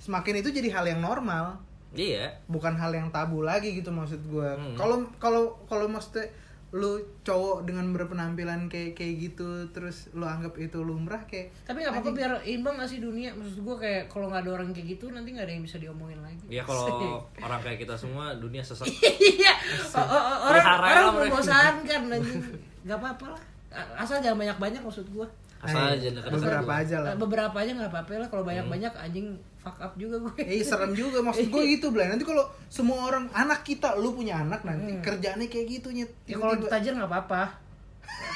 [SPEAKER 3] semakin itu jadi hal yang normal,
[SPEAKER 4] Iya.
[SPEAKER 3] bukan hal yang tabu lagi gitu maksud gue.
[SPEAKER 4] Hmm.
[SPEAKER 3] Kalau kalau kalau maksudnya lu cowok dengan berpenampilan kayak kayak gitu terus lu anggap itu lumrah kayak
[SPEAKER 2] tapi nggak apa-apa biar imbang nggak sih dunia maksud gue kayak kalau nggak ada orang kayak gitu nanti nggak ada yang bisa diomongin lagi
[SPEAKER 4] Ya
[SPEAKER 3] <laughs>
[SPEAKER 4] kalau orang kayak kita semua dunia sesak.
[SPEAKER 2] iya O- o- o- orang orang
[SPEAKER 4] Pelihara lah mereka.
[SPEAKER 2] membosankan anjing nggak apa-apa lah A- asal jangan banyak-banyak maksud gue
[SPEAKER 4] Asal
[SPEAKER 3] Nah,
[SPEAKER 4] aja dekat
[SPEAKER 3] beberapa aja
[SPEAKER 2] <laughs>
[SPEAKER 3] lah.
[SPEAKER 2] beberapa aja nggak apa-apa lah kalau banyak-banyak anjing fuck up juga gue
[SPEAKER 3] Eh serem juga maksud
[SPEAKER 2] <laughs>
[SPEAKER 3] gue gitu Blay. Nanti kalau semua orang anak kita lu punya anak nanti kerjaannya kayak gitu nyet.
[SPEAKER 2] Hmm. ya kalau ditajer nggak apa-apa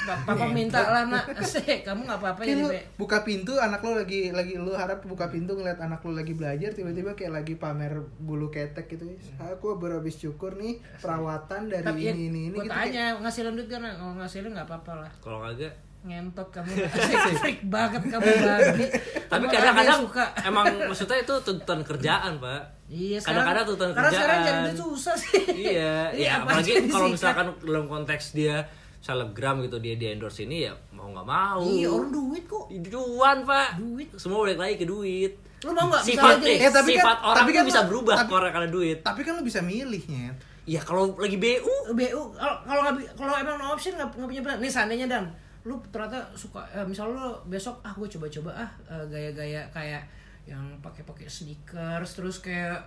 [SPEAKER 2] Pa-
[SPEAKER 3] Iya.
[SPEAKER 2] papa minta lah nak Asik, kamu nggak apa-apa
[SPEAKER 3] Kayak
[SPEAKER 2] jadi
[SPEAKER 3] lu
[SPEAKER 2] be
[SPEAKER 3] buka pintu anak lu lagi lagi lu harap buka pintu ngeliat anak lu lagi belajar tiba-tiba kayak lagi pamer bulu ketek gitu. Aku baru habis cukur nih perawatan dari
[SPEAKER 2] Hmm. Iya tapi ya,
[SPEAKER 3] ini ini ini
[SPEAKER 2] gue
[SPEAKER 3] gitu.
[SPEAKER 2] tanya ngasilin duit kan kalau ngasilin nggak apa-apa lah
[SPEAKER 4] Kalau kagak
[SPEAKER 2] ngentot
[SPEAKER 4] <laughs>
[SPEAKER 2] kamu Asik, freak banget kamu babi
[SPEAKER 4] tapi
[SPEAKER 2] Emang
[SPEAKER 4] kadang-kadang
[SPEAKER 2] ada yang suka
[SPEAKER 4] emang maksudnya itu tuntutan kerjaan pak
[SPEAKER 2] Iya, sekarang-
[SPEAKER 4] kadang-kadang tuntutan kerjaan
[SPEAKER 2] karena sekarang cari duit susah sih. <laughs>
[SPEAKER 4] iya
[SPEAKER 2] Jadi
[SPEAKER 4] ya
[SPEAKER 2] apa aja
[SPEAKER 4] apalagi kalau
[SPEAKER 2] disikat.
[SPEAKER 4] misalkan dalam konteks dia selebgram gitu dia di endorse ini ya mau nggak mau
[SPEAKER 2] iya orang duit kok
[SPEAKER 4] duan pak
[SPEAKER 2] Duit.
[SPEAKER 4] semua balik lagi ke duit
[SPEAKER 2] lu mau nggak
[SPEAKER 4] sifat
[SPEAKER 2] misalnya
[SPEAKER 4] eh,
[SPEAKER 2] jadi-
[SPEAKER 3] Eh, tapi kan-
[SPEAKER 4] sifat orang
[SPEAKER 3] tapi
[SPEAKER 4] tuh
[SPEAKER 3] kan-
[SPEAKER 4] bisa berubah
[SPEAKER 3] tapi-
[SPEAKER 4] orang karena duit
[SPEAKER 3] Tapi kan lu bisa milih nyet.
[SPEAKER 4] ya kalau lagi bu
[SPEAKER 2] BU Eh, kalau kalau nggak bi- kalau emang no option nggak nggak punya pilihan nih seandainya dan lu ternyata suka eh, misal lu besok ah gue coba-coba ah eh, gaya-gaya kayak yang pakai-pakai sneakers terus kayak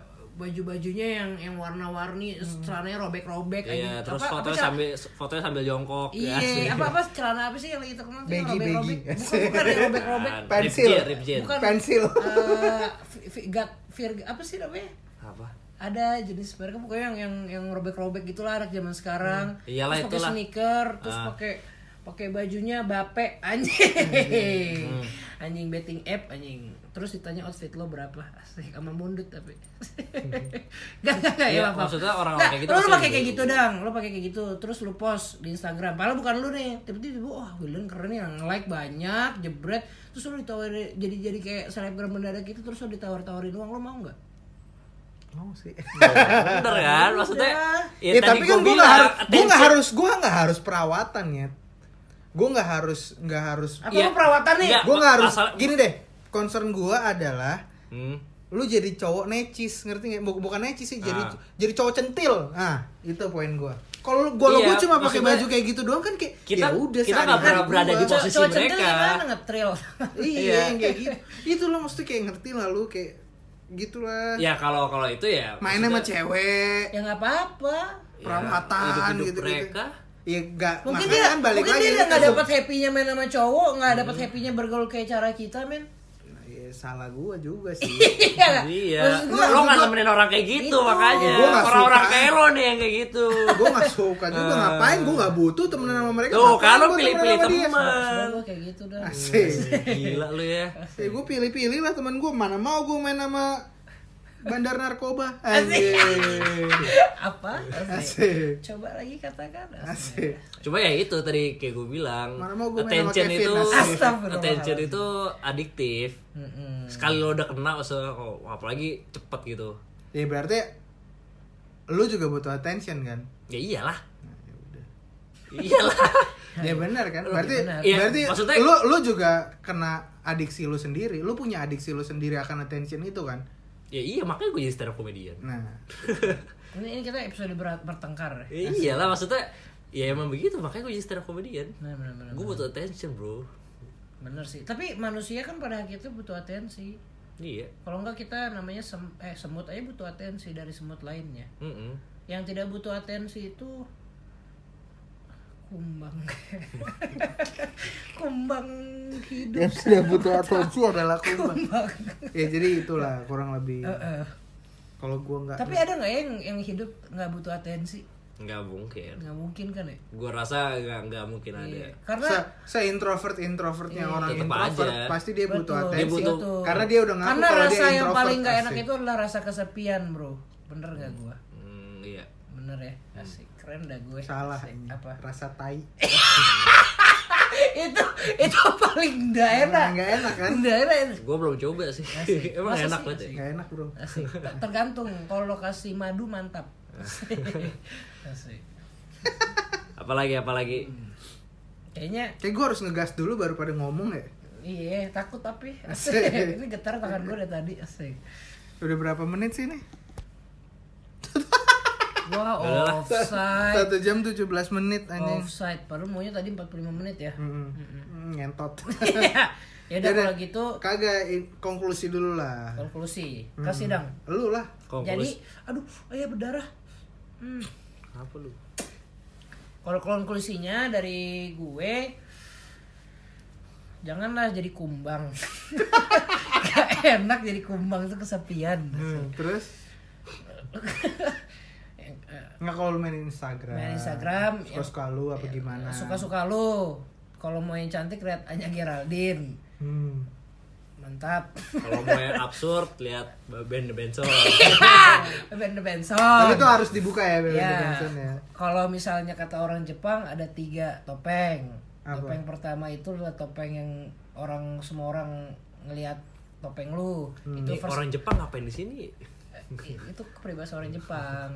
[SPEAKER 2] baju-bajunya yang yang warna-warni terus celananya robek-robek
[SPEAKER 4] Iya,
[SPEAKER 2] anjing.
[SPEAKER 4] terus
[SPEAKER 2] Apa- apa
[SPEAKER 4] fotonya
[SPEAKER 2] cel-
[SPEAKER 4] sambil fotonya sambil jongkok ya.
[SPEAKER 2] Iya, apa apa celana apa sih yang lagi terkenal tuh yang
[SPEAKER 3] Baggy,
[SPEAKER 2] robek-robek?
[SPEAKER 3] baggy.
[SPEAKER 2] Bukan bukan yang
[SPEAKER 4] <laughs>
[SPEAKER 2] robek-robek.
[SPEAKER 4] Nah,
[SPEAKER 3] Pensil.
[SPEAKER 4] rip jean, rip jean.
[SPEAKER 2] Bukan. <laughs>
[SPEAKER 3] Pensil.
[SPEAKER 2] Eh, fi- fi- gak fir apa sih namanya?
[SPEAKER 4] <laughs> Apa?
[SPEAKER 2] ada jenis mereka pokoknya yang yang yang robek-robek gitulah anak zaman sekarang.
[SPEAKER 4] Hmm, Iyalah,
[SPEAKER 2] terus pakai
[SPEAKER 4] itulah.
[SPEAKER 2] sneaker, terus
[SPEAKER 4] Ah.
[SPEAKER 2] pakai pakai bajunya bape anjing.
[SPEAKER 4] Hmm.
[SPEAKER 2] Anjing betting app anjing. Terus ditanya outfit lo berapa? Asik sama mundut tapi. Gak gak gak ya,
[SPEAKER 4] Iya,
[SPEAKER 2] apa.
[SPEAKER 4] Hmm. maksudnya orang-orang kayak gitu
[SPEAKER 2] Lo, lo
[SPEAKER 4] pasti
[SPEAKER 2] pakai kayak
[SPEAKER 4] gitu.
[SPEAKER 2] gitu dang, lo pakai kayak gitu. Terus lo post di Instagram. Padahal bukan lo nih. Tiba-tiba wah William keren nih, yang like banyak, jebret. Terus lo ditawarin jadi jadi kayak selebgram mendadak gitu terus lo ditawar-tawarin uang lo mau nggak?
[SPEAKER 3] Mau sih.
[SPEAKER 4] Bener
[SPEAKER 2] Iya.
[SPEAKER 4] kan? Maksudnya
[SPEAKER 3] <laughs> Ya, tapi kan gue nggak harus, gue nggak harus, gue nggak harus perawatan ya. Gue nggak harus, nggak harus.
[SPEAKER 2] Apa
[SPEAKER 4] Iya.
[SPEAKER 2] lo perawatan nih?
[SPEAKER 4] Iya.
[SPEAKER 3] Gue nggak harus.
[SPEAKER 4] Asal-
[SPEAKER 3] Gini deh, concern gue adalah
[SPEAKER 4] Hmm.
[SPEAKER 3] lu jadi cowok necis ngerti nggak Bu- bukan necis sih jadi
[SPEAKER 4] Ah.
[SPEAKER 3] jadi cowok centil ah itu poin gua kalau lu- gua
[SPEAKER 4] Iya,
[SPEAKER 3] gua cuma pakai
[SPEAKER 4] maksudnya-
[SPEAKER 3] baju kayak gitu doang kan kayak ya
[SPEAKER 4] Kita-
[SPEAKER 3] udah
[SPEAKER 4] kita nggak
[SPEAKER 3] sehari-hari
[SPEAKER 4] pernah berada di
[SPEAKER 3] gua.
[SPEAKER 4] posisi
[SPEAKER 2] Cowok centil
[SPEAKER 4] mereka.
[SPEAKER 2] gimana ngetril? <laughs>
[SPEAKER 3] iya yang kayak gitu itu lo mesti kayak ngerti lah lu kayak gitulah
[SPEAKER 4] Ya kalau kalau itu ya
[SPEAKER 3] main
[SPEAKER 4] maksudnya-
[SPEAKER 3] sama cewek
[SPEAKER 2] ya nggak apa-apa.
[SPEAKER 3] perawatan
[SPEAKER 4] hidup-hidup
[SPEAKER 3] gitu
[SPEAKER 4] mereka.
[SPEAKER 3] Iya enggak
[SPEAKER 2] Mungkin
[SPEAKER 3] makanya
[SPEAKER 2] dia
[SPEAKER 3] kan balik
[SPEAKER 2] mungkin
[SPEAKER 3] lagi Hmm.
[SPEAKER 2] dia nggak
[SPEAKER 3] gitu.
[SPEAKER 2] dapat happy-nya main sama cowok, nggak dapat happy-nya bergaul kayak cara kita, men. <laughs>
[SPEAKER 3] Nah, iya, salah gua juga sih.
[SPEAKER 2] Iya nggak?
[SPEAKER 4] Iya.
[SPEAKER 2] Maksud gua,
[SPEAKER 4] lo nggak nemenin orang kayak gitu
[SPEAKER 2] Itu.
[SPEAKER 4] makanya.
[SPEAKER 3] Gua nggak
[SPEAKER 4] Orang-orang
[SPEAKER 3] suka.
[SPEAKER 4] kayak lo nih yang kayak gitu.
[SPEAKER 3] gua gak suka
[SPEAKER 4] <laughs>
[SPEAKER 3] juga ngapain gua gak butuh temenan sama mereka.
[SPEAKER 4] Ah. Tuh,
[SPEAKER 3] ngapain
[SPEAKER 4] kalau
[SPEAKER 3] gua
[SPEAKER 4] pilih-pilih
[SPEAKER 3] temenan sama dia?
[SPEAKER 2] maksud
[SPEAKER 3] <laughs>
[SPEAKER 4] teman.
[SPEAKER 2] gua kayak gitu dah.
[SPEAKER 3] Asik.
[SPEAKER 4] Gila lu ya.
[SPEAKER 3] Ya gue pilih-pilih lah teman gue mana mau gue main sama bandar narkoba Anjir
[SPEAKER 2] Apa?
[SPEAKER 3] Asik
[SPEAKER 2] Coba lagi katakan.
[SPEAKER 3] Asik
[SPEAKER 4] Cuma ya itu tadi kayak gue bilang,
[SPEAKER 3] Mana mau gua main sama
[SPEAKER 4] attention
[SPEAKER 3] Kevin,
[SPEAKER 4] itu
[SPEAKER 3] asik.
[SPEAKER 2] Astagfirullahaladzim.
[SPEAKER 4] attention itu adiktif. Sekali lo udah kena maksudnya oh, apalagi cepet gitu.
[SPEAKER 3] Ya berarti Lu juga butuh attention kan
[SPEAKER 4] Ya iyalah.
[SPEAKER 3] Nah,
[SPEAKER 4] Iyalah.
[SPEAKER 3] Ya benar kan
[SPEAKER 2] Iya.
[SPEAKER 3] Berarti
[SPEAKER 2] benar.
[SPEAKER 4] Iya,
[SPEAKER 3] berarti
[SPEAKER 4] maksudnya-
[SPEAKER 3] lu, lu juga kena adiksi lu sendiri Lu punya adiksi lu sendiri akan attention itu kan
[SPEAKER 4] ya iya makanya gue jadi stand up comedian. Ya
[SPEAKER 3] Nah
[SPEAKER 2] Ini, ini kita episode berat bertengkar.
[SPEAKER 4] Ya iyalah maksudnya ya emang begitu makanya gue jadi stand up comedian.
[SPEAKER 2] Benar, benar, benar.
[SPEAKER 4] Gue butuh attention, bro.
[SPEAKER 2] Benar sih. Tapi manusia kan pada akhirnya butuh atensi.
[SPEAKER 4] Iya.
[SPEAKER 2] Kalau enggak kita namanya sem- eh semut aja butuh atensi dari semut lainnya.
[SPEAKER 4] Mm
[SPEAKER 2] yang tidak butuh atensi itu
[SPEAKER 3] <laughs>
[SPEAKER 2] kumbang kumbang hidup
[SPEAKER 3] yang tidak butuh atensi <laughs> adalah kumbang ya jadi itulah kurang lebih
[SPEAKER 2] Eh,
[SPEAKER 3] kalau gua nggak
[SPEAKER 2] <laughs> tapi ada nggak ya yang yang hidup nggak butuh atensi
[SPEAKER 4] nggak mungkin
[SPEAKER 2] nggak mungkin kan ya
[SPEAKER 4] gue rasa nggak nggak mungkin ada
[SPEAKER 2] Iya. karena Iya.
[SPEAKER 3] se, introvert introvertnya orang
[SPEAKER 4] Tetep
[SPEAKER 3] introvert
[SPEAKER 4] aja.
[SPEAKER 3] pasti dia butuh
[SPEAKER 2] Betul,
[SPEAKER 3] atensi
[SPEAKER 4] butuh.
[SPEAKER 2] betul.
[SPEAKER 3] karena dia udah ngaku
[SPEAKER 2] karena
[SPEAKER 3] kalau dia
[SPEAKER 2] rasa yang
[SPEAKER 3] introvert,
[SPEAKER 2] paling nggak enak
[SPEAKER 3] asik.
[SPEAKER 2] itu adalah rasa kesepian bro bener gak gua
[SPEAKER 4] Hmm, iya
[SPEAKER 2] bener ya
[SPEAKER 3] Hmm.
[SPEAKER 2] asik keren dah gue
[SPEAKER 3] salah
[SPEAKER 2] Asik.
[SPEAKER 3] ini
[SPEAKER 2] apa <laughs> Eh,
[SPEAKER 3] rasa tai
[SPEAKER 2] itu itu paling nggak enak
[SPEAKER 3] nggak enak kan
[SPEAKER 2] nggak enak
[SPEAKER 4] gue belum coba sih <laughs> emang
[SPEAKER 2] Masa
[SPEAKER 4] enak
[SPEAKER 2] sih?
[SPEAKER 4] banget ya
[SPEAKER 3] nggak enak bro
[SPEAKER 2] Asik. Ter- Tergantung kalau lokasi madu mantap. Asik. <laughs> Asik.
[SPEAKER 4] apalagi apalagi
[SPEAKER 2] Hmm. Kayaknya
[SPEAKER 3] kayak gua harus ngegas dulu baru pada ngomong ya
[SPEAKER 2] iya takut tapi
[SPEAKER 3] Asik.
[SPEAKER 2] asik. Ini getar tangan gue dari tadi asik.
[SPEAKER 3] udah berapa menit sih nih
[SPEAKER 2] Wah,
[SPEAKER 4] Udahlah.
[SPEAKER 2] offside. <laughs>
[SPEAKER 3] satu jam 17 menit anjing
[SPEAKER 2] Offside. Padahal maunya tadi 45 menit <laughs> ya.
[SPEAKER 3] Mm-mm. Mm, ngentot <laughs>
[SPEAKER 2] ya udah
[SPEAKER 3] Yaudah.
[SPEAKER 2] kalau gitu
[SPEAKER 3] kagak i- konklusi dulu lah
[SPEAKER 2] konklusi. Kasih dong.
[SPEAKER 3] lu lah
[SPEAKER 2] Jadi, <laughs>
[SPEAKER 4] konklusi
[SPEAKER 2] aduh, ayah berdarah. Hmm.
[SPEAKER 4] apa lu
[SPEAKER 2] Kalau konklusinya dari gue janganlah jadi kumbang. Gak enak jadi kumbang itu kesepian.
[SPEAKER 3] Hmm,
[SPEAKER 2] <laughs>
[SPEAKER 3] terus nggak kalau lu main
[SPEAKER 2] eh,
[SPEAKER 3] Instagram
[SPEAKER 2] Main Instagram, ya,
[SPEAKER 3] suka suka lu apa gimana
[SPEAKER 2] Suka-suka lu. Kalau mau yang cantik lihat Anya Geraldine.
[SPEAKER 3] Hmm.
[SPEAKER 2] Mantap. <laughs>
[SPEAKER 4] kalau mau yang absurd lihat band benson
[SPEAKER 2] Ben
[SPEAKER 3] tapi
[SPEAKER 2] Benson.
[SPEAKER 3] itu harus dibuka ya Bebe
[SPEAKER 2] Ya.
[SPEAKER 3] Benson ya
[SPEAKER 2] Kalau misalnya kata orang Jepang ada tiga topeng.
[SPEAKER 3] Apa?
[SPEAKER 2] Topeng pertama itu adalah topeng yang orang semua orang ngelihat topeng lu.
[SPEAKER 3] Hmm.
[SPEAKER 2] Itu
[SPEAKER 4] Ini
[SPEAKER 2] first
[SPEAKER 4] orang Jepang ngapain di sini
[SPEAKER 2] I- itu peribahasa orang Jepang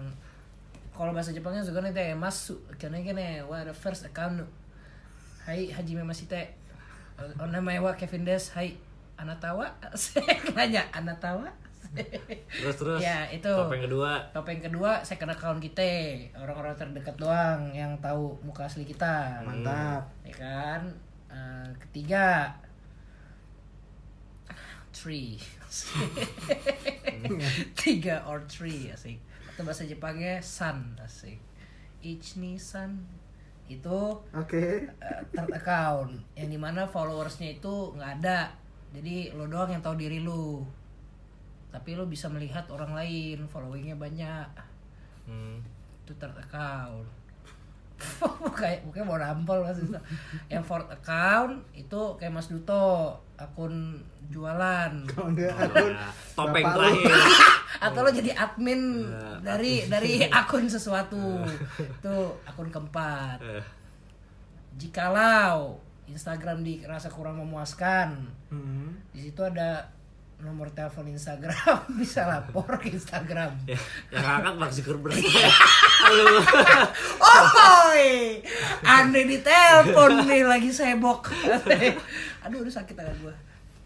[SPEAKER 2] kalau bahasa Jepangnya juga nanti ya masuk karena gini wa the first account hai hajime masite o namae wa Kevin Des hai anatawa <laughs> saya nanya anatawa <laughs>
[SPEAKER 4] terus terus
[SPEAKER 2] Ya, itu.
[SPEAKER 4] topeng kedua
[SPEAKER 2] topeng kedua second account kita orang-orang terdekat doang yang tahu muka asli kita
[SPEAKER 3] mantap
[SPEAKER 2] ya kan Eh, ketiga three <laughs> tiga or three asik atau bahasa Jepangnya san asik each ni san itu
[SPEAKER 3] oke
[SPEAKER 2] eh, third account yang dimana followersnya itu nggak ada jadi lo doang yang tahu diri lu tapi lo bisa melihat orang lain followingnya banyak
[SPEAKER 4] Hmm.
[SPEAKER 2] itu third account <laughs> kayak mungkin mau nampol mas Duto. yang fourth account itu kayak Mas Duto akun jualan
[SPEAKER 3] kalau nggak aku
[SPEAKER 2] <laughs>
[SPEAKER 4] Nah, topeng
[SPEAKER 3] Bapak lu.
[SPEAKER 4] terakhir
[SPEAKER 2] atau lo jadi admin
[SPEAKER 4] Nah,
[SPEAKER 2] dari dari akun sesuatu itu akun keempat
[SPEAKER 4] Eh,
[SPEAKER 2] jikalau Instagram dirasa kurang memuaskan
[SPEAKER 3] Hmm.
[SPEAKER 2] di situ ada nomor telepon Instagram <laughs> bisa lapor ke Instagram
[SPEAKER 4] ya, yang angkat Mark Zuckerberg <laughs> halo
[SPEAKER 2] Oi, Andre di telepon nih lagi sebok. <laughs> Aduh, udah sakit tangan gua.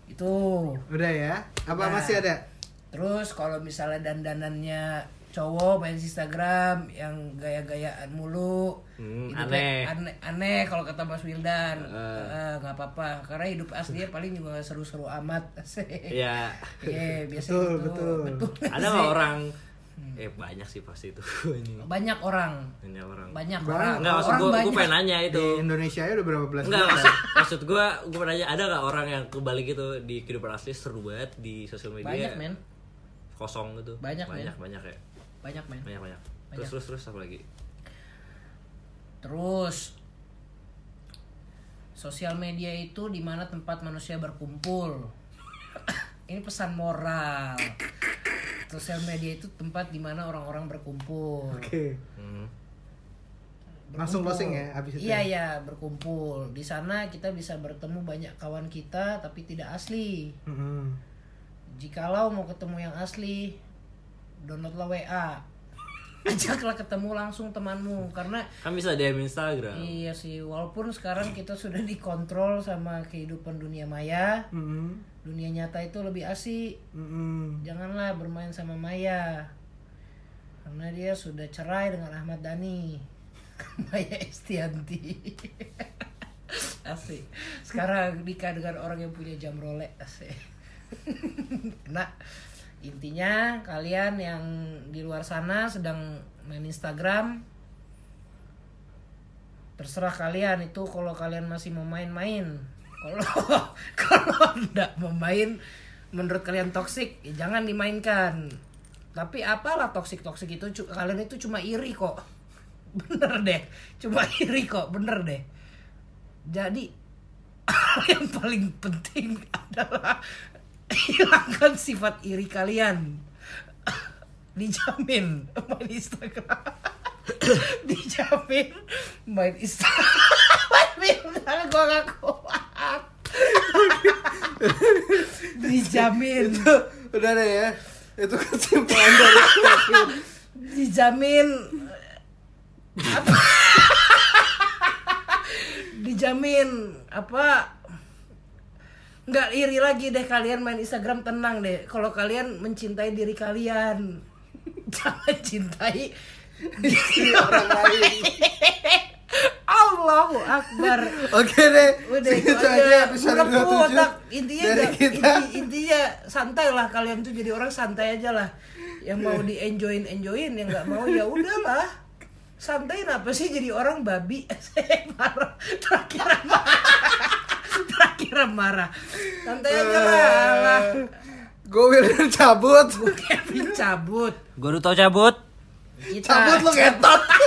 [SPEAKER 2] Itu.
[SPEAKER 3] udah ya apa
[SPEAKER 2] Udah.
[SPEAKER 3] masih ada
[SPEAKER 2] Terus kalau misalnya dandanannya cowok main Instagram yang gaya-gayaan mulu,
[SPEAKER 4] Hmm,
[SPEAKER 2] hidupnya
[SPEAKER 4] aneh.
[SPEAKER 2] aneh, aneh kalau kata Mas Wildan, Eh, nggak apa-apa karena hidup
[SPEAKER 4] <laughs>
[SPEAKER 2] aslinya paling juga nggak seru-seru amat. <laughs>
[SPEAKER 4] ya
[SPEAKER 2] Iya, biasa
[SPEAKER 3] Betul,
[SPEAKER 2] gitu.
[SPEAKER 3] betul.
[SPEAKER 4] ada nggak orang
[SPEAKER 2] Hmm.
[SPEAKER 4] eh banyak sih pasti itu <laughs> ini
[SPEAKER 2] Banyak orang,
[SPEAKER 4] banyak orang
[SPEAKER 2] banyak
[SPEAKER 3] Banyak.
[SPEAKER 2] orang.
[SPEAKER 4] Enggak, maksud
[SPEAKER 2] orang
[SPEAKER 4] gue,
[SPEAKER 2] banyak. Iya,
[SPEAKER 4] gue pengen nanya itu.
[SPEAKER 3] di Indonesia ya udah berapa belas
[SPEAKER 4] Enggak,
[SPEAKER 3] juta?
[SPEAKER 4] maksud, maksud gue, gue pengen nanya, ada gak orang yang kebalik gitu di kehidupan asli seru banget di sosial media?
[SPEAKER 2] Banyak, men.
[SPEAKER 4] Kosong gitu.
[SPEAKER 2] Banyak,
[SPEAKER 4] banyak,
[SPEAKER 2] men.
[SPEAKER 4] banyak ya.
[SPEAKER 2] Banyak, men.
[SPEAKER 4] Banyak, banyak. Terus,
[SPEAKER 2] Banyak.
[SPEAKER 4] terus, terus apa lagi?
[SPEAKER 2] Terus sosial media itu di mana tempat manusia berkumpul. <coughs> Ini pesan moral. Sosial media itu tempat di mana orang-orang berkumpul.
[SPEAKER 3] oke
[SPEAKER 4] Hmm.
[SPEAKER 3] langsung
[SPEAKER 2] Berkumpul.
[SPEAKER 3] closing ya abis itu
[SPEAKER 2] Iya, iya, berkumpul. Di sana kita bisa bertemu banyak kawan kita tapi tidak asli.
[SPEAKER 3] Mm-mm.
[SPEAKER 2] Jikalau mau ketemu yang asli, downloadlah WA. Ajaklah ketemu langsung temanmu karena
[SPEAKER 4] Kan bisa DM Instagram.
[SPEAKER 2] Iya sih, walaupun sekarang kita sudah dikontrol sama kehidupan dunia maya,
[SPEAKER 3] Mm-mm.
[SPEAKER 2] dunia nyata itu lebih asik.
[SPEAKER 3] Mm-mm.
[SPEAKER 2] Janganlah bermain sama maya. Karena dia sudah cerai dengan Ahmad Dhani. <laughs> Maya Estianti. <laughs> Asik. Sekarang nikah dengan orang yang punya jam Rolex. Asik. <laughs> nah, intinya kalian yang di luar sana sedang main Instagram terserah kalian itu kalau kalian masih mau main-main kalau <laughs> kalau enggak mau main menurut kalian toksik ya jangan dimainkan tapi apalah toksik toksik itu cu- kalian itu cuma iri kok <laughs> bener deh cuma iri kok bener deh jadi <laughs> yang paling penting adalah hilangkan sifat iri kalian <laughs> dijamin main Instagram <coughs> dijamin main <laughs> Instagram Bentar, gua gak kuat dijamin
[SPEAKER 3] itu udah deh ya itu kesimpulan dari
[SPEAKER 2] dijamin apa dijamin apa nggak iri lagi deh kalian main Instagram tenang deh kalau kalian mencintai diri kalian <laughs> jangan cintai diri orang lain <laughs> Allahu Akbar
[SPEAKER 3] <laughs> Oke deh,
[SPEAKER 2] Udah itu
[SPEAKER 3] segitu
[SPEAKER 2] aja.
[SPEAKER 3] aja episode
[SPEAKER 2] Udah full
[SPEAKER 3] 27
[SPEAKER 2] otak. Intinya
[SPEAKER 3] dari
[SPEAKER 2] udah-
[SPEAKER 3] kita.
[SPEAKER 2] inti- intinya santai lah kalian tuh jadi orang santai aja lah. Yang mau
[SPEAKER 3] Iya.
[SPEAKER 2] di enjoyin enjoyin, yang nggak mau ya udahlah. Santai apa sih jadi orang babi? <laughs> Saya marah. Terakhir marah. Terakhir marah. Santai aja lah. lah.
[SPEAKER 3] Eh. Gue William cabut.
[SPEAKER 2] Kevin cabut.
[SPEAKER 4] Gue udah tau cabut.
[SPEAKER 2] Kita
[SPEAKER 3] Cabut lu ngetot.